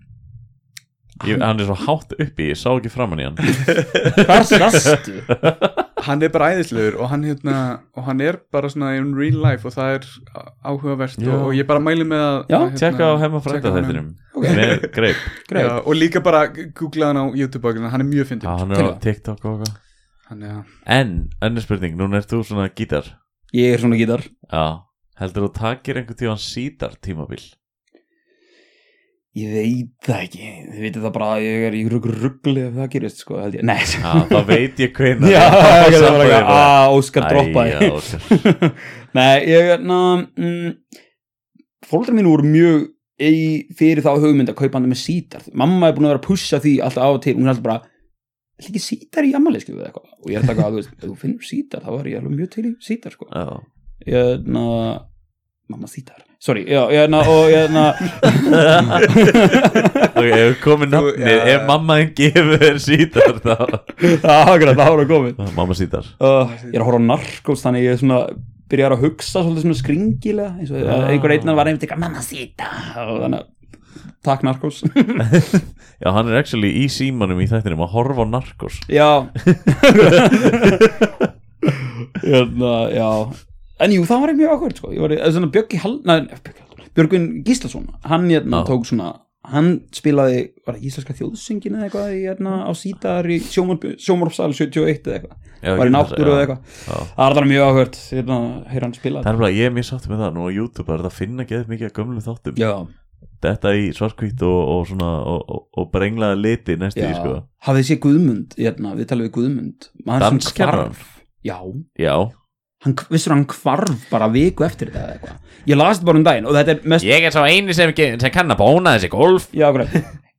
[SPEAKER 4] ég, hann er svo hátt uppi, ég sá ekki framann í hann
[SPEAKER 2] Hérna, hvað rastu?
[SPEAKER 3] hann er bara æðislegur og hann, hérna, og hann er bara svona in real life og það er áhugavert
[SPEAKER 4] Já.
[SPEAKER 3] og, og ég bara mæli með að
[SPEAKER 2] Já,
[SPEAKER 3] að, hérna,
[SPEAKER 4] tjekka á heima
[SPEAKER 3] tjekka
[SPEAKER 4] frænda
[SPEAKER 3] á honum.
[SPEAKER 4] þættinum með greip,
[SPEAKER 2] <laughs> Greip.
[SPEAKER 3] Já, og líka bara googla hann á YouTube og hann er mjög
[SPEAKER 4] já,
[SPEAKER 3] fyndin
[SPEAKER 4] hann er á TikTok og eitthvað
[SPEAKER 3] hann er
[SPEAKER 4] en, önnur spurning, núna ert þú svona gítar
[SPEAKER 2] ég er svona gítar
[SPEAKER 4] já, heldur þú takir einhvern tíðan sítar tímabil
[SPEAKER 2] Ég veit það ekki, þið veitir það bara að ég er í rugg ruggli ef það gerist sko, held ég, nei <laughs> Já,
[SPEAKER 4] já, þá veit ég hvenar
[SPEAKER 2] <laughs> já, ég er bara ekki, að "Ah, Óskar
[SPEAKER 4] Æja,
[SPEAKER 2] droppaði <laughs> Nei, ég, na, mm, fólkdra mínu voru mjög í, fyrir þá hugmynd að kaupa hann með sítar Mamma er búin að vera að pussa því alltaf á og til, hún er alltaf bara "Viltu ekki sítar í ammali, skilur við eitthvað og ég er alltaf að, þú veist, ef þú finnur sítar þá var ég alveg mjög til í sítar, sko
[SPEAKER 4] já
[SPEAKER 2] Ég, na, mamma sítar Sorry, já, ég, na, og ég, <laughs> na
[SPEAKER 4] ok, ef komið nafnið
[SPEAKER 3] já.
[SPEAKER 4] ef mamma þinn gefur þér sítar þá <laughs>
[SPEAKER 2] Það var að komið
[SPEAKER 4] mamma sítar
[SPEAKER 2] uh, ég er að horfa á narkos þannig ég er svona byrjar að hugsa svolítið svona skringilega eins og
[SPEAKER 4] Ah.
[SPEAKER 2] ah. einhver einn var einmitt eitthvað mamma sita og þannig að takk
[SPEAKER 4] <laughs>
[SPEAKER 2] narkos
[SPEAKER 4] já, hann er actually í símanum í þættinum að horfa á narkos
[SPEAKER 2] já <laughs> hérna, já en jú það var mjög ákvörð sko. ég var eða svona Björki Hall nei, Björki Hall Björgvin Gíslason hann hérna
[SPEAKER 4] Já.
[SPEAKER 2] tók svona hann spilaði, var það íslenska þjóðsöngin eða eitthvað í, hérna, á sítar í sjómorfsal 71 eða eitthvað
[SPEAKER 4] Já,
[SPEAKER 2] var
[SPEAKER 4] ég-
[SPEAKER 2] í náttúru
[SPEAKER 4] já,
[SPEAKER 2] eða eitthvað
[SPEAKER 4] já.
[SPEAKER 2] það er það mjög ákvörð hérna, heyra hann spila
[SPEAKER 4] það er bara, ég er mjög sátt með það nú á YouTube það er þetta að finna geðið mikið af gömlum þáttum
[SPEAKER 2] já
[SPEAKER 4] þetta í svartkvít og, og svona og, og, og brenglaða liti næstu í sko
[SPEAKER 2] hafið sé Guðmund, hérna, við talaðum við Guðmund Maður sem
[SPEAKER 4] Danskennarann?
[SPEAKER 2] hvarf. Já,
[SPEAKER 4] já,
[SPEAKER 2] hann, vissur hann hvarf bara viku eftir þetta eða eitthvað Ég las þetta bara um daginn og þetta er mest
[SPEAKER 4] ég er svo eini sem, sem kann að bóna þessi golf
[SPEAKER 2] Já, grænt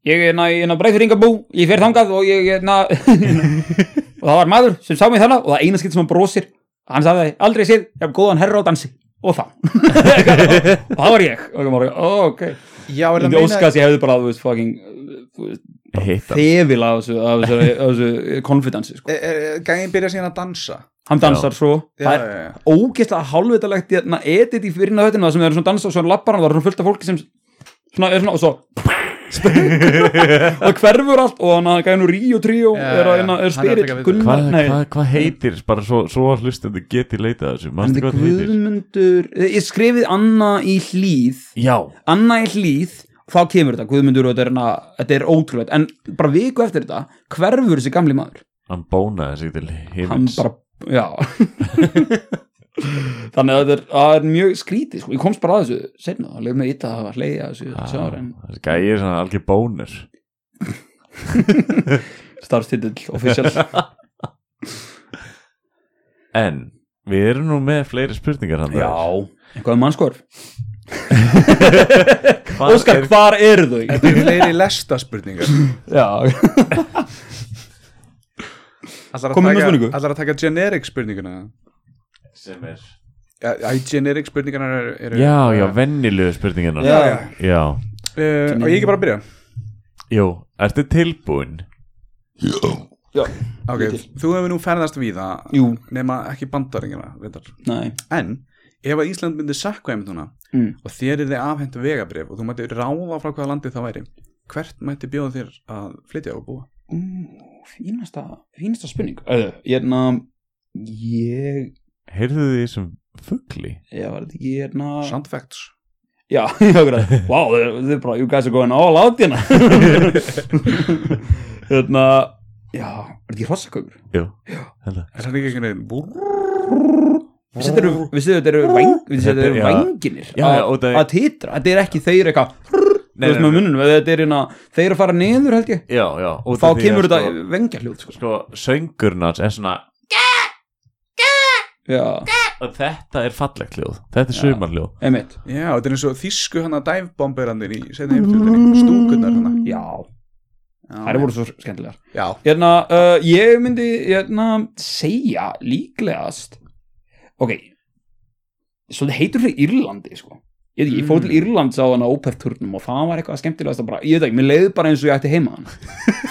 [SPEAKER 2] Ég er hérna ná, ég ná breyður ringabú, ég fer þangað og ég er ná Og
[SPEAKER 4] <laughs>
[SPEAKER 2] það var maður sem sá mig þannig og það eina skilt sem hann brosir Hann sagði aldrei séð, ég hef góðan herra á dansi og
[SPEAKER 4] <laughs>
[SPEAKER 2] þá og það var ég og ég var oh, ok
[SPEAKER 3] Já, er
[SPEAKER 2] ég óskast ég hefði bara þú veist fucking þú veist,
[SPEAKER 4] Hitta
[SPEAKER 2] þefil af þessu, af þessu, af þessu konfidansi sko.
[SPEAKER 3] Gæðin byrja síðan að dansa
[SPEAKER 2] hann dansar svo
[SPEAKER 3] Já,
[SPEAKER 2] það er
[SPEAKER 3] já, já.
[SPEAKER 2] ógeðslega hálfvitalegt hérna edit í fyrirna höttina sem er svona dansa og svona lappar hann, það er svona fullt af fólki sem svona er svona og svo <laughs> og hverfur allt og hann að gæði nú Ríó Tríó
[SPEAKER 3] Já,
[SPEAKER 2] er, að-
[SPEAKER 3] já,
[SPEAKER 2] hérna,
[SPEAKER 3] hann er
[SPEAKER 2] er
[SPEAKER 3] að
[SPEAKER 2] spyrill
[SPEAKER 3] taka við
[SPEAKER 2] Gunnar,
[SPEAKER 4] Hvað
[SPEAKER 2] nei,
[SPEAKER 4] hva, hva heitir, bara svo, svo hlustandi geti leitað þessu,
[SPEAKER 2] hann
[SPEAKER 4] manstu
[SPEAKER 2] er
[SPEAKER 4] hvað það heitir?
[SPEAKER 2] Guðmundur ég skrifið Anna í hlýð
[SPEAKER 4] Já,
[SPEAKER 2] Anna í hlýð þá kemur þetta Guðmundur og þetta er, hérna, þetta er ótrúlegt en bara viku eftir þetta hverfur þessi gamli maður
[SPEAKER 4] hann bónaði sig til
[SPEAKER 2] hann
[SPEAKER 4] himins
[SPEAKER 2] bara, já <laughs> þannig að þetta er, það er mjög skrítið sko. ég komst bara að þessu setna og leið með ítta að hleyja þessu
[SPEAKER 4] Ah,
[SPEAKER 2] sjáar en
[SPEAKER 4] þessi Gæi er svona algjör bónur
[SPEAKER 2] starfstitill official
[SPEAKER 4] En, við erum nú með fleiri spurningar hann
[SPEAKER 2] eitthvað um mannskor
[SPEAKER 4] Hvað
[SPEAKER 2] Óskar,
[SPEAKER 4] er-
[SPEAKER 2] hvar eru þau?
[SPEAKER 3] Þetta eru
[SPEAKER 2] <laughs>
[SPEAKER 3] fleiri lesta spurningar
[SPEAKER 2] já, Komum með spurningu.
[SPEAKER 3] Allar að taka generic spurninguna
[SPEAKER 4] sem er
[SPEAKER 3] Já, já, generic spurningarna eru, eru
[SPEAKER 4] Já, já, vennilegu spurningarnar
[SPEAKER 2] Já, já.
[SPEAKER 4] já.
[SPEAKER 3] Uh, Og ég ekki bara að byrja
[SPEAKER 4] Jú, ertu tilbúin?
[SPEAKER 3] Ok, þú hefur nú ferðast víða
[SPEAKER 2] jú,
[SPEAKER 3] nema ekki bandaringina veitar.
[SPEAKER 2] nei
[SPEAKER 3] En ef að Ísland myndi sakka einmitt núna
[SPEAKER 2] Mm.
[SPEAKER 3] og þér er þið afhengt vegabrif og þú mætti ráða frá hvaða landi það væri hvert mætti bjóða þér að flytja og búa?
[SPEAKER 2] Ú, fínasta, fínasta spurning Æðu, hérna ég,
[SPEAKER 4] Heyrðu því sem fugli?
[SPEAKER 2] ég var þetta ekki hérna
[SPEAKER 3] Sound facts
[SPEAKER 2] já, ég var þetta wow, þau þau bara, you guys are going all out hérna hérna já, var þetta ekki hrossakökur
[SPEAKER 4] Jú, held að
[SPEAKER 3] Er það ekki einhvern veginn búr?
[SPEAKER 2] við setjum þetta eru væng, við setjum þetta eru
[SPEAKER 4] Þetta- já.
[SPEAKER 2] vænginir
[SPEAKER 4] Já, já, og það-
[SPEAKER 2] að titra, þetta er ekki þeir eitthvað þú veist með mununum, þetta er hérna þeir eru að fara niður held ég
[SPEAKER 4] Já, já út
[SPEAKER 2] þá
[SPEAKER 4] af því að
[SPEAKER 2] kemur
[SPEAKER 4] sko,
[SPEAKER 2] þetta vengjahljóð sko.
[SPEAKER 4] Sko, söngurnars er svona
[SPEAKER 2] já,
[SPEAKER 4] að Þetta er fallegt hljóð Þetta er sumarljóð
[SPEAKER 2] einmitt
[SPEAKER 3] Já, þetta er eins og þýsku hana dæfbomberandir í setna yfirtöldinni, stúkunar hana
[SPEAKER 2] já, það voru svo skemmtilegar
[SPEAKER 3] Já,
[SPEAKER 2] hérna, uh, ég myndi hérna, segja líklegast ok svolítið heitur fyrir Írlandi sko. ég, veit ekki, ég fór
[SPEAKER 3] Mm.
[SPEAKER 2] til Írlands á hana óperturnum og það var eitthvað skemmtilegast bara, ég veit ekki, mér leið bara eins og ég ætti heima hann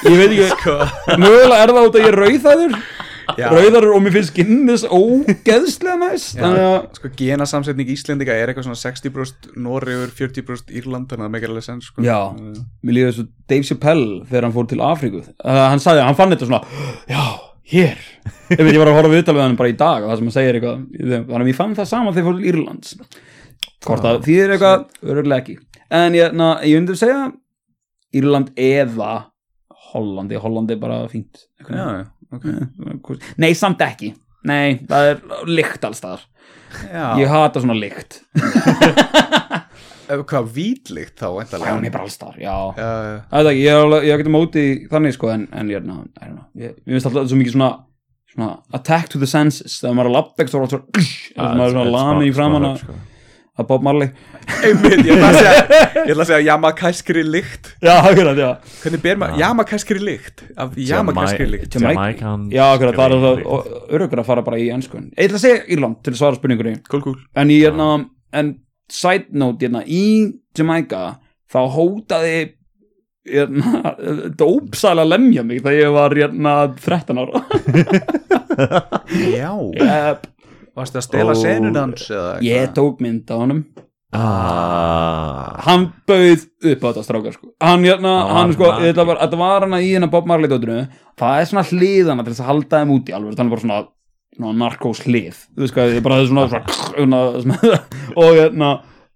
[SPEAKER 2] ég veit
[SPEAKER 3] <laughs>
[SPEAKER 2] ekki, mögulega er það út að ég er rauðaður
[SPEAKER 3] Já.
[SPEAKER 2] rauðaður og mér finnst
[SPEAKER 3] <laughs>
[SPEAKER 2] skinnis ógeðslega næst
[SPEAKER 3] Já.
[SPEAKER 2] þannig að
[SPEAKER 3] sko genasamsetning Íslendinga er eitthvað svona 60% Noregur, 40% Írland þannig að það meikir alveg sens sko.
[SPEAKER 2] Já. mér líður svo Dave Chappelle þegar hann fór til Afríku uh, hann sagði, hann fann þetta svona já, hér ég veit, ég var að horfa viðtal við hann bara í dag og það sem hann segir eitthvað í þeim. þannig að ég fann það sama þegar ég fór til Írlands hvort að því er eitthvað öruglega ekki en ég, na, ég myndi að segja Írland eða Hollandi, Hollandi er bara fínt
[SPEAKER 3] Já, já, ok
[SPEAKER 2] Eh. nei, samt ekki nei, það er lykt alls þar
[SPEAKER 3] Já,
[SPEAKER 2] ég hata svona lykt
[SPEAKER 3] ef Eh, hvað vítlíkt þá
[SPEAKER 2] já, hún
[SPEAKER 3] endalega
[SPEAKER 2] er bara alls þar, já
[SPEAKER 3] Já, já.
[SPEAKER 2] Það er ekki, ég, er alveg- ég getur móti þannig sko en, en ég, na, I don't know, ég, ég finnst alltaf svo mikið svona, svona attack to the senses þegar maður er að labba ekki svo rátt svo þegar maður er svona lami í framann að
[SPEAKER 4] sko.
[SPEAKER 2] að Bob Marley
[SPEAKER 3] Einmitt, ég ætla að segja, ég ætla að segja jamakæskri líkt
[SPEAKER 2] <laughs> Já, akkurat, já
[SPEAKER 3] Hvernig ber maður, jamakæskri líkt af jamakæskri líkt
[SPEAKER 4] Jamaikan
[SPEAKER 2] Já, akkurat, það er það örugur að fara bara í ennskun Ég ætla að segja Írland til að svara spurningunni
[SPEAKER 3] Kúl, kúl
[SPEAKER 2] en ég, na, en side note, ég, na, í Jamaica þá hótaði ég, na, <laughs> dópsal að lemja mig þegar ég var, ég, na, 13 ára
[SPEAKER 3] Já,
[SPEAKER 2] Yep.
[SPEAKER 3] varstu að stela
[SPEAKER 4] Ó.
[SPEAKER 3] senunans eða eitthvað?
[SPEAKER 2] <laughs> Ég tók mynd á honum
[SPEAKER 4] Ah,
[SPEAKER 2] Hann bauð upp á þetta strákar sko. Hann hérna,
[SPEAKER 4] Það var
[SPEAKER 2] hann sko
[SPEAKER 4] nakið.
[SPEAKER 2] Þetta var, þetta var hana í hérna Bob Marley dótinu Það er svona hliðana til þess að halda þeim út í alveg Þannig bara svona, svona narkós hlið Þú veist hvað, ég bara það er svona, svona, svona, svona Og hérna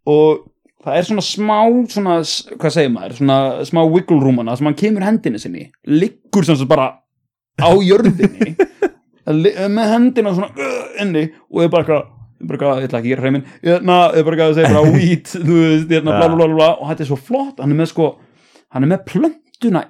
[SPEAKER 2] Og það er svona smá svona, Hvað segir maður, svona smá wiggle rúmana Sem hann kemur hendinni sinni Liggur sem svo bara á
[SPEAKER 3] <laughs>
[SPEAKER 2] jörðinni li- með hendina svona uh, inni og ég bara eitthvað ég bara eitthvað, ég ætla ekki að gera hreiminn hérna, ég bara eitthvað að segja bara weed þú veist, hérna, bla, bla, bla, bla, bla og þetta er svo flott, hann er með sko hann er með plöntuna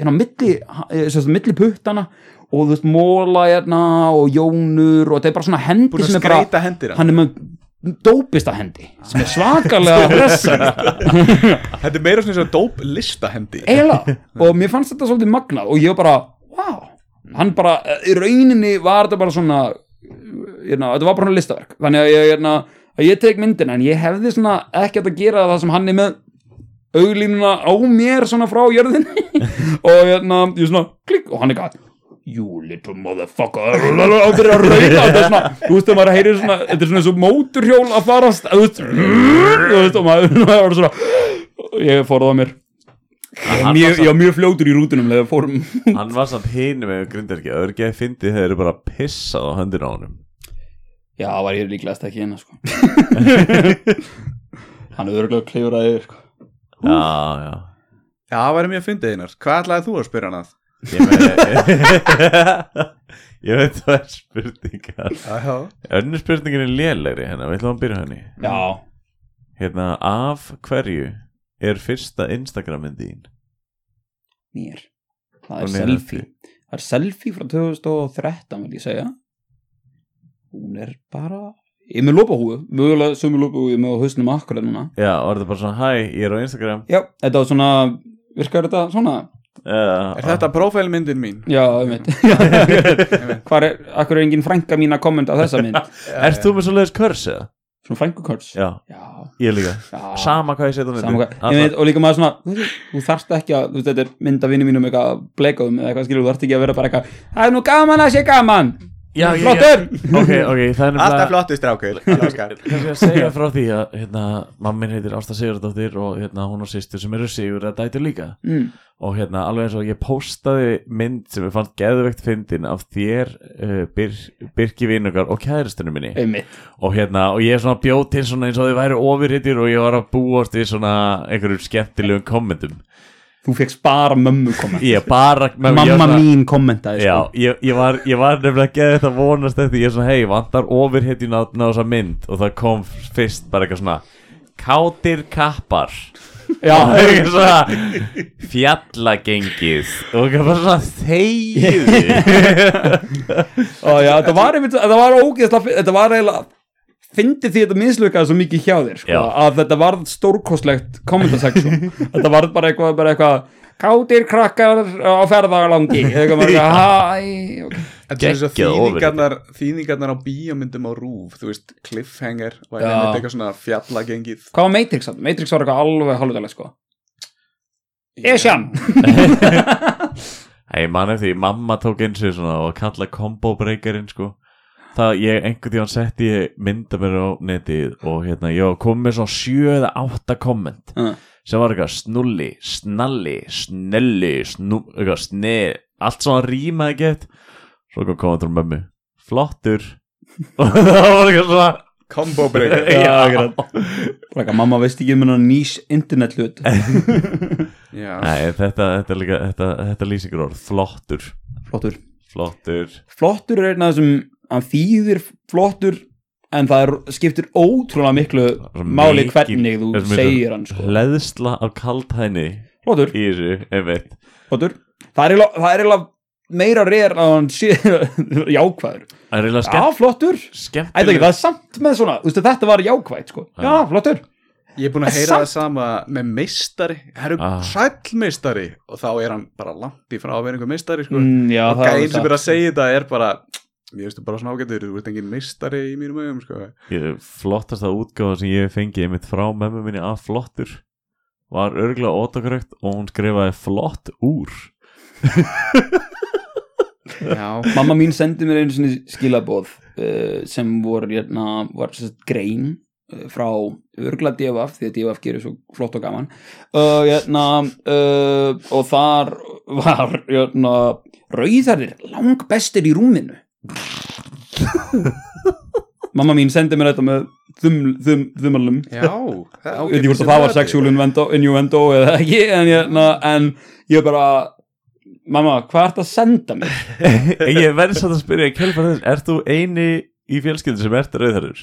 [SPEAKER 2] hérna, milli, ha- eh, sem sagt, milli puttana og þú veist, móla hérna og jónur og þetta er bara svona hendi
[SPEAKER 3] Búin að
[SPEAKER 2] sem er bara,
[SPEAKER 3] skreita hendir hann
[SPEAKER 2] hann er með dópista hendi sem er svakalega hressa
[SPEAKER 3] Þetta er meira svona eins og dóp lista hendi
[SPEAKER 2] <laughs> eiginlega og mér fannst þetta svolítið magnað og ég var bara, wow hann bara, eh, í rauninni var þetta bara svona eh, hérna, þetta var bara svona listaverk þannig að ég, hérna, að ég tek myndin en ég hefði svona ekkert að gera það sem hann er með auglínuna á mér svona frá jörðinni <laughs> og hérna, ég svona klikk og hann er gæt you little motherfucker og byrja að rauða og þetta er svona, þú veist, þegar maður heyrir svona þetta er svona eins og móturhjól að farast þú veist, þú veist, og maður <laughs> maður er svona ég fór það á mér Ég var mjög, ég var mjög fljótur í rútunum leður fórum
[SPEAKER 4] Hann var samt hinu með grindarki Örgæði fyndi þeir eru bara pissað á höndin á honum
[SPEAKER 2] <laughs> Já, var ég líklegast ekki hérna sko <laughs> Hann er örgulega klifur að þér sko
[SPEAKER 4] Já, já
[SPEAKER 3] Já, það væri mjög fyndið einar. Hvað ætlaði þú að spyrja hann að?
[SPEAKER 4] Ég veit, ég <laughs> veit það er spurningar
[SPEAKER 3] Já,
[SPEAKER 4] Önnur spurningin er lélegri hérna Við ætlum að byrja henni
[SPEAKER 2] Já,
[SPEAKER 4] Hérna, af hverju er fyrsta Instagramin þín?
[SPEAKER 2] mér Það er
[SPEAKER 4] Hún er
[SPEAKER 2] selfie Það er selfie frá 2013 vil ég segja Hún er bara Ég er með lópahúu, mögulega sömu lópahúu með á hausnum akkurat núna
[SPEAKER 4] Já, var þetta bara svona Hæ, ég er á Instagram
[SPEAKER 2] Já, þetta var svona, virkar þetta svona?
[SPEAKER 4] uh,
[SPEAKER 3] er þetta prófælmyndin mín?
[SPEAKER 2] <laughs> Já, um veit <laughs> Hvar er, akkur er engin frænka mín að kommenta á þessa mynd?
[SPEAKER 4] Erst þú með svo leiðis körs eða?
[SPEAKER 2] Svona frænkukurs
[SPEAKER 4] Já,
[SPEAKER 2] Já,
[SPEAKER 4] ég líka
[SPEAKER 2] já
[SPEAKER 4] Sama hvað ég setja á myndin
[SPEAKER 2] Sama hvað- Ég veit, og líka maður svona þú veist, þú þarft ekki að, þú veist, þetta er mynd af vinnu mínum eitthvað að bleika um eða eitthvað skilur, þú þarft ekki að vera bara eitthvað það er nú gaman að sé gaman
[SPEAKER 4] Já, ég-
[SPEAKER 2] flottur
[SPEAKER 4] Ok, ok, það er
[SPEAKER 3] Alltaf flottu
[SPEAKER 2] <laughs>
[SPEAKER 3] strákur. Elskar.
[SPEAKER 4] kannski að segja frá því að hérna, mammin heitir Ásta Sigurdóttir og hérna, hún og sýstur sem eru Sigur að dæti líka
[SPEAKER 2] mm,
[SPEAKER 4] og hérna alveg eins og ég postaði mynd sem ég fannst geðveikt fyndin af þér, uh, Bir Birki Vinugar og kæristinu minni
[SPEAKER 2] einmitt,
[SPEAKER 4] og hérna og ég svona bjóð til svona eins og þið væri ofurhittir og ég var að búast við svona einhverjum skemmtilegum kommentum
[SPEAKER 2] þú fegst bara mömmu komment
[SPEAKER 4] ég bara ég var
[SPEAKER 2] mamma sko.
[SPEAKER 4] svona-
[SPEAKER 2] mín kommentaði
[SPEAKER 4] Já, ég, ég, var, ég var nefnilega að geða þetta vonast eftir Ég er svona, hei, vantar ofurhetjun á á þessa mynd Og það kom fyrst bara eitthvað svona Kátir kappar
[SPEAKER 2] sko.
[SPEAKER 4] <laughs>
[SPEAKER 2] já,
[SPEAKER 4] Það er eitthvað svona Fjallagengið Og það var svona þegið
[SPEAKER 2] og já, þetta var einmitt, þetta var ógeðslega fy- þetta var eiginlega fyndi því þetta mislökaði svo mikið hjá þér sko,
[SPEAKER 4] Já.
[SPEAKER 2] að þetta varð stórkostlegt
[SPEAKER 4] <laughs>
[SPEAKER 2] kommentaseksjón þetta varð bara eitthvað, bara eitthvað kátir krakkar á ferðagalangi eitthvað bara eitthvað, hæ ok.
[SPEAKER 3] Þetta er eins og
[SPEAKER 4] Geggjað ofurlítið.
[SPEAKER 3] þýðingarnar, þýðingarnar á bíómyndum á rúf, þú veist, cliffhanger og
[SPEAKER 2] Já.
[SPEAKER 3] er nefnt eitthvað svona fjallagengið.
[SPEAKER 2] hvað var Matrix að? Matrix var eitthvað alveg hálfdalega sko Esjan
[SPEAKER 4] Hei, mann eftir, því, mamma tók eins og svona Og kalla combo breakerinn, sko Það ég einhvern tíðan setti ég mynda mér á netið og hérna, ég var komið með svona sjö eða átta komment sem var eitthvað snulli, snalli, snelli, snú, eitthvað sne, allt svona rýmaði gett. Svo kom komandar um mömmu, flottur. <laughs> Og það var eitthvað svona,
[SPEAKER 3] Combo breaker.
[SPEAKER 4] <laughs> Já,
[SPEAKER 2] Læka, mamma veist ekki um hennar nýs internet hlut
[SPEAKER 3] Já.
[SPEAKER 4] Nei, þetta, þetta, er líka, þetta, þetta lýsingur orð, flottur,
[SPEAKER 2] Flottur
[SPEAKER 4] flottur.
[SPEAKER 2] Flottur er einn af þessum Hann þýðir flottur En það er, skiptir ótrúlega miklu
[SPEAKER 4] Svo
[SPEAKER 2] Máli
[SPEAKER 4] mikil-
[SPEAKER 2] hvernig þú
[SPEAKER 4] þessu mikil
[SPEAKER 2] segir hann sko.
[SPEAKER 4] Hleðsla af kaldhæni
[SPEAKER 2] Flottur,
[SPEAKER 4] í þessu, einmitt.
[SPEAKER 2] flottur Það er eiginlega- það er eiginlega meira reyr að hann sé <laughs> jákvæður
[SPEAKER 4] Það er eiginlega
[SPEAKER 2] Já,
[SPEAKER 4] skemmt.
[SPEAKER 2] flottur
[SPEAKER 4] Skemmt
[SPEAKER 2] Ætla ekki, það er samt með svona, þú veist að þetta var jákvæð sko. Já, flottur
[SPEAKER 3] Ég er búin að
[SPEAKER 2] En
[SPEAKER 3] heyra
[SPEAKER 2] samt-
[SPEAKER 3] það sama með meistari, það eru
[SPEAKER 4] Ah.
[SPEAKER 3] sælmeistari og þá er hann bara langt í frá að vera einhver meistari sko.
[SPEAKER 2] mm, já,
[SPEAKER 3] og
[SPEAKER 2] það er
[SPEAKER 3] gæinn sem
[SPEAKER 2] það.
[SPEAKER 3] er að segja þetta er bara, ég veist þú bara svona ágættur, þú veist engin meistari í mínum augum sko.
[SPEAKER 4] Ég- flottasta útgáfa sem ég hef fengið einmitt frá memmu minni af flottur var örgulega ótakrökt og hún skrifaði flott úr
[SPEAKER 2] <laughs>
[SPEAKER 3] Já,
[SPEAKER 2] Mamma mín sendi mér einu sinni skilabóð uh, sem voru hérna, var sem sagt, grein uh, frá örgla DFF því að DFF gerir svo flott og gaman uh, hérna, uh, og þar var hérna, rauðarðir lang bestir í rúminu Mamma mín sendi mér þetta með þum, þum, þumalum
[SPEAKER 3] <laughs> já það,
[SPEAKER 2] Ég veit ekki hvort að það var sexual innuendo, innuendo eða ekki en, hérna, en ég bara mamma, hvað ert að senda mér?
[SPEAKER 4] En ég verði satt að spyrja kjálfara þess, ert þú eini í fjölskyldu sem ert rauðherður?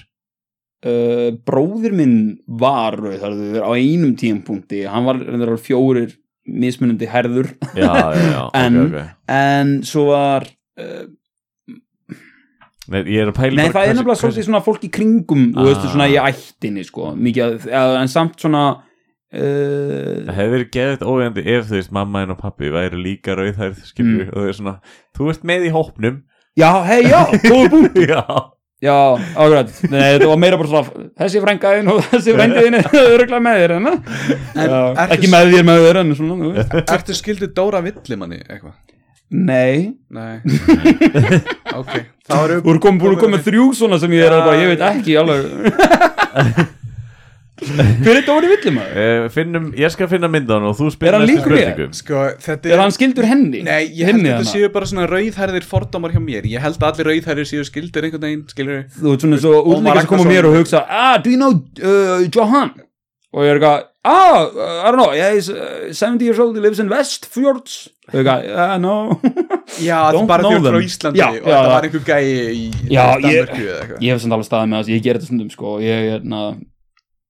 [SPEAKER 2] uh, bróðir minn var rauðarður á einum tímpúnti hann var reyndar alveg fjórir mismunandi herður <laughs>
[SPEAKER 4] Já, já, já,
[SPEAKER 2] En-
[SPEAKER 4] ok, ok
[SPEAKER 2] en svo var uh,
[SPEAKER 4] Nei, ég er að pæla
[SPEAKER 2] nei það er
[SPEAKER 4] bara hversu-
[SPEAKER 2] nefnilega
[SPEAKER 4] hversu-
[SPEAKER 2] svolítið svona fólk í kringum þú veist
[SPEAKER 4] Ah.
[SPEAKER 2] svona í ættinni sko mikið, að, en samt svona uh,
[SPEAKER 4] Það hefði verið geðið óvegandi ef þú veist mamma en og pappi væri líka rauðherð skilur
[SPEAKER 2] Mm.
[SPEAKER 4] og þau er svona, þú ert með í hópnum <laughs>
[SPEAKER 2] já, hei já, góða bú
[SPEAKER 4] Já,
[SPEAKER 2] Já, akkurat, Nei, þetta var meira bara svona þessi frængaðin og þessi frængaðin öruglega með þér en, Já,
[SPEAKER 3] ertu-
[SPEAKER 2] ekki með þér með þér en svona, þú
[SPEAKER 3] <laughs>
[SPEAKER 2] veist
[SPEAKER 3] Ertu skildið Dóra Villimanni eitthvað?
[SPEAKER 2] Nei, <laughs>
[SPEAKER 3] Nei Ok, þá eru
[SPEAKER 2] þú eru komin búin að koma með þrjú svona sem ég er að bara, ég veit ekki alveg <laughs> Hver er Dóri Villimaður?
[SPEAKER 4] Eh, finnum, ég skal finna myndan og þú
[SPEAKER 2] Er
[SPEAKER 4] spyrir
[SPEAKER 2] hann
[SPEAKER 4] næstu
[SPEAKER 2] líkur ég?
[SPEAKER 4] spurningum
[SPEAKER 3] Sko, þetta
[SPEAKER 2] Er hann skildur henni?
[SPEAKER 3] Nei, ég held
[SPEAKER 2] Henni
[SPEAKER 3] að þetta
[SPEAKER 2] hana?
[SPEAKER 3] séu bara svona rauðherðir fordómar hjá mér Ég held að allir rauðherðir séu skildir einhvern veginn, skilur
[SPEAKER 2] Þú veit svona svo
[SPEAKER 3] Ómar
[SPEAKER 2] útlíka sem koma
[SPEAKER 3] Ragnarsson.
[SPEAKER 2] mér og hugsa Ah, do you know uh, Johan? Og ég er eitthvað Ah, uh, I don't know, yeah, he's uh, 70 years old, he lives in Westfjords Og ég er eitthvað, ah, no <laughs>
[SPEAKER 3] Já, þetta
[SPEAKER 2] Don't
[SPEAKER 3] er bara því
[SPEAKER 2] know
[SPEAKER 3] að þú ert frá
[SPEAKER 2] them.
[SPEAKER 3] Íslandi
[SPEAKER 2] Já, já,
[SPEAKER 3] og þetta
[SPEAKER 2] já.
[SPEAKER 3] var einhver gæi í
[SPEAKER 2] Já, ég-
[SPEAKER 3] Danmarku eða eitthvað
[SPEAKER 2] Ég hef samt alveg staðið með þess, ég ger þetta stundum sko og Ég er, na,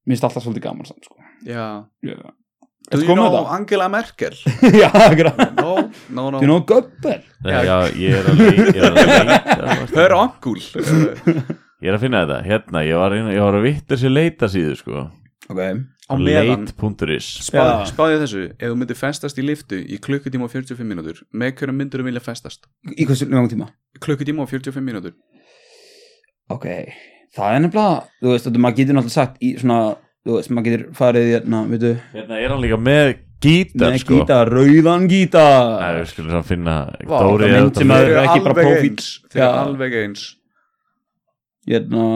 [SPEAKER 2] minnst alltaf svolítið gaman samt sko
[SPEAKER 3] Já,
[SPEAKER 2] Ég-
[SPEAKER 3] do
[SPEAKER 2] Ertu
[SPEAKER 3] you
[SPEAKER 2] komið
[SPEAKER 3] know <laughs>
[SPEAKER 2] þetta?
[SPEAKER 3] Angela Merkel?
[SPEAKER 2] <laughs> Já, akkurat
[SPEAKER 3] No, no,
[SPEAKER 2] Do
[SPEAKER 3] no
[SPEAKER 2] you know Gubbel?
[SPEAKER 4] Já, ég er að leita ég er að leita-
[SPEAKER 3] Her
[SPEAKER 2] <laughs>
[SPEAKER 3] onkul Á
[SPEAKER 4] Ég er að finna þetta, hérna, ég var, að- ég var að vittur sér leita síðu sko
[SPEAKER 2] Ok
[SPEAKER 3] meðan
[SPEAKER 4] Leit.is
[SPEAKER 3] Spá,
[SPEAKER 2] Já.
[SPEAKER 3] Spáði þessu, ef þú myndir festast í liftu í klukkutíma og 45 mínútur með hverjum myndir þú vilja festast?
[SPEAKER 2] Í hversu langan tíma?
[SPEAKER 3] Klukkutíma og 45 mínútur
[SPEAKER 2] ok, það er nefnilega þú veist, þetta maður getur náttúrulega sagt í svona þú veist, maður getur farið hérna, veitu
[SPEAKER 4] Hérna er hann líka með gítar
[SPEAKER 2] með
[SPEAKER 4] sko
[SPEAKER 2] gítar, rauðan gítar
[SPEAKER 4] Nei, við skulum saman finna
[SPEAKER 2] Vá, það
[SPEAKER 4] Dóri er
[SPEAKER 2] myndi
[SPEAKER 4] þetta
[SPEAKER 2] maður-
[SPEAKER 4] með-
[SPEAKER 2] eru ekki bara
[SPEAKER 3] alveg
[SPEAKER 2] prófíll.
[SPEAKER 3] eins Þeir eru
[SPEAKER 2] Já.
[SPEAKER 3] alveg eins
[SPEAKER 2] hérna,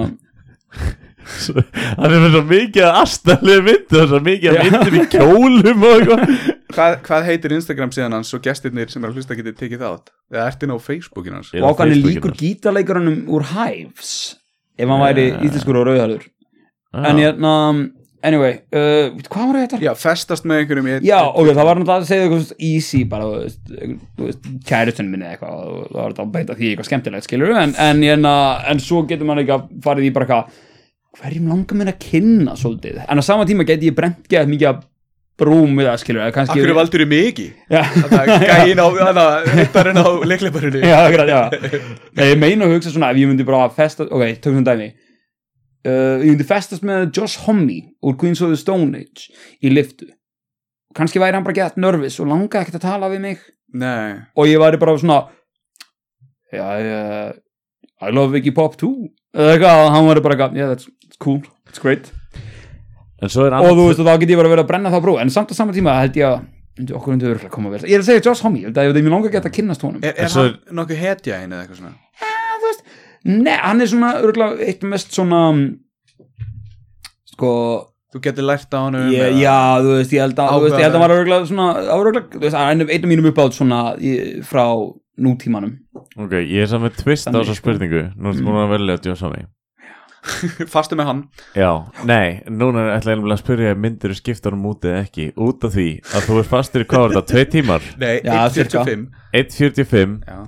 [SPEAKER 4] Hann er með svo mikið að astalið mynd og svo mikið
[SPEAKER 2] Já.
[SPEAKER 4] að myndum í kjólum og eitthvað
[SPEAKER 3] Hvað, hvað heitir Instagram síðan hans og gestirnir sem er að hlusta getið tekið þátt? Eða ertu inn á Facebookin hans?
[SPEAKER 4] Ég- á
[SPEAKER 2] vákan er
[SPEAKER 4] Facebooki
[SPEAKER 2] líkur
[SPEAKER 4] bara.
[SPEAKER 2] gítarleikarunum úr Hives ef hann væri
[SPEAKER 4] Ja.
[SPEAKER 2] íslenskur og rauðhæður en
[SPEAKER 4] Já.
[SPEAKER 2] hérna, anyway uh, veitu, hvað var þetta?
[SPEAKER 3] Já, festast með einhverjum í-
[SPEAKER 2] Já, ok, það var náttúrulega að segja eitthvað svona easy bara, þú veist, einhver- þú veist kærutun minni eða eitthvað, og það var þetta að beita því eitthvað skemmtilegt, skilur en, en, en, en svo getur maður ekki að farið í bara eitthvað hverjum langar mér að kynna svolítið, en á sama tíma geti ég brent geðað mikið að brúm við það, skilur eða kannski...
[SPEAKER 3] Akkur valdur þið mikið?
[SPEAKER 2] Já,
[SPEAKER 3] Það er gæin á, hana, hittarinn á leikleiparinu
[SPEAKER 2] <laughs> já, akkurat, já. Nei, ég meina að hugsa svona, ef ég myndi bara festast, ok, tökum svona dæmi, uh, ég myndi festast með Josh Homme úr Queens of the Stone Age í liftu, kannski væri hann bara gett nervis og langaði ekkert að tala við mig
[SPEAKER 3] Nei,
[SPEAKER 2] og ég væri bara svona já, ég I love Iggy Pop too eða eitthvað, og hann væri bara eitthvað, yeah, that's it's cool it's great,
[SPEAKER 4] En svo er
[SPEAKER 2] og þú
[SPEAKER 4] annað
[SPEAKER 2] veist, og þá get ég bara verið að brenna það brú, en samt á sama tíma held ég að myndi okkur undir örgulega koma vel ég er að segja Josh Homme, ég held að ég veit að mér langar að geta að kynnast honum
[SPEAKER 3] er, er
[SPEAKER 4] svo-
[SPEAKER 3] hann nokkuð hetja einu eða eitthvað svona?
[SPEAKER 2] nei, hann er svona örgulega eitt mest svona mm, sko,
[SPEAKER 3] Þú getur lært á hann um
[SPEAKER 2] ég, já, þú veist, ég held að þú veist, ég held að hann var örgulega svona það var örugglega- þú veist, hann er einn af mínum uppátt svona í- frá nútímanum
[SPEAKER 4] Ok, ég er saman með twist á
[SPEAKER 2] Þannig,
[SPEAKER 4] þessa
[SPEAKER 2] sko.
[SPEAKER 4] spurningu Nú ertu búin að velja að djósa mig
[SPEAKER 3] Fastu með hann
[SPEAKER 4] Já, nei, núna ætla ég nefnilega að spyrja ef myndir þú skipta honum út eða ekki út af því að þú er fastur í hvað var þetta, tvei tímar
[SPEAKER 3] Nei,
[SPEAKER 2] Já,
[SPEAKER 3] 1.45
[SPEAKER 4] 1.45,
[SPEAKER 3] Já,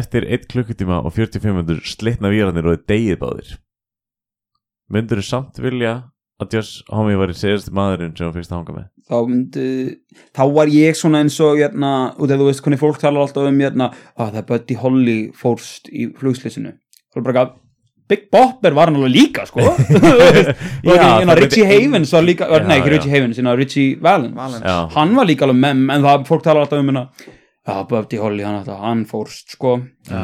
[SPEAKER 4] eftir 1 klukkutíma og 45 minnur slitna výranir og þið deyið báðir myndir þú samt vilja að Josh Homme var í segjast maðurinn sem þú fyrst að hanga með
[SPEAKER 2] þá myndi þá var ég svona eins og hérna, út af þú veist hvernig fólk talar alltaf um hérna, að það Buddy Holly fórst í flugslýsinu og bara gaf Big Bopper var hann alveg líka
[SPEAKER 4] <laughs>
[SPEAKER 2] sko og
[SPEAKER 4] það
[SPEAKER 2] hérna
[SPEAKER 4] myndi-
[SPEAKER 2] Richie Havens var líka,
[SPEAKER 4] Já,
[SPEAKER 2] nei ekki
[SPEAKER 4] já.
[SPEAKER 2] Richie Havens hérna Richie Valens,
[SPEAKER 3] Valens
[SPEAKER 4] Já,
[SPEAKER 2] hann var líka alveg mem en það fólk talar alltaf um hérna að Buddy Holly hann, alltaf, hann fórst sko
[SPEAKER 3] Já.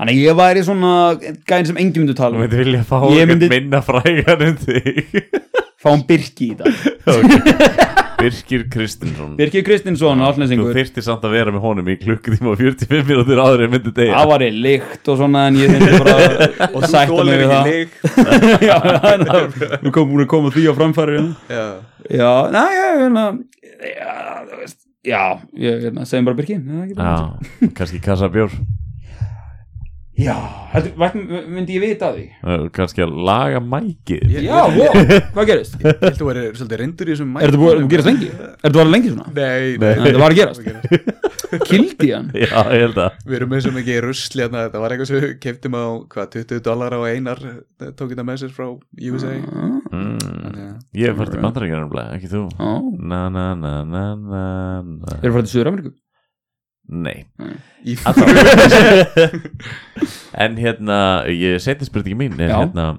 [SPEAKER 2] þannig að ég væri svona gæðin sem enginn myndi
[SPEAKER 4] þú
[SPEAKER 2] tala um
[SPEAKER 4] myndir vilja fá
[SPEAKER 2] Ég
[SPEAKER 4] einhvern
[SPEAKER 2] myndi-
[SPEAKER 4] minna frægan en þig <laughs>
[SPEAKER 2] fá hann Birki í dag,
[SPEAKER 4] Birkir Kristinsson
[SPEAKER 2] Birki Kristinsson
[SPEAKER 4] þú
[SPEAKER 2] allnesingur
[SPEAKER 4] þyrftir samt að vera með honum í klukkutíma og 45 minnur áður en myndir deyja
[SPEAKER 2] það var ég líkt og svona en ég myndi <laughs> bara
[SPEAKER 3] Og þú
[SPEAKER 2] sætta mig
[SPEAKER 3] þólir
[SPEAKER 2] við
[SPEAKER 3] ekki
[SPEAKER 2] það
[SPEAKER 3] leik
[SPEAKER 2] <laughs> já, en það- við komum búin að koma því á framfæri hérna. já,
[SPEAKER 3] Já,
[SPEAKER 2] já, næ, já, hérna já, þú veist, já, ég hérna, segjum bara Birki já, ekki bara-
[SPEAKER 4] Já, kannski kassa bjór
[SPEAKER 2] já heldur, vært- myndi ég vita af því
[SPEAKER 4] Uh, kannski að laga mækið
[SPEAKER 2] já, wow, hvað gerist? er
[SPEAKER 3] Ég held þú verið svolítið reyndur í þessum
[SPEAKER 2] þetta búið að gerast lengi? er þetta alveg lengi svona?
[SPEAKER 3] Nei,
[SPEAKER 4] Nei.
[SPEAKER 2] En þetta var að gerast, kildi hann
[SPEAKER 4] <laughs> Já, ég held að
[SPEAKER 3] Við erum með svo mikið rusli hérna Þetta var eitthvað sem við keftum á hvað, 20 dólar á einar eh, Tók þetta með sér frá USA
[SPEAKER 2] Ah.
[SPEAKER 4] mm,
[SPEAKER 3] Já.
[SPEAKER 4] Ég er fært í bandarækjana nefnilega, ekki þú
[SPEAKER 2] já,
[SPEAKER 4] Na na na na na na
[SPEAKER 2] þeir eru frá til Suður-Ameríku
[SPEAKER 4] Nei
[SPEAKER 3] Í
[SPEAKER 4] En hérna, ég seti spurningi mín er,
[SPEAKER 2] Já.
[SPEAKER 4] hérna,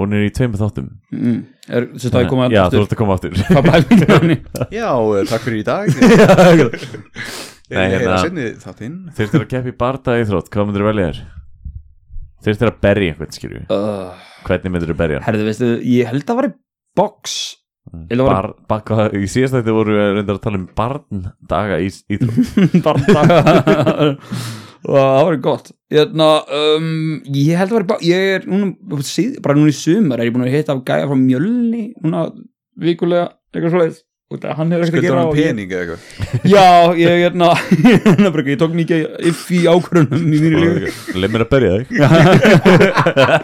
[SPEAKER 4] Hún er í tveimur þáttum
[SPEAKER 2] mm. er, sem það er komað
[SPEAKER 4] Já, þú ert að koma aftur
[SPEAKER 2] hvað bæði hann
[SPEAKER 3] <laughs>
[SPEAKER 2] <laughs>
[SPEAKER 3] Já, eh, takk fyrir í dag Nei,
[SPEAKER 4] Nei,
[SPEAKER 3] hérna
[SPEAKER 4] hérna-
[SPEAKER 3] Senni þáttinn
[SPEAKER 4] Þeir eru að keppa í bardaði þrótt, hvað myndir velja þér? Þeir þurftir að berja einhvern skilju
[SPEAKER 2] uh,
[SPEAKER 4] Hvernig myndir þú berja hann?
[SPEAKER 2] herðu, veistu, ég held að vera box Ég var-
[SPEAKER 4] Bar, baka, í síðast þetta voru við reyndar að tala um barndaga í íþrótt
[SPEAKER 2] barndag og það var gott Jörna, um, ég held að vera bara, ég er núna, síð, bara núna í sumar er ég búin að hitta af gæja frá mjölni núna vikulega eitthvað svoleiðis út af að hann hefur ekkert að
[SPEAKER 3] Skuldur
[SPEAKER 2] gera
[SPEAKER 3] hann
[SPEAKER 2] og ég-
[SPEAKER 3] pening eða eitthvað
[SPEAKER 2] já, ég, hérna, hérna, bara, ég tók mikið if í ákvörunum í mínu lífi
[SPEAKER 4] Leif mér að berja þig
[SPEAKER 2] bara,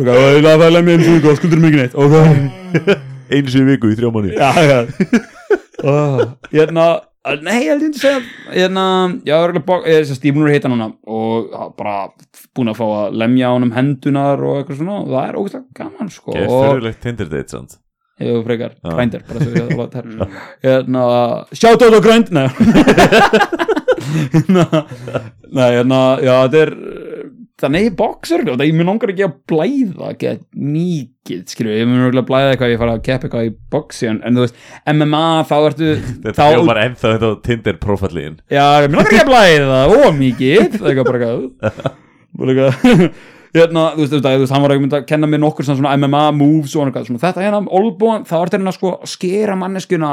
[SPEAKER 2] það er að fæla mér um fúk og skuldur mikið neitt ok,
[SPEAKER 4] Einu sinni í viku í þrjá manni
[SPEAKER 2] já, já oh, hérna, nei, ég held ég að segja hérna, já, ég er örugglega bak- ég sérst, ég er búin að hitta hann núna og ha- bara búin að fá að lemja honum hendunar og eitthvað svona, og það er ógæslega gaman sko,
[SPEAKER 4] Ég er
[SPEAKER 2] og
[SPEAKER 4] fyrirlegt Tinder date samt
[SPEAKER 2] hefur frekar
[SPEAKER 4] Já.
[SPEAKER 2] grændir, bara svo ég alveg
[SPEAKER 4] <laughs>
[SPEAKER 2] þær hérna, sjátt á grænd nei <laughs> hérna nei, hérna, já, þetta er þannig ég boxur, þetta ég mun langar ekki að blæða get mikið, skilju, ég mun örugglega blæða eitthvað, ég fara að keppa eitthvað í boxi en, en þú veist, MMA, þá ertu
[SPEAKER 4] <laughs> Þetta
[SPEAKER 2] þá,
[SPEAKER 4] hljómar ennþá þetta á Tinder profallín
[SPEAKER 2] já, ég mun langar ekki að blæða ó, mikið, eitthvað bara eitthvað bara eitthvað <laughs> hérna, þú veist, þú veist, þú veist, hann var ekki mynd að kenna mér nokkur svona- svona MMA moves og annað, svona þetta hérna, olbúan, þá ertu hérna sko að skera manneskuna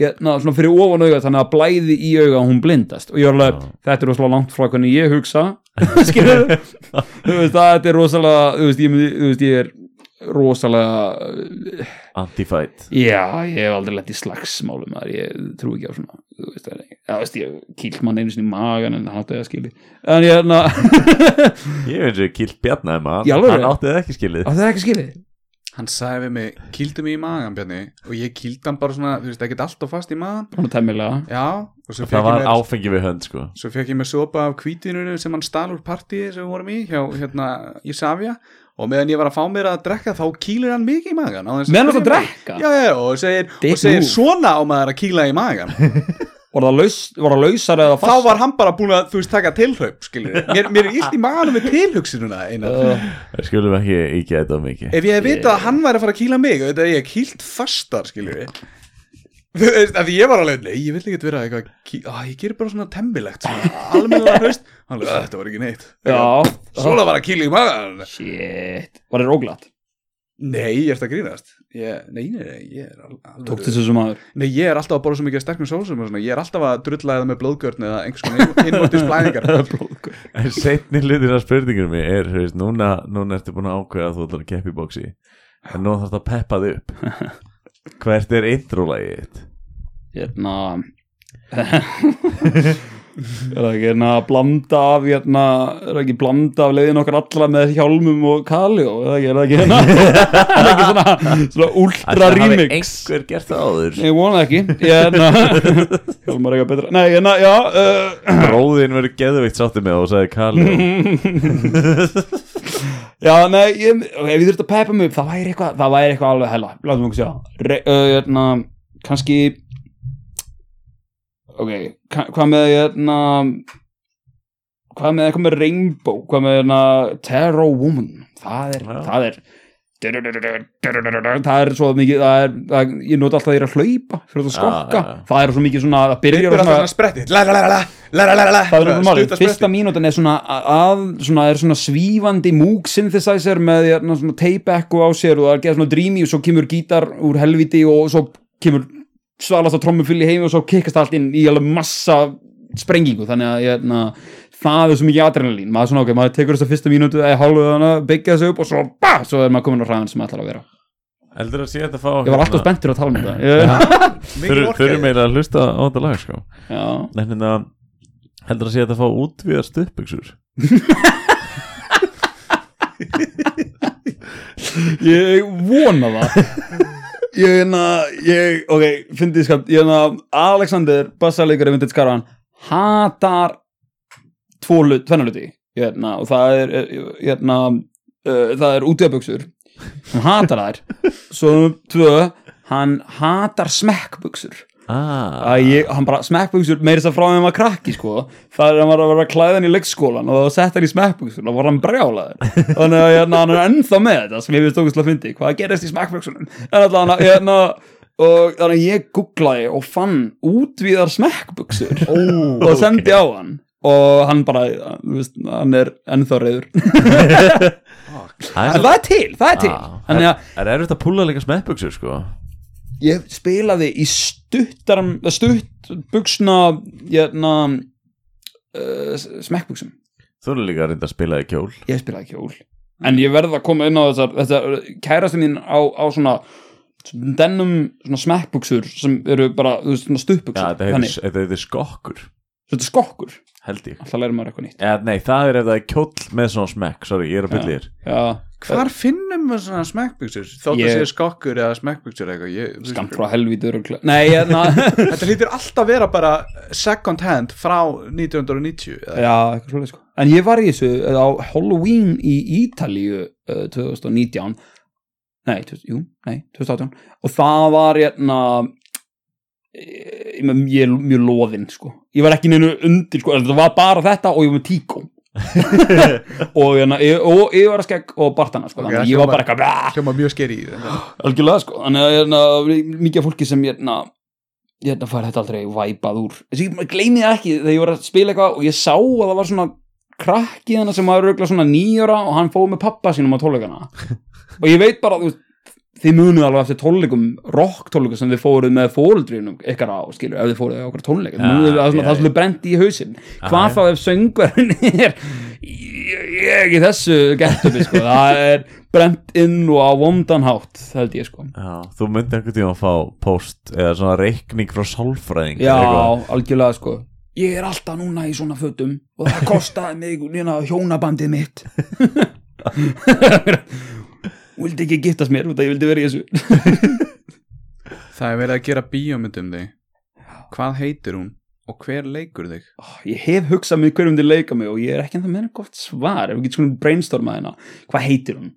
[SPEAKER 2] hérna, svona fyrir ofan auga, þannig að blæði í auga og hún blindast, og ég var alveg, þetta er rosalega langt frá hvernig ég hugsa <laughs> skilur, þú veist, það þetta er rosalega, þú veist, ég, myndi- þú veist, ég er rosalega
[SPEAKER 4] Antifight
[SPEAKER 2] Já, ég hef aldrei lent í slagsmálum maður, ég trú ekki á svona þú veist, það er ekki, já, veist, ég kýlt mann einu sinni í magan en hann átti það skili en ég, hérna- <laughs> na,
[SPEAKER 4] Ég veit sem kýlt
[SPEAKER 2] Í
[SPEAKER 4] bjarnaði maður
[SPEAKER 2] alvöru?
[SPEAKER 4] Hann átti það ekki skilið
[SPEAKER 2] átti það ekki skili
[SPEAKER 3] Hann sagði við mig, kýldu mig í magan Bjarni og ég kýldi hann bara svona, þú veist, ekkert alltaf fast í magan
[SPEAKER 2] Svona tæmilega
[SPEAKER 3] Já, og svo
[SPEAKER 4] Það
[SPEAKER 3] fekk ég
[SPEAKER 4] var
[SPEAKER 3] mér
[SPEAKER 4] áfengi við hönd sko
[SPEAKER 3] Svo fekk ég mér sopa af kvítinunu sem hann stal úr partíi sem við vorum í hjá hérna í Savia og meðan ég var að fá mér að drekka þá kýlir hann mikið í magan
[SPEAKER 2] Meðan þú ert að drekka?
[SPEAKER 3] Já, já, og segir,
[SPEAKER 2] Dick
[SPEAKER 3] og segir
[SPEAKER 2] move.
[SPEAKER 3] svona á maður að kýla í
[SPEAKER 2] <laughs>
[SPEAKER 3] magan
[SPEAKER 2] Var það laus, var það lausar eða
[SPEAKER 3] Þá
[SPEAKER 2] fast
[SPEAKER 3] var hann bara búin að, þú veist, taka tilhaup, skilur mér, mér er illt í maganum við tilhugsinuna einar
[SPEAKER 2] Oh,
[SPEAKER 4] Það skulum ekki ekki þetta of mikið
[SPEAKER 3] Ef ég hef vitað að hann væri að fara að kýla mig Þú veit að ég er kýlt fastar, skilur við Þú veist, af því ég var alveg Nei, ég vil ekki vera eitthvað ký... Á, Ég gerir bara svona temmilegt svona, Almennilega hraust Hann alveg, "Ah, þetta var ekki neitt
[SPEAKER 2] Já,
[SPEAKER 3] Svona var að kýla í maður
[SPEAKER 2] shit Var það róglatt?
[SPEAKER 3] Nei, ég ert að grínast ég, Nei, nei, nei, ég er alveg
[SPEAKER 2] Tók þessu sem maður
[SPEAKER 3] Nei, ég er alltaf að borða svo mikið af sterkum sósum og svona. Ég er alltaf að drulla eða með blóðgjörn eða einhvers
[SPEAKER 2] <laughs>
[SPEAKER 3] konar innvóttis blæðingar
[SPEAKER 4] En setni hlutin af spurningunum mér er, þú veist, núna, núna ertu búin að ákveða að þú ætlar að keppa í bóksi en nú þarfst að peppa þig upp
[SPEAKER 2] <laughs>
[SPEAKER 4] Hvert er intro-lægið þitt?
[SPEAKER 2] Hérna Er það ekki hérna blanda af hérna, er það ekki blanda af leiðin okkar alla með hjálmum og kali og er það ekki, er það ekki hérna er það ekki svona, svona ultra
[SPEAKER 4] Ætli hafi
[SPEAKER 2] remix
[SPEAKER 4] einhver gert það áður
[SPEAKER 2] Ég vona ekki Ég hérna Hjálmar eitthvað betra Nei, hérna, já uh,
[SPEAKER 4] Bróðin verður geðveikt sátti með það og sagði Kali
[SPEAKER 2] Mhm. Já, nei, ég, ok, ef ég þurfti að peppa mig upp Það væri eitthvað, það væri eitthvað alveg hella Látum okkur sjá Re, uh, Hérna, kannski Ok, ka- hvað með hérna Hvað með eitthvað með Rainbow Hvað með hérna Terror Woman Það er,
[SPEAKER 4] Já.
[SPEAKER 2] það er það er svo mikið það er, það, ég nota alltaf því að hlaupa fyrir að
[SPEAKER 4] Já,
[SPEAKER 2] skokka,
[SPEAKER 4] já, já.
[SPEAKER 2] það er svo mikið svona það
[SPEAKER 3] Ég
[SPEAKER 2] byrjar
[SPEAKER 3] er
[SPEAKER 2] á svona
[SPEAKER 3] alltaf að spretti La la la la, la la la la
[SPEAKER 2] það er einhvern málið, fyrsta
[SPEAKER 3] mín
[SPEAKER 2] mínútan er svona að, að svona, er svona svífandi múk synthesizer með hérna, svona tape echo á sér og það er geða svona dreamy og svo kemur gítar úr helviti og svo kemur svalast á trommufill í heimi og svo kikkast allt inn í alveg massa sprengingu þannig að hérna, það er svo mikið adrenalín maður svona ok, maður tekur þess að fyrsta mínútu eða hálfuð hana, byggja þessu upp og svo ba, svo er maður komin á hraðan sem maður ætlar að vera
[SPEAKER 4] Eldur að sé þetta að fá hérna-
[SPEAKER 2] ég var alltaf spenntur að tala um þetta
[SPEAKER 4] Þurfum eiginlega að hlusta á þetta lag sko
[SPEAKER 2] já,
[SPEAKER 4] En hérna Heldur að sé þetta að fá útvíðar stuðbuxur
[SPEAKER 2] ég vona það ég hérna ég, ok, fyndið skapt ég hérna, Alexander, bassalegari Vintage Caravan, hatar tvo hlut, tvenna hluti hérna, og það er hérna, uh, það er útíðabuxur hann hatar þær svo númer tvö, hann hatar smekkbuxur
[SPEAKER 4] Ah,
[SPEAKER 2] að ég, hann bara smekkbuxur meirist að frá þeim að krakki sko það er að hann var að vera að klæða hann í leikskólan og það sett hann í smekkbuxur og var hann brjálaður þannig að hérna, hann er ennþá með þetta sem ég finnst ógustlega fyndi, hvað gerist í smekkbuxunum en allan að hérna, og þannig að ég googlaði og fann útvíðar smekkbuxur
[SPEAKER 4] ó,
[SPEAKER 2] og sendi á hann og hann bara, þú veist, hann er ennþá reyður en
[SPEAKER 4] Það
[SPEAKER 2] það er til, það er til
[SPEAKER 4] Ah,
[SPEAKER 2] þannig að
[SPEAKER 4] Það er erfitt að púla líka smettbuksur sko
[SPEAKER 2] ég spilaði í stuttar stutt buksna jæna uh, smekkbuksum,
[SPEAKER 4] Þú eru líka að reynda að spila í kjól
[SPEAKER 2] ég spilaði kjól en ég verði að koma inn á þessar, þessar kærastin mín á, á svona dennum svona smekkbuksur sem eru bara þú veist, svona
[SPEAKER 4] Já,
[SPEAKER 2] stuttbuksur
[SPEAKER 4] þetta
[SPEAKER 2] þannig,
[SPEAKER 4] heitir- þetta heitir skokkur
[SPEAKER 2] þetta er skokkur
[SPEAKER 4] Held ég
[SPEAKER 2] alltaf læri maður eitthvað nýtt
[SPEAKER 4] Já, nei, það er ef það er kjóll með svona smekk Sorry, ég er að byrja þér
[SPEAKER 2] já,
[SPEAKER 3] Hvar finnum við svona smekkbuksur? Þótt
[SPEAKER 2] Ég-
[SPEAKER 3] að sé skokkur eða smekkbuksur eða eitthvað ég-
[SPEAKER 2] skamt frá helvítur og klöð nei, hérna. jæna,
[SPEAKER 4] <laughs>
[SPEAKER 3] Þetta hlýtur alltaf vera bara second hand frá 1990 eða-
[SPEAKER 2] já, eitthvað svolítið sko en ég var í þessu eh, á Halloween í Ítalíu uh, 2019 nei, 2000, jú, nei, 2018 og það var hérna eh, ég meina, ég er mjög loðinn sko ég var ekki neinu undir sko það var bara þetta og ég var með
[SPEAKER 3] <laughs>
[SPEAKER 2] tíkó <laughs> og, hérna, ég- og ég var að skegg og bartana sko,
[SPEAKER 3] Ok,
[SPEAKER 2] þannig að ég var bara eitthvað "Bah!"
[SPEAKER 3] Hljóma mjög skeri í
[SPEAKER 2] algjörlega sko þannig að hérna, mikið af fólki sem hérna hérna fær þetta aldrei væpað úr þessi ég gleymi það ekki þegar ég var að spila eitthvað og ég sá að það var svona krakki hana sem var auðvitað svona nýjóra og hann fóð með pappa sínum á tónleikana
[SPEAKER 4] <laughs>
[SPEAKER 2] og ég veit bara þú veist, þið munið alveg eftir tónleikum rock tónleikum sem þið fóruð með fóruldrýnum ykkar á skilur ef þið fóruð á okkur tónleik
[SPEAKER 4] Ja,
[SPEAKER 2] munið, að svona,
[SPEAKER 4] ja,
[SPEAKER 2] það
[SPEAKER 4] ja.
[SPEAKER 2] skulle brendi í hausinn hvað
[SPEAKER 4] já.
[SPEAKER 2] þá ef söngverðin <laughs> er ég er ekki þessu getubi sko það er brent inn og á vondan hátt held ég sko
[SPEAKER 4] Já, þú myndi einhvern tíma að fá post eða svona reikning frá sálfræðing
[SPEAKER 2] Já,
[SPEAKER 4] eitthvað.
[SPEAKER 2] algjörlega sko Ég er alltaf núna í svona fötum og það kostaði mig nýna hjónabandið mitt <laughs> Vildi ekki gittast mér út að ég vildi vera í þessu
[SPEAKER 3] Það er verið að gera bíómynd um þig Hvað heitir hún og hver leikur þig?
[SPEAKER 2] Ó, Ah, Ég hef hugsað mig hverjum þið leika mig og ég er ekki ennþá með gott svar ef við getum svona brainstormað hérna Hvað heitir hún?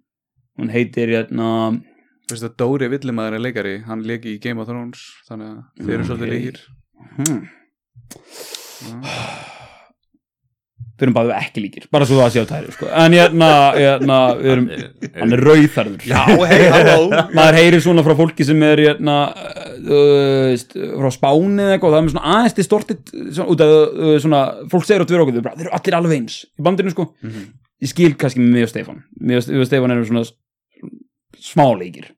[SPEAKER 2] Hún heitir hérna
[SPEAKER 3] Veistu að Dóri Villimaður er leikari Hann leiki í Game of Thrones Þannig að þeir eru
[SPEAKER 2] Mm,
[SPEAKER 3] svolítið
[SPEAKER 2] ok.
[SPEAKER 3] leikir
[SPEAKER 2] hmm,
[SPEAKER 3] Já.
[SPEAKER 2] Fyrir um báðum ekki líkir bara svo það sé á tæri sko. En hérna, hérna við erum,
[SPEAKER 4] Eh,
[SPEAKER 2] hann er rauðarður
[SPEAKER 3] Já, hei, halló
[SPEAKER 2] <laughs> maður heyrir svona frá fólki sem er hérna, þú veist, frá Spáni eða eitthvað, það er með svona aðeins til stortið svona, út að uh, svona, fólk segir út við okkur þau bara, þeir eru allir alveg eins í bandinu sko
[SPEAKER 3] <laughs> Mhm.
[SPEAKER 2] ég skil kannski með mig og Stefán mig og, mig og Stefán erum svona s- smáleikir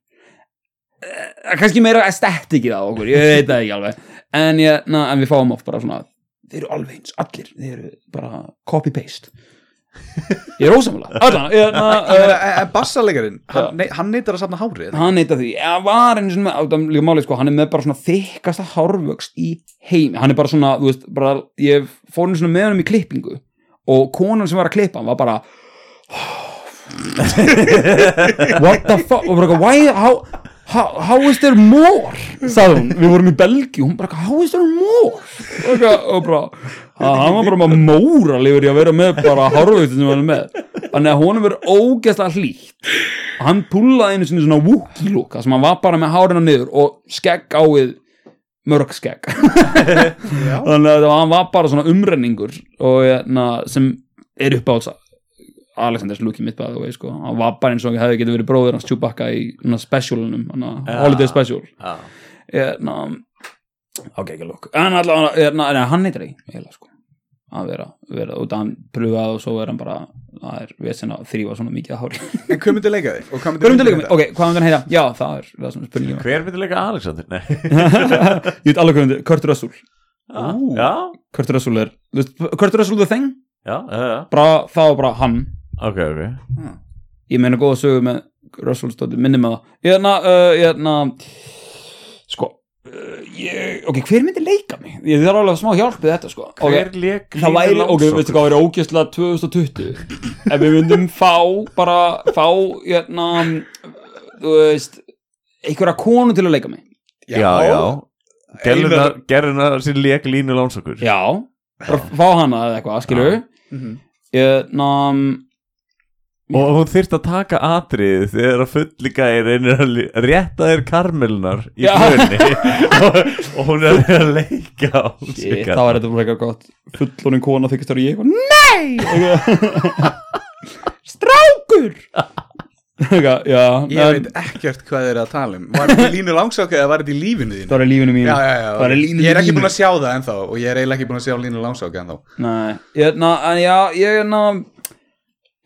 [SPEAKER 2] Eh, kannski meira estetikið á okkur ég veit það ekki alveg en, ég, na, en við fáum oft bara svona þeir eru alveg eins, allir, þeir eru bara copy-paste ég er ósamlega allan, ég, na, uh,
[SPEAKER 3] <laughs> Ég meina, e- e- Bassalegarinn, hann, nei, hann neytar að safna hárið
[SPEAKER 2] hann neyta því, eða var einu svona á, það er líka máli, sko, hann er með bara svona þykkasta hárvöxt í heimi, hann er bara svona þú veist, bara, ég fór einu svona með hann í klippingu og konan sem var að klippa hann var bara "Oh." <laughs> what the fuck og bara, eitthvað, why, how, how, how is there more sagði hún, við vorum í Belgíu hún bara, how is there more og, eitthvað, og bara, að, hann var bara með móra lifur í að vera með bara hárvöxtin sem hann er með þannig að honum verður ógeðslega hlýtt hann púlaði einu sinni svona wookie look þar sem hann var bara með hárina niður og skegg á við mörg skegg
[SPEAKER 3] Já.
[SPEAKER 2] <laughs> þannig að hann var bara svona umrenningur og, na, sem er upp á þess Alexanders looki mitt bæði og sko. hann var bara eins og hefði getið verið bróðir hans Chewbacca í svona specialunum, hana,
[SPEAKER 4] Já.
[SPEAKER 2] holiday special
[SPEAKER 4] Já.
[SPEAKER 2] hérna ok, ekki lúk en allavega, hérna, nei, hann heitir ekki heila, sko. að vera, vera út að hann pröfaði og svo er hann bara það er vesen að þrýfa svona mikið að hári
[SPEAKER 3] En hvað myndi leika þig? Og hvað
[SPEAKER 2] Hverjum til
[SPEAKER 3] myndir
[SPEAKER 2] leikum? Ok, hvað myndir hann heita? Já, það er það sem er spurningin
[SPEAKER 4] Hver myndi leika Alexander? Nei
[SPEAKER 2] <laughs> Ég veit alveg hvað myndir, Kurt Russell
[SPEAKER 3] Ú.
[SPEAKER 4] <laughs> Já,
[SPEAKER 2] Kurt Russell er, þú veist, Kurt Russell the thing
[SPEAKER 4] já, já, já
[SPEAKER 2] bara, það var bara hann
[SPEAKER 4] Ok, ok
[SPEAKER 2] Ég meina góða sögu með Russell stóttir, minni með það Ég erna, uh, ég erna Sko uh, ég, Ok, hver myndir leika mig? Ég þarf alveg smá hjálp við þetta, sko Ok,
[SPEAKER 4] Hver leik
[SPEAKER 2] Það væri, ok, veistu hvað væri ógæstlega 2020 Ef við myndum fá bara, fá, hérna Þú veist einhverja konu til að leika mig
[SPEAKER 4] Já, já Gerðunar, gerðunar sér leik línu lánsokur
[SPEAKER 2] Já, bara fá hana eða eitthvað, skilur Hérna,
[SPEAKER 4] Já.
[SPEAKER 3] Mhm.
[SPEAKER 2] Ég, ná,
[SPEAKER 4] Og hún þyrft að taka atrið þegar að fullika er einir að lí- rétta þér karmelnar í
[SPEAKER 2] Já.
[SPEAKER 4] hlunni <laughs> og, og hún er að leika á sig
[SPEAKER 2] shit, þá er þetta bara eitthvað gott Fullónin kona
[SPEAKER 3] <laughs>
[SPEAKER 2] þykist þar ég eitthvað, Nei! Strákur! Eitthvað, Já,
[SPEAKER 3] Ég
[SPEAKER 2] en-
[SPEAKER 3] veit ekkert hvað þeir eru að tala um Var þetta í línu langsokka eða var þetta í lífinu
[SPEAKER 2] Það
[SPEAKER 3] þínu?
[SPEAKER 2] var í lífinu mínu
[SPEAKER 3] Já, já, já,
[SPEAKER 2] Það var í lífinu
[SPEAKER 3] ég er ekki
[SPEAKER 2] mínu.
[SPEAKER 3] búin að sjá það ennþá og ég er eiginlega ekki búin að sjá línu langsokka ennþá
[SPEAKER 2] Nei, hérna, en já, ég hérna ég-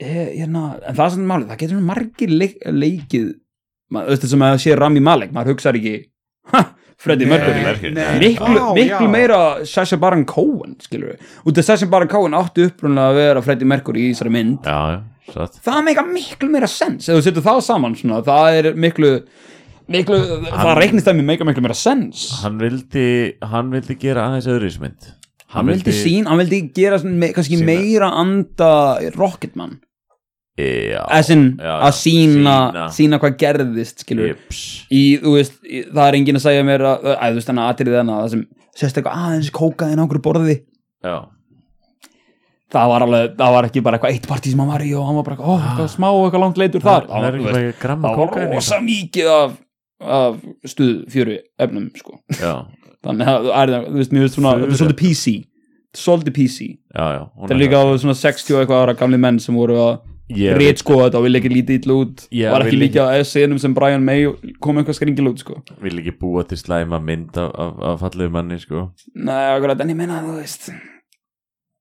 [SPEAKER 2] Hérna, en það er svona málið Það getur nú margir leik, leikið maður, Östu sem að sé Rami Malek Maður hugsar ekki, ha, Freddy Mercury
[SPEAKER 4] Mercury.
[SPEAKER 2] miklu,
[SPEAKER 3] Vá,
[SPEAKER 2] miklu
[SPEAKER 3] já.
[SPEAKER 2] meira Sacha Baron Cohen skilur við, út af Sacha Baron Cohen átti upprunlega að vera Freddie Mercury í þessari mynd
[SPEAKER 4] já, já, satt
[SPEAKER 2] það meika miklu meira sens ef þú setur það saman svona, það er miklu miklu, það reiknist það mér meika miklu meira sens hann,
[SPEAKER 4] hann vildi, hann vildi gera aðeins öðruvísmynd hann,
[SPEAKER 2] vildi sín, hann vildi gera svona, me, kannski
[SPEAKER 4] Sýna.
[SPEAKER 2] meira anda Rocketman,
[SPEAKER 4] já,
[SPEAKER 2] as in
[SPEAKER 4] já,
[SPEAKER 2] að sína,
[SPEAKER 4] sína.
[SPEAKER 2] sína hvað gerðist skilur við
[SPEAKER 4] Jips.
[SPEAKER 2] í, þú veist, í, það er enginn að segja mér að, að þú veist þannig aðrið þarna það sem sérst eitthvað aðeins kókaðin á okkur borði
[SPEAKER 4] já,
[SPEAKER 2] það var alveg, það var ekki bara eitthvað eitt partí sem hann var í og hann var bara eitthvað, ó, eitthvað smá og eitthvað langt leitur þar,
[SPEAKER 4] Ah. það er
[SPEAKER 2] þú
[SPEAKER 4] ekki
[SPEAKER 2] veist,
[SPEAKER 4] bara gramma
[SPEAKER 2] það var
[SPEAKER 4] kókaín í
[SPEAKER 2] rosa mikið af, af stuð fjöru efnum, sko
[SPEAKER 4] þessu. já,
[SPEAKER 2] þannig að, að þú veist, mér veist svona, þetta er svolítið PC svolítið PC,
[SPEAKER 4] já, já hún
[SPEAKER 2] það er líka á svona 60 og eitthvað ára gamli menn sem voru að
[SPEAKER 4] Ég veit-
[SPEAKER 2] rétskoða þetta og vilja ekki lítið illa út
[SPEAKER 4] Já,
[SPEAKER 2] var ekki
[SPEAKER 4] vilja
[SPEAKER 2] líka að senum sem Brian May kom eitthvað skringil út, sko
[SPEAKER 4] vil ekki búa til slæma mynd af, af, af fallegu manni sko
[SPEAKER 2] Nei, akkurat, en ég menna, þú veist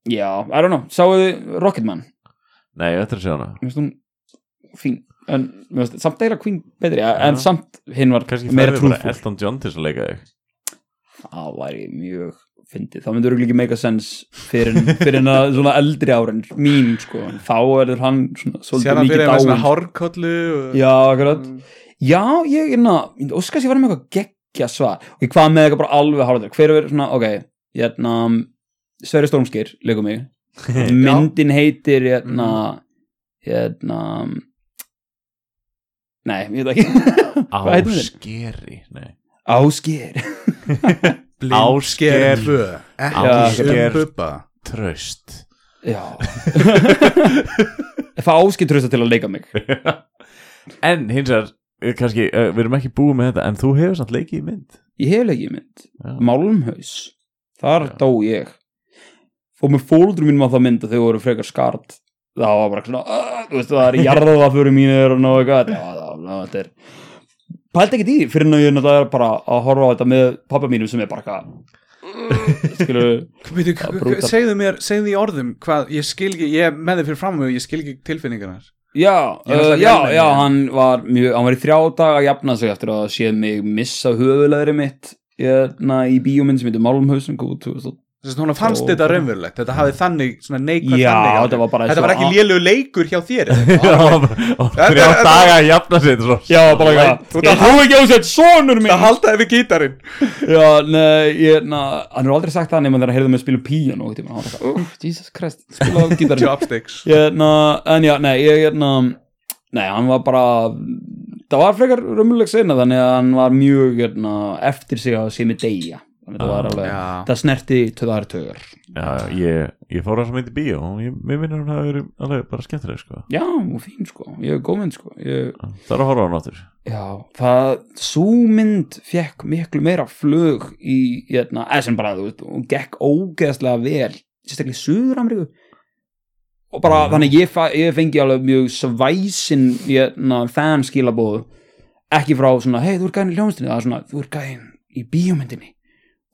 [SPEAKER 2] Já, I don't know, sáu þið Rocketman?
[SPEAKER 4] nei, ég ætla að sjá hana
[SPEAKER 2] mér finnst hún fín en mér finnst samt eiginlega Queen betri en samt hinn var
[SPEAKER 4] kannski
[SPEAKER 2] meira
[SPEAKER 4] færði bara
[SPEAKER 2] trúfúl
[SPEAKER 4] Elton John til þess að leika þig
[SPEAKER 2] það væri mjög fyndið það myndur ekki make a sense fyrir, en- fyrir en að svona eldri árin mín sko en þá verður hann svona
[SPEAKER 3] Sér
[SPEAKER 2] svolítið
[SPEAKER 3] hann fyrir
[SPEAKER 2] mikið
[SPEAKER 3] með svona
[SPEAKER 2] dáin
[SPEAKER 3] hárkollu og... Mm.
[SPEAKER 2] já, akkurat já, ég er ná ég óskast ég var með eitthvað geggja svar og ég hvað með eitthvað bara alveg hálfður hver er svona, ok, hérna Sverri Stormskir, leikum mig myndin heitir hérna hérna nei, ég veit ekki <laughs> hvað heitir myndin?
[SPEAKER 4] áskeri nei.
[SPEAKER 2] Ásker
[SPEAKER 3] Ásker tvö, Ekki
[SPEAKER 4] Ásker.
[SPEAKER 3] um bubba
[SPEAKER 4] tröst
[SPEAKER 2] já ég fá Ásker trösta til að leika mig
[SPEAKER 4] en hins vegar eh, kannski, uh, við erum ekki búið með þetta en þú hefur samt leikið í mynd
[SPEAKER 2] <laughs> ég hef leikið í mynd,
[SPEAKER 4] Já.
[SPEAKER 2] Málumhaus þar
[SPEAKER 4] Já.
[SPEAKER 2] dó ég fór með fóldur mínum á það mynd og þau voru frekar skart það var bara svona "Ah, þú veist, það er jarða fyrir mínir og ná eitthvað Já, það var- það- þetta er pælt ekki því fyrir en ég náttúrulega er bara að horfa á þetta með pappa mínum sem er bara eitthvað skilur Það er
[SPEAKER 3] Bíddu, k-
[SPEAKER 2] brútal.
[SPEAKER 3] k- Segðu mér, segðu í orðum hvað, ég skil ekki, ég er með þið fyrir fram og ég skil ekki tilfinningarnar
[SPEAKER 2] Já,
[SPEAKER 3] Ég er náttúrulega
[SPEAKER 2] uh,
[SPEAKER 3] ekki
[SPEAKER 2] já,
[SPEAKER 3] alveg
[SPEAKER 2] já,
[SPEAKER 3] með.
[SPEAKER 2] hann var, mjög, hann var í þrjá daga að jafna sig eftir að sé mig missa höfulegri mitt na, í bíómynd sem heitir Málumhaus sem kom út 2000.
[SPEAKER 3] Þess að hún fannst
[SPEAKER 2] Ó,
[SPEAKER 3] þetta
[SPEAKER 2] ok.
[SPEAKER 3] raunverulegt, þetta hafði þannig svona neikvæð
[SPEAKER 2] Já,
[SPEAKER 3] þannig áhrif.
[SPEAKER 2] þetta var bara
[SPEAKER 3] Þetta var
[SPEAKER 2] svona-
[SPEAKER 3] ekki lélug leikur hjá þér
[SPEAKER 2] <laughs>
[SPEAKER 3] eða eitthvað?
[SPEAKER 4] og þrjá
[SPEAKER 3] þetta-
[SPEAKER 4] daga að jafna sig þetta er svo-
[SPEAKER 2] eitthvað Ég trú ekki á sér sonur
[SPEAKER 3] Það haldaði við gítarinn
[SPEAKER 2] Já, nei, ég, na, hann er aldrei sagt það nema þegar að heyrðu mig að spila píjan og hann var það, uff, Jesus Christ, spila á gítarinn
[SPEAKER 3] Chopsticks
[SPEAKER 2] Ég, na, en já, nei, ég, ég, na, nei, hann var bara það var frekar römmuleg sinna þannig að hann var mjög ég, na, eftir sig að sé mig deyja þannig að það var alveg
[SPEAKER 3] Ah, Já.
[SPEAKER 2] það snerti töðar tögar
[SPEAKER 4] Já, ég, ég fór á þess að myndi bíó og ég, mér minnir hún hafi verið alveg bara skemmtileg sko.
[SPEAKER 2] já, hún fín sko, ég er góð mynd sko ég,
[SPEAKER 4] Það er að horfa á náttur
[SPEAKER 2] já, það, svo mynd fekk miklu meira flug í, hérna, eða sem bara, þú veist hún gekk ógeðslega vel sérstaklega í Suður-Ameríku og bara, þannig ég, fa- ég fengi alveg mjög svæsin, hérna, fanskilabóð ekki frá svona, hei, þú ert gæðin í hljómsdini, það er svona, þú ert gæðin í bíómyndinni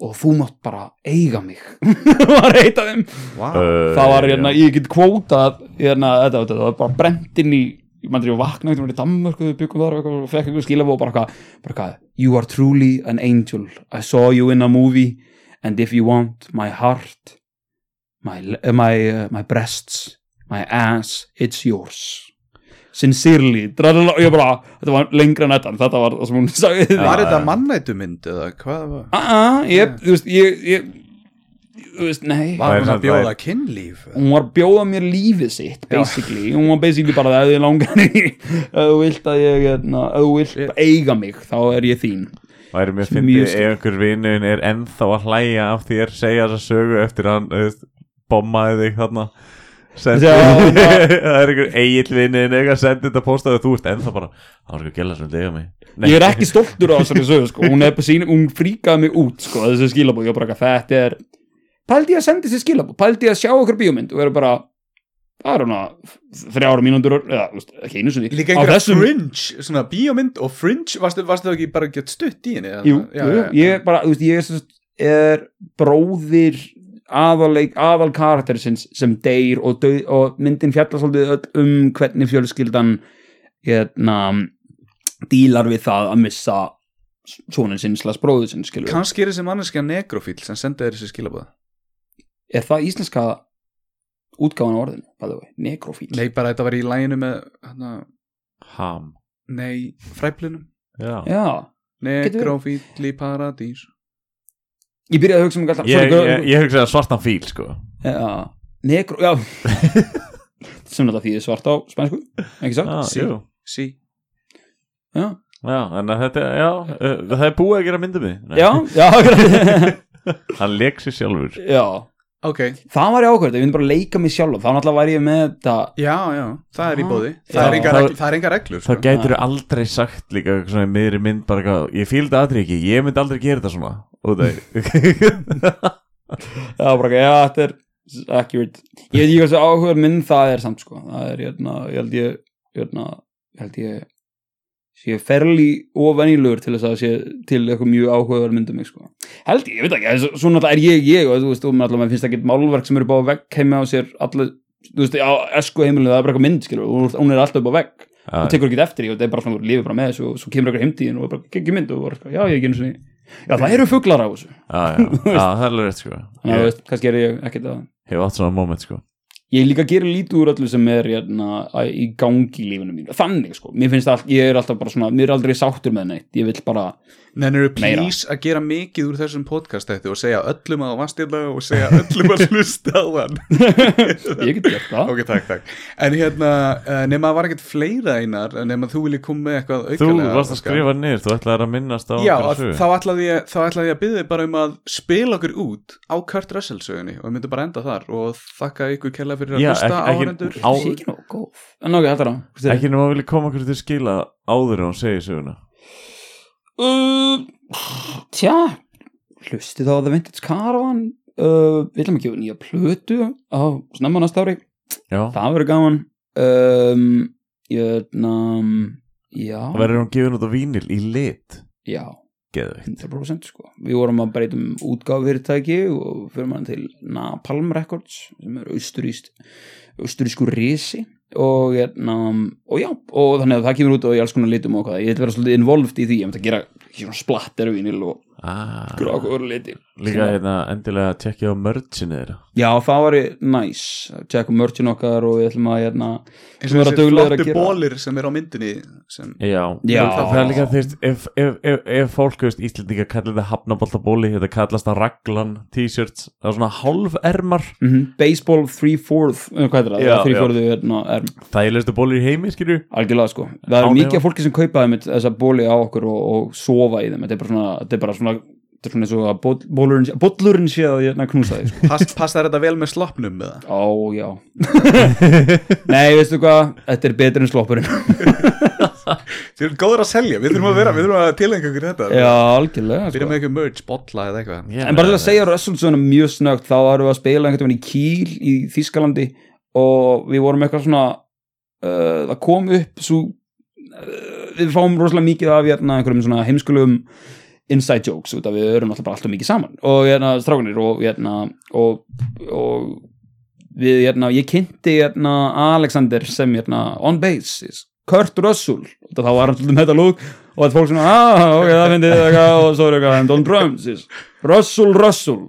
[SPEAKER 2] og þú mátt bara eiga mig <laughs> var eitt af þeim
[SPEAKER 3] wow.
[SPEAKER 2] það
[SPEAKER 4] Eh,
[SPEAKER 2] var hérna, ég get kvótað hérna, þetta, þetta, það var bara brent inn í ég mann ég vakna eitthvað í Danmörku við byggum þar og eitthvað og fekk eitthvað skilabó og bara hvað, bara hvað, you are truly an angel I saw you in a movie and if you want my heart my, uh, my, uh, my breasts my ass, it's yours sincerely dralala, og ég bara, þetta var lengra en þetta en þetta var það sem hún <laughs> sagði
[SPEAKER 3] Var þetta mannættumynd eða hvað var
[SPEAKER 2] ah, ah, ég, þú veist, ég, ég þú veist, nei
[SPEAKER 3] Var hún
[SPEAKER 4] það er-
[SPEAKER 3] að bjóða kynlíf
[SPEAKER 2] hún var að bjóða mér lífið sitt basically, hún var basically bara það ef þið langar í, ef þú vilt að ég hérna, ef þú vilt eiga mig þá er ég þín
[SPEAKER 4] Væri mjög
[SPEAKER 2] Sem
[SPEAKER 4] fyndið
[SPEAKER 2] mjög
[SPEAKER 4] ef
[SPEAKER 2] skemmt.
[SPEAKER 4] einhver vinnun er ennþá að hlæja af þér segja þessa sögu eftir að hann þú veist, bommaði þig þarna Sendi,
[SPEAKER 2] Já, já.
[SPEAKER 4] <laughs> það er einhver eigill vinnun eitthvað sendið þetta postaði þú ert ennþá bara það var sko gæla sem dega mig Nei,
[SPEAKER 2] ég er ekki stoltur á þessari sögu sko. hún, er bara sín, hún fríkaði mig út sko, þessi skilabóð, ég var bara ekki þetta er pældi ég að senda þessi skilabóð, pældi ég að sjá okkur bíómynd og vera bara það er svona þrjára mínútur eða þú veist, ekki einu sinni Á
[SPEAKER 3] Líka einhverja
[SPEAKER 2] þessum-
[SPEAKER 3] fringe, svona bíómynd og fringe, varstu, varstu ekki bara að geta stutt í henni? eða?
[SPEAKER 2] Jú,
[SPEAKER 3] Já,
[SPEAKER 2] jú,
[SPEAKER 3] já, já.
[SPEAKER 2] ég bara, þú veist, ég er, sem sagt- er bróðir aðaleik, aðal karakterisins sem deyr og, döð, og myndin fjallar svolítið öll um hvernig fjölskyldan hérna dílar við það að missa sonin sinn slags bróður sinn skilur við.
[SPEAKER 3] Kannski er þessi manneskja nekrofíl sem sendi þér þessi skilabóða.
[SPEAKER 2] er það íslenska útgáfan á orðinu, by the way, nekrofíl
[SPEAKER 3] Nei, bara þetta var í læginu með, hana,
[SPEAKER 4] ham
[SPEAKER 3] nei, fræplinum.
[SPEAKER 4] já.
[SPEAKER 2] já, verið.
[SPEAKER 3] Nekrofíl í paradís.
[SPEAKER 2] ég byrjaði að hugsa um alltaf
[SPEAKER 4] Ég, ég, ég hugsa að svartan fíl sko
[SPEAKER 2] Já, negro,
[SPEAKER 4] <laughs>
[SPEAKER 2] já sem þetta þýðir svart á spænsku ekki sagt,
[SPEAKER 4] ah,
[SPEAKER 3] sí.
[SPEAKER 4] jú.
[SPEAKER 3] Sí.
[SPEAKER 2] já
[SPEAKER 4] já, en þetta, já, uh, það er búið að gera myndum við Nei.
[SPEAKER 2] já, já,
[SPEAKER 4] <laughs>
[SPEAKER 2] akkurat.
[SPEAKER 4] hann leik sér sjálfur sko.
[SPEAKER 2] já
[SPEAKER 3] Ok,
[SPEAKER 2] það var ég ákvörð, ég myndi bara leika mig sjálf þá náttúrulega væri ég með þetta
[SPEAKER 3] já, já, það er í
[SPEAKER 2] Ah.
[SPEAKER 3] bóði.
[SPEAKER 2] Já.
[SPEAKER 3] Það er enga
[SPEAKER 4] Það-
[SPEAKER 3] regl- það er enga reglur,
[SPEAKER 4] það
[SPEAKER 3] sko.
[SPEAKER 4] gætur aldrei sagt líka svona í miðri mynd bara eitthvað, ég fíl þetta aðri ekki, ég myndi aldrei gera þetta svona og <laughs> það
[SPEAKER 2] já, bara, ekki, já, þetta er accurate ég veit ekki hversu áhugur minn það er samt sko, það er, hérna, ég held ég hérna, ég held ég sé ferli og venjulegur til þess að sé til eitthvað mjög áhugaður myndum mig sko. held ég, ég veit ekki, þess- svona alltaf er ég ég og þú veist, og mér alltaf mér finnst ekki málverk sem eru bá vegg heima á sér allir, þú veist, á esku heimilinu, það er bara eitthvað mynd skilur, og hún er alltaf upp á vegg þú tekur ekki eftir því og það er bara svona lífið bara með þessu og svo kemur eitthvað heimtíðin og bara geggjum mynd og bara, sko, já, ég er ekki einu sinni já, það eru fuglar á þessu <laughs>
[SPEAKER 4] já, já, það er alveg rétt sko
[SPEAKER 2] þannig að, þú veist, kannski er ég ekkert að
[SPEAKER 4] Ég hef átt svona moment sko
[SPEAKER 2] ég líka gerir lítið úr öllu sem er hérna, að- í gangi í lífinu mínu þannig, sko, mér finnst allt, ég er alltaf bara svona mér er aldrei sáttur með neitt, ég vil bara
[SPEAKER 3] Nenniru
[SPEAKER 2] Meira.
[SPEAKER 3] please að gera mikið úr þessum podcast þetta og segja öllum að það varst í dag og segja öllum að hlusta á hann <laughs>
[SPEAKER 2] ég get gert <laughs> það
[SPEAKER 3] Ok, takk, takk En hérna, eh, nema það var ekkert fleira einar nema þú viljið koma með eitthvað
[SPEAKER 4] Þú
[SPEAKER 3] aukalega
[SPEAKER 4] varst að
[SPEAKER 3] Óskar.
[SPEAKER 4] skrifa niður, þú ætlaðir að minnast á
[SPEAKER 3] Já,
[SPEAKER 4] einhverja
[SPEAKER 3] að-
[SPEAKER 4] sögu.
[SPEAKER 3] þá ætlaði ég, þá ætlaði ég að byrja bara um að spila okkur út á Kurt Russell sögunni og við myndum bara enda þar og þakka ykkur kella fyrir að
[SPEAKER 4] Já,
[SPEAKER 3] hlusta
[SPEAKER 4] ekki- ekki-
[SPEAKER 3] áhörendur
[SPEAKER 4] á-
[SPEAKER 2] ég sé ekki nóg góð, en ok, þetta er það
[SPEAKER 4] Ekki nema að vilja koma okkur til skila áður en hún segir söguna
[SPEAKER 2] uh, tja hlustið á The Vintage Caravan uh, við ætlum að gefa nýja plötu á snemma næsta ári
[SPEAKER 4] Já,
[SPEAKER 2] það verður gaman um, jötna já,
[SPEAKER 4] það verður hún gefin út á vínil í lit
[SPEAKER 2] já,
[SPEAKER 4] Geðveikt
[SPEAKER 2] 100% sko við vorum að breytum útgáfyrirtæki og fyrir mann til Napalm Records sem er austuríst austurísku risi og, hérna, og já, og þannig að það kemur út og í alls konar litum og hvað, ég vil vera svolítið involved í því, ég myndi að gera ekki svona splatter vinil og
[SPEAKER 4] ah,
[SPEAKER 2] grákur liti
[SPEAKER 4] Líka hérna, endilega að tekja á mörginu þeirra
[SPEAKER 2] já, það var næs, tjekkum mörgin okkar og við ætlum að hérna,
[SPEAKER 3] eins
[SPEAKER 2] sem
[SPEAKER 3] og
[SPEAKER 2] vera
[SPEAKER 3] þessi
[SPEAKER 2] duglegir að
[SPEAKER 3] flottu
[SPEAKER 2] gera.
[SPEAKER 3] bólir sem er á myndinni sem,
[SPEAKER 4] <laughs> Já,
[SPEAKER 2] Já.
[SPEAKER 4] það er líka þú veist ef, ef, ef, ef fólk veist Íslendinga kallir það hafnaboltabóli þetta kallast það raglan t-shirts það er svona hálf ermar
[SPEAKER 2] mm baseball 3-4 hvað er það,
[SPEAKER 4] Já,
[SPEAKER 2] 3-4 hérna, er
[SPEAKER 4] þægilegustu bóli í heimi skilju
[SPEAKER 2] algjörlega sko það er
[SPEAKER 4] Án
[SPEAKER 2] mikið
[SPEAKER 4] efa.
[SPEAKER 2] af fólki sem kaupa þeim þessa bóli á okkur og, og sofa í þeim þetta er bara svona, þetta er bara svona, þetta er svona eins og að bóll- bólurinn sé- bollurinn sé að hérna knúsa þig sko.
[SPEAKER 3] pass, passar þetta vel með sloppnum með það
[SPEAKER 2] á já <laughs> nei veistu hvað, þetta er betur en sloppurinn
[SPEAKER 3] Þið erum góður að selja, við þurfum að vera, við þurfum að tilengja okkur þetta
[SPEAKER 2] <laughs> já algjörlega
[SPEAKER 3] Byrja
[SPEAKER 2] sko.
[SPEAKER 3] með eitthvað merch, bolla eða eitthvað
[SPEAKER 4] Já,
[SPEAKER 2] en bara til að segja Russellsona mjög snögt þá varum við að spila einhvern veginn í Kíl í Þískalandi og við vorum eitthvað svona uh, það kom upp svo, uh, við fáum rosalega mikið af hérna, einhverjum svona heimskulegum inside jokes út af við erum alltaf bara alltaf mikið saman og hérna strákunir og hérna og, og við hérna, ég kynnti hérna Alexander sem hérna on base Kurt Russell, og þá var hann svolítið með þetta lúk og þetta fólk svona, ah, ok, það finnir þið eitthvað og svo er eitthvað, and on drums is Russell Russell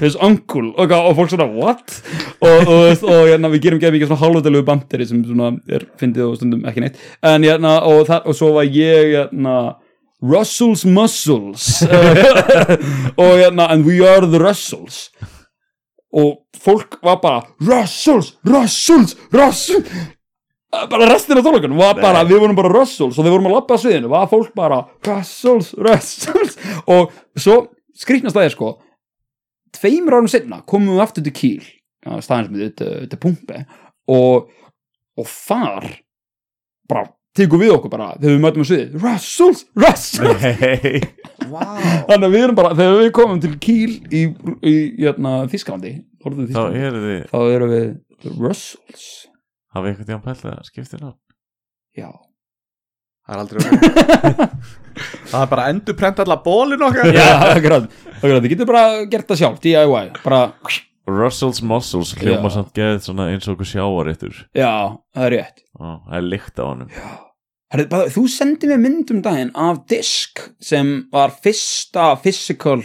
[SPEAKER 2] his uncle, og, eitthvað, og fólk svona, what? og, og, og, og hérna, við gerum geðum mikið svona hálfutælugu banderi sem svona er fyndið og stundum ekki neitt, en hérna og, það, og svo var ég, hérna Russell's Muscles <laughs> og hérna, and we are the Russells og fólk var bara Russells, Russells, Russells Eh, bara restin af tónleikunum var bara, við vorum bara Russells og við vorum að lappa að sviðinu, var fólk bara Russells, Russells og svo skrýtnast það er sko tveimur árum setna komum við aftur til Kíl á staðin sem við þetta pumpi og, og þar bara tekum við okkur bara þegar við mætum að sviði Russells, Russells
[SPEAKER 4] <laughs> Nei,
[SPEAKER 3] wow.
[SPEAKER 2] þannig að við erum bara, hérna, þegar við komum til Kíl í, í, í Þískalandi, orðum
[SPEAKER 4] þá
[SPEAKER 2] Þískalandi
[SPEAKER 4] eru þið
[SPEAKER 2] þá erum við The Russells
[SPEAKER 4] hafið eitthvað tíðan pælt að skipta ná
[SPEAKER 2] já,
[SPEAKER 3] Það er aldrei
[SPEAKER 2] <laughs>
[SPEAKER 3] Það er bara endurprent alla bólin okkar
[SPEAKER 2] já akkurat, akkurat, þið getur bara gert það sjálf DIY, bara,
[SPEAKER 4] Russell's Muscles hljóma
[SPEAKER 2] Já.
[SPEAKER 4] samt geðið svona eins og okkur sjáarittur
[SPEAKER 2] já, það er rétt
[SPEAKER 4] það er lykt á honum
[SPEAKER 2] Herri, bara, þú sendi mér myndum daginn af disk sem var fyrsta physical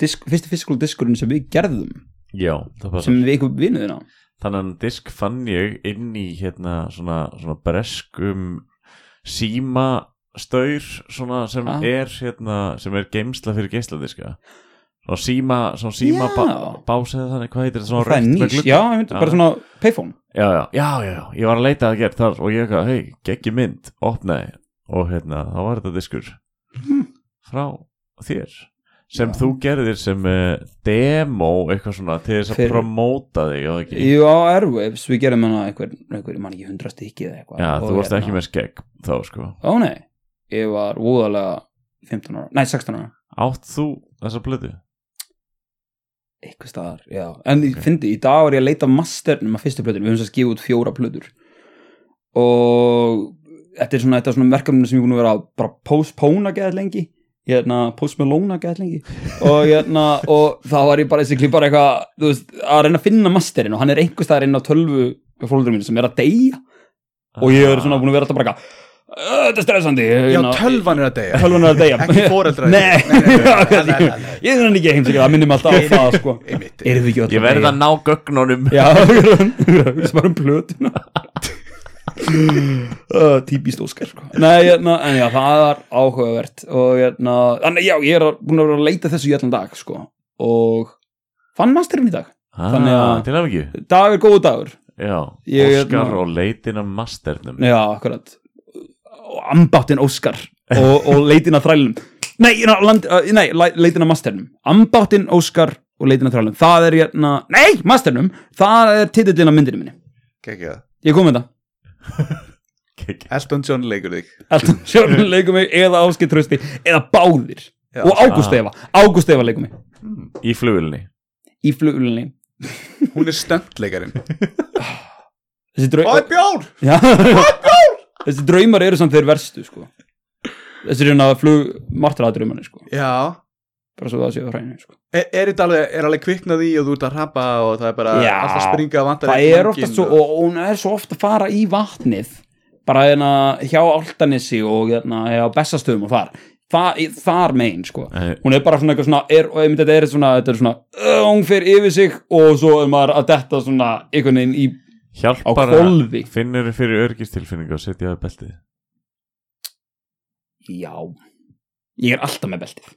[SPEAKER 2] disk, fyrsta physical diskurinn sem við gerðum
[SPEAKER 4] já, það passar
[SPEAKER 2] sem við ykkur vinuðina
[SPEAKER 4] þannig að disk fann ég inn í hérna svona, svona breskum síma staur svona sem
[SPEAKER 2] Ah.
[SPEAKER 4] er hérna, sem er geimsla fyrir geisladiska svona síma, svona síma
[SPEAKER 2] Já.
[SPEAKER 4] bá, bás eða þannig, hvað heitir það svona
[SPEAKER 2] það er
[SPEAKER 4] rautt með
[SPEAKER 2] nýs,
[SPEAKER 4] glugga?
[SPEAKER 2] já, einmitt,
[SPEAKER 4] Já.
[SPEAKER 2] bara svona payphone
[SPEAKER 4] já, já, já, já, já, ég var að leita að gera þar og ég eitthvað, hei, geggi mynd, opnaði og hérna, þá var þetta diskur frá þér sem þú gerðir sem uh, demo eitthvað svona til þess að
[SPEAKER 2] Fyrir-
[SPEAKER 4] promóta þig og ekki
[SPEAKER 2] Jú, á Airwaves, við gerum hana einhver, einhver ég man ekki hundra stykki eða eitthvað
[SPEAKER 4] Já,
[SPEAKER 2] Og
[SPEAKER 4] þú varst
[SPEAKER 2] hérna-
[SPEAKER 4] ekki með skegg þá sko
[SPEAKER 2] Ó nei, ég var úðalega 15 ára, nei 16 ára
[SPEAKER 4] Átt þú þessa plötu?
[SPEAKER 2] eitthvað staðar, já, en ég fyndi í dag var ég að leita að masternum að fyrstu plötunum við höfum þess að gefa út fjóra plötur og þetta er svona, þetta er svona verkefni sem ég búin að vera að bara postpona geðað lengi hérna, post Malone geðað lengi og hérna, og þá var ég bara þessi bara eitthvað, þú veist, að reyna að finna masterin og hann er einhver staðar inn á tölvu fólkdurum mínu sem er að deyja og ég er svona búin að vera alltaf bara eitthvað "Ugh, þetta er stressandi
[SPEAKER 3] Já,
[SPEAKER 2] hérna,
[SPEAKER 3] tölvan er að deyja
[SPEAKER 2] tölvan er að deyja
[SPEAKER 3] Ekki foreldrar.
[SPEAKER 2] nei,
[SPEAKER 3] Nei, nei, nei, nei, nei, nei, nei.
[SPEAKER 2] ég er hann ekki heimsækja það minnum alltaf á það sko
[SPEAKER 3] Einmitt.
[SPEAKER 2] erum við ekki öll
[SPEAKER 4] Ég verði að ná gögnunum
[SPEAKER 2] já, við sem bara um
[SPEAKER 3] <laughs>
[SPEAKER 2] plötuna
[SPEAKER 3] Ah,
[SPEAKER 2] uh, típist óskar sko. nei, hérna, en já, það er áhugavert og hérna, þannig já, ég er að- búin að vera að leita þessu í allan dag sko, og fann masterinn í dag
[SPEAKER 4] ah,
[SPEAKER 2] Þannig að-
[SPEAKER 4] Til af ekki
[SPEAKER 2] dag er góðu dagur,
[SPEAKER 4] Já,
[SPEAKER 2] Ég er
[SPEAKER 4] Óskar
[SPEAKER 2] nú-
[SPEAKER 4] og leitin af masternum
[SPEAKER 2] já, akkurat og ambáttinn óskar og, og leitin að þrælum nei, hérna, land, uh, nei la- leitin að masternum ambáttinn óskar og leitin að þrælum það er hérna, nei, masternum það er titillin á myndinu minni
[SPEAKER 3] Kekja.
[SPEAKER 2] ég kom með þetta
[SPEAKER 4] Gegg-
[SPEAKER 3] Elton John leikur þig
[SPEAKER 2] Elton John leikur mig eða Áskei Trösti eða báðir
[SPEAKER 3] Já.
[SPEAKER 2] og Ágúst Eva, Ágúst Eva leikur mig
[SPEAKER 4] Í flugulni
[SPEAKER 2] í flugulunni
[SPEAKER 3] Hún er stöndleikarinn
[SPEAKER 2] <laughs> þessi, drau
[SPEAKER 3] Það er bjór
[SPEAKER 2] Já. <laughs> þessi draumar eru samt þeir verstu sko. þessi er hérna flug martraða draumarnir sko.
[SPEAKER 3] Já
[SPEAKER 2] bara svo það séu á hreinu sko.
[SPEAKER 3] Er, er, þetta alveg, er alveg kviknað í og þú ert að hrapa og það er bara
[SPEAKER 2] Já.
[SPEAKER 3] alltaf að springa vantar
[SPEAKER 2] það
[SPEAKER 3] einn
[SPEAKER 2] er
[SPEAKER 3] manginn
[SPEAKER 2] oftast svo og hún er svo ofta að fara í vatnið bara hérna hjá Altanissi og hérna hjá Bessastöðum og þar Þa, í- þar megin sko
[SPEAKER 4] Nei.
[SPEAKER 2] hún er bara svona eitthvað svona er, og einmitt þetta er svona, þetta er svona uh, hún fer yfir sig og svo er maður að detta svona einhvern veginn í Á
[SPEAKER 4] Hjálpar
[SPEAKER 2] hvolfi.
[SPEAKER 4] Finnur fyrir örgistilfinningu og setja á beltið
[SPEAKER 2] Já Ég er alltaf með beltið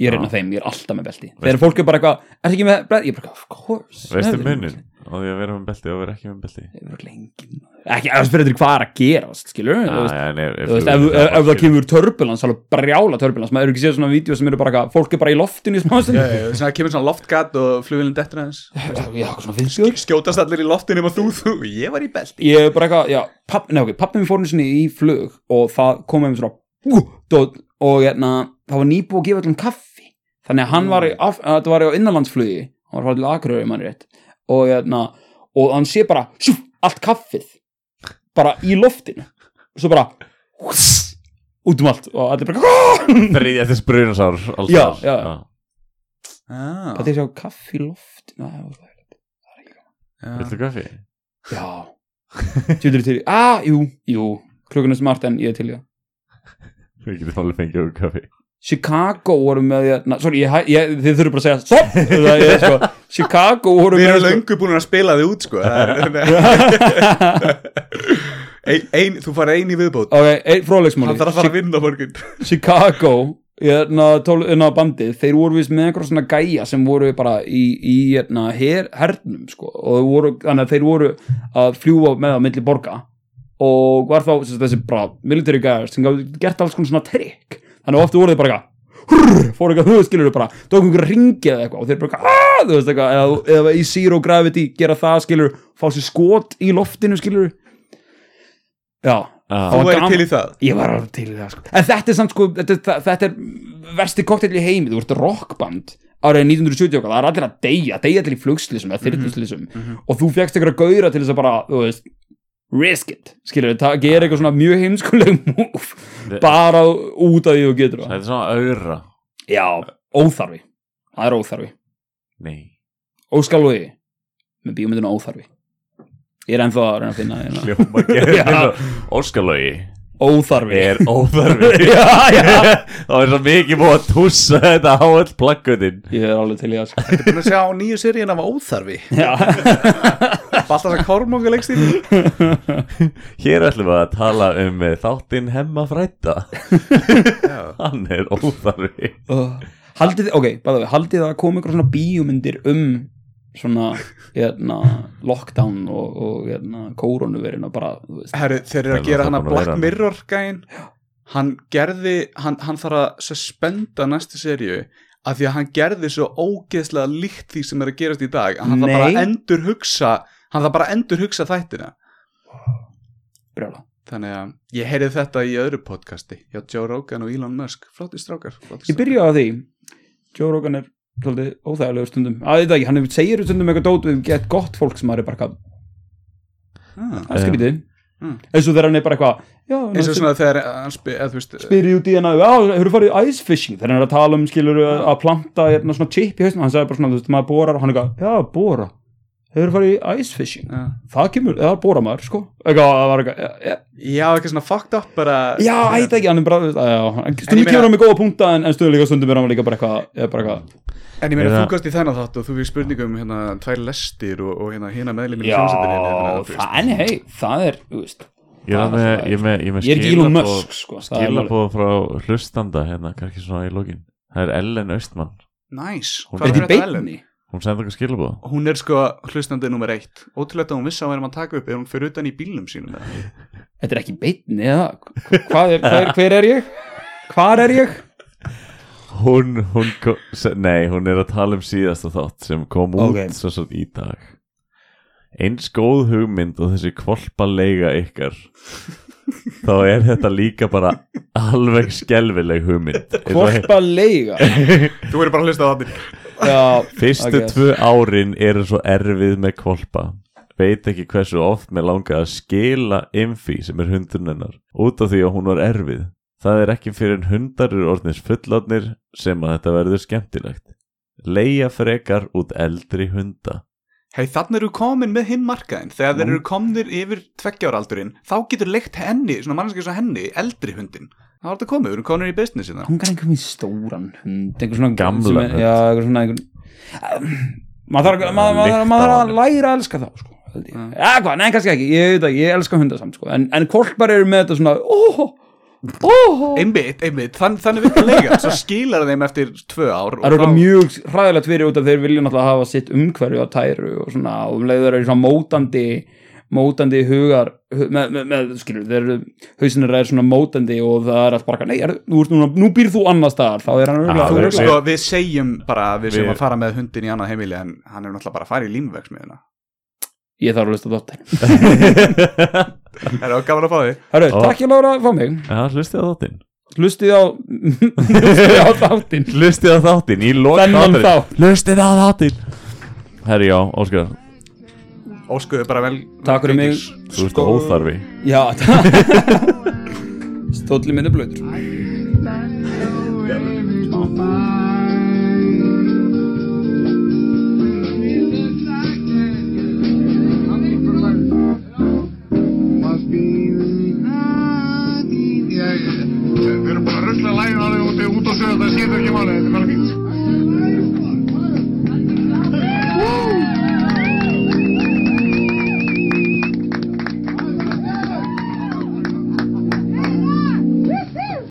[SPEAKER 2] Ég er
[SPEAKER 4] Já.
[SPEAKER 2] einn af þeim, ég er alltaf með beltið
[SPEAKER 4] Veistu-
[SPEAKER 2] Þegar fólk er bara eitthvað, er ekki með beltið Ég er bara, eitthvað, of course
[SPEAKER 4] Veistu
[SPEAKER 2] hefði-
[SPEAKER 4] munin? Á því að vera með beltið og vera ekki með beltið
[SPEAKER 2] Ég er bara lengi Ekki, það fyrir eftir hvað er að gera Skilur við, þú veist
[SPEAKER 4] Já, en er,
[SPEAKER 2] Þú veist, ef, ef, ef það kemur turbulans, alveg brjála turbulans maður eru ekki séð svona vídeo sem eru bara eitthvað fólk er bara í loftinu í smá stund
[SPEAKER 3] Já, já, já, svona kemur svona loftgat og flugvillin
[SPEAKER 2] <laughs>
[SPEAKER 3] dettur aðeins
[SPEAKER 2] já, eitthvað svona finnskjóður
[SPEAKER 3] skjótast allir í loftinu og þú, þú, ég var í belti
[SPEAKER 2] ég er bara eitthvað, já, papp, nei, ok, pappi minn fór einu sinni í flug og það kom með svona hú, dót, og hérna, það var nýbúið að gefa öllum kaffi þannig að hann var, í, af, að þetta var á innanlandsflugi hann var farið til Akureyri, mann rétt og hérna, og hann sé bara sjúf, allt kaffið bara í loftinu, og svo bara húss, út um allt og allir bara, "Ah!"
[SPEAKER 4] Þriðja þess brunasár alls
[SPEAKER 2] Já,
[SPEAKER 4] staðar.
[SPEAKER 2] já.
[SPEAKER 3] ah,
[SPEAKER 2] það er sjá kaffi í loftinu það var það
[SPEAKER 4] Viltu kaffi?
[SPEAKER 2] Já Tjóður til, ah, jú, jú Klukkan er smart en ég er til í það
[SPEAKER 4] Við getum alveg fengið okkur kaffi
[SPEAKER 2] Chicago voru með na, Sorry, ég, hæ- ég, þið þurfum bara að segja Stopp Það er sko Chicago voru
[SPEAKER 3] Við
[SPEAKER 2] með
[SPEAKER 3] erum löngu búin að spila þig út sko Það er-
[SPEAKER 2] <laughs>
[SPEAKER 3] ein, ein, Þú fara ein í viðbót
[SPEAKER 2] Ok, einn
[SPEAKER 3] Hann
[SPEAKER 2] fróðleiksmáli
[SPEAKER 3] þarf að fara að vinna á morgun
[SPEAKER 2] Chi- Chicago Hérna, tól, hérna bandið, þeir voru vist með einhver svona gæja sem voru bara í, í hérna, her, hernum sko og þeir voru, þannig að þeir voru að fljúa með á milli borga og var þá sem sagt, þessi bara military gæjar sem gaf gert alls konar svona trikk þannig að ofta voru þeir bara eitthvað hurr, fóru eitthvað höfðskilur bara tók einhver ringi eða eitthvað og þeir bara aaaah þú veist eitthvað eða, eða í zero gravity gera það skilur fá sér skot í loftinu skilur já
[SPEAKER 4] Ah.
[SPEAKER 2] það
[SPEAKER 3] Þú
[SPEAKER 2] var
[SPEAKER 3] væri
[SPEAKER 2] gaman-
[SPEAKER 3] til í það
[SPEAKER 2] ég var alveg til í það sko. en þetta er samt sko þetta, þetta, þetta er versti koktel í heimi þú ert rockband árið 1970 og eitthvað, það er allir að deyja, deyja allir í flugslýsum eða þyrluslýsum og þú fjekkst einhverja gauðra til þess að bara, þú veist risk it, skilur, það gera eitthvað svona mjög heimskuleg múf
[SPEAKER 4] Þe-
[SPEAKER 2] bara út af því þú getur
[SPEAKER 4] Það
[SPEAKER 2] það
[SPEAKER 4] er svona aura
[SPEAKER 2] já, óþarfi, það er óþarfi
[SPEAKER 4] Nei,
[SPEAKER 2] óskalói með bíómyndinu óþarfi ég er ennþá að reyna að finna hérna.
[SPEAKER 4] <laughs> hljóma
[SPEAKER 2] Já.
[SPEAKER 4] gerðin Óskalógi
[SPEAKER 2] óþarfi
[SPEAKER 4] er <laughs> óþarfi
[SPEAKER 2] já, já.
[SPEAKER 4] <laughs> Það er svo mikið búið að tússa þetta á öll plakkutin
[SPEAKER 2] ég er alveg til í það sko. <laughs>
[SPEAKER 3] Þetta er búin að sjá nýju seríun af óþarfi
[SPEAKER 2] já,
[SPEAKER 3] Baltasar Kormunga leikstíl
[SPEAKER 2] <laughs>
[SPEAKER 4] Hér ætlum við að tala um eh, þáttinn Hemma Fræta Hann er óþarfi
[SPEAKER 2] Oh. haldið, ok, bæða við, haldið að koma einhver svona bíómyndir um svona, hérna, lockdown og, og hérna, kórónuverin og bara, þú veist,
[SPEAKER 3] Herru, þeir eru
[SPEAKER 4] Það
[SPEAKER 3] að
[SPEAKER 4] er
[SPEAKER 3] gera
[SPEAKER 4] alltaf
[SPEAKER 3] hana
[SPEAKER 4] búin að vera
[SPEAKER 3] Black
[SPEAKER 4] hann.
[SPEAKER 3] Mirror gæin Hann gerði, hann, hann þarf að suspenda næstu seríu af því að hann gerði svo ógeðslega líkt því sem er að gerast í dag að hann þarf bara að
[SPEAKER 2] Nei.
[SPEAKER 3] endur hugsa hann þarf bara að endur hugsa þættina
[SPEAKER 2] brjála
[SPEAKER 3] þannig að ég heyrði þetta í öðru podcasti hjá Joe Rogan og Elon Musk flotti strákar, flotti
[SPEAKER 2] ég byrja á því Joe Rogan er svolítið óþægilegur stundum að þetta ekki, hann segir stundum eitthvað dót við um gett gott fólk sem maður er bara eitthvað,
[SPEAKER 3] ah,
[SPEAKER 2] það er skrítið
[SPEAKER 3] Mm.
[SPEAKER 2] eins og þegar hann er bara eitthvað já,
[SPEAKER 3] eins og
[SPEAKER 2] næstu-
[SPEAKER 3] svona þegar hann spyr, eða þú veist
[SPEAKER 2] spyrir út í hérna, já, hefur farið í ice fishing þegar hann er að tala um, skilur, að planta hérna, svona chip í hausnum, hann sagði bara svona, þú veist, maður borar og hann eitthvað, já, bora, hefur farið í ice fishing,
[SPEAKER 3] Já.
[SPEAKER 2] það kemur, það bora maður, sko eitthvað, það var eitthvað, já,
[SPEAKER 3] já, eitthvað svona fucked up bara
[SPEAKER 2] já, ætla ekki, hann er bara þú veist, að, já, hann-
[SPEAKER 3] En
[SPEAKER 2] stundum
[SPEAKER 3] ég meina-
[SPEAKER 2] kemur hann með góða punkta en, en stundum líka stundum er hann líka bara eitthvað, eða bara eitthvað
[SPEAKER 3] En ég meina
[SPEAKER 4] Eða-
[SPEAKER 3] þú gast í þennan þátt og þú fyrir spurningum hérna tvær lestir og, og hérna hérna meðlum í hérna,
[SPEAKER 2] já,
[SPEAKER 3] hljómsættinni
[SPEAKER 2] það, en hei, það er, þú veist
[SPEAKER 4] Ég er
[SPEAKER 2] það
[SPEAKER 4] með,
[SPEAKER 2] það
[SPEAKER 4] ég er með, ég er með
[SPEAKER 2] ég er ekki Elon
[SPEAKER 4] skilaboð-
[SPEAKER 2] Musk, sko, það er málið.
[SPEAKER 4] Skilabóð frá hlustanda hérna, kannski svona í lokin Það er Ellen Austmann
[SPEAKER 3] Næs,
[SPEAKER 4] Hún
[SPEAKER 3] hvað
[SPEAKER 4] er
[SPEAKER 3] er
[SPEAKER 2] þetta
[SPEAKER 3] þetta
[SPEAKER 2] í
[SPEAKER 3] Ellen?
[SPEAKER 2] beinni
[SPEAKER 4] Hún sendi okkur skilabóð
[SPEAKER 3] Hún er sko hlustandi nummer eitt Ótrúlega að hún vissi að hún væri að taka upp ef hún fyrir utan í bílnum sínum eða.
[SPEAKER 2] þetta er ekki beinni, eða, hvað er, hver, hver er ég hvar er ég
[SPEAKER 4] Hún, hún, ko- se- nei, hún er að tala um síðasta þátt sem kom út
[SPEAKER 2] Ok.
[SPEAKER 4] svo svo í dag Eins góð hugmynd og þessi kvolpalega <laughs> ykkar þá er þetta líka bara alveg skelfileg hugmynd Eins og he-
[SPEAKER 2] Korpa leiga
[SPEAKER 3] Þú verður bara að hlusta á þáttir
[SPEAKER 2] Já,
[SPEAKER 4] Fyrstu
[SPEAKER 2] I guess.
[SPEAKER 4] tvö árin eru svo erfið með kvolpa Veit ekki hversu oft með langa að skila Imfi sem er hundurinn hennar út af því að hún var erfið Það er ekki fyrir en hundar eru orðnir fullotnir sem að þetta verður skemmtilegt Leia frekar út eldri hunda
[SPEAKER 3] Hei, þannig eru komin með hinn markaðin Þegar þeir eru komnir yfir tveggjáraldurinn Þá getur leikt henni, svona mannskið svo henni Eldri hundin, þá er þetta komið Við erum komin í businessi það
[SPEAKER 2] hún er einhvern veginn stóran hund einhvern svona
[SPEAKER 4] Gamlan
[SPEAKER 2] sem er,
[SPEAKER 4] hund.
[SPEAKER 2] já, einhvern svona einhvern maður þarf maður, maður, maður
[SPEAKER 4] Lykt á
[SPEAKER 2] þarf að
[SPEAKER 4] honum.
[SPEAKER 2] læra að elska þá sko, held ég. ja, hvað, nei, kannski ekki, ég veit að ég elska hunda samt sko. en, en kolpar eru með þetta svona ó, ó,
[SPEAKER 3] Einmitt, einmitt, þann, þannig við leigan Svo skilar þeim eftir tvö ár
[SPEAKER 2] það eru
[SPEAKER 3] og þá-
[SPEAKER 2] eitthvað mjög hræðilegt fyrir út af þeir vilja náttúrulega hafa sitt umhverfi á tæru og svona, og um leiður eru svona mótandi mótandi hugar hu- með, með, með skilur, þeir eru hausinnir er svona mótandi og það er allt bara nei, er, nú, ert núna, nú býr þú annars staðar þá er hann
[SPEAKER 4] Ah,
[SPEAKER 2] örugglega-
[SPEAKER 3] Þú,
[SPEAKER 4] Við-
[SPEAKER 3] sko, við segjum bara að við
[SPEAKER 4] Við-
[SPEAKER 3] segjum að fara með hundin í annað heimili en hann er náttúrulega bara að fara í límvegsmiðuna
[SPEAKER 2] ég þarf að hlusta þáttir
[SPEAKER 3] Það er gaman að fá því
[SPEAKER 2] Herru,
[SPEAKER 4] Ó.
[SPEAKER 2] takk ég Lára, fá mig
[SPEAKER 4] Já, hlustið á þáttinn
[SPEAKER 2] Hlustið á <laughs> Hlustið á þáttinn
[SPEAKER 4] <laughs> Hlustið á þáttinn í lok
[SPEAKER 2] Þennan
[SPEAKER 4] þáttarins.
[SPEAKER 2] þátt.
[SPEAKER 4] Hlustið á þáttinn Herri, já, Óskar,
[SPEAKER 3] Óskuðu bara vel
[SPEAKER 2] Takk fyrir mig
[SPEAKER 4] þú veist
[SPEAKER 3] Sko,
[SPEAKER 4] óþarfi
[SPEAKER 2] Já <laughs> Stóllin minn er blöður
[SPEAKER 1] Við erum bara að rusla lægin alveg út, út á sögðu, það skiptir ekki máli, þetta er bara fínt.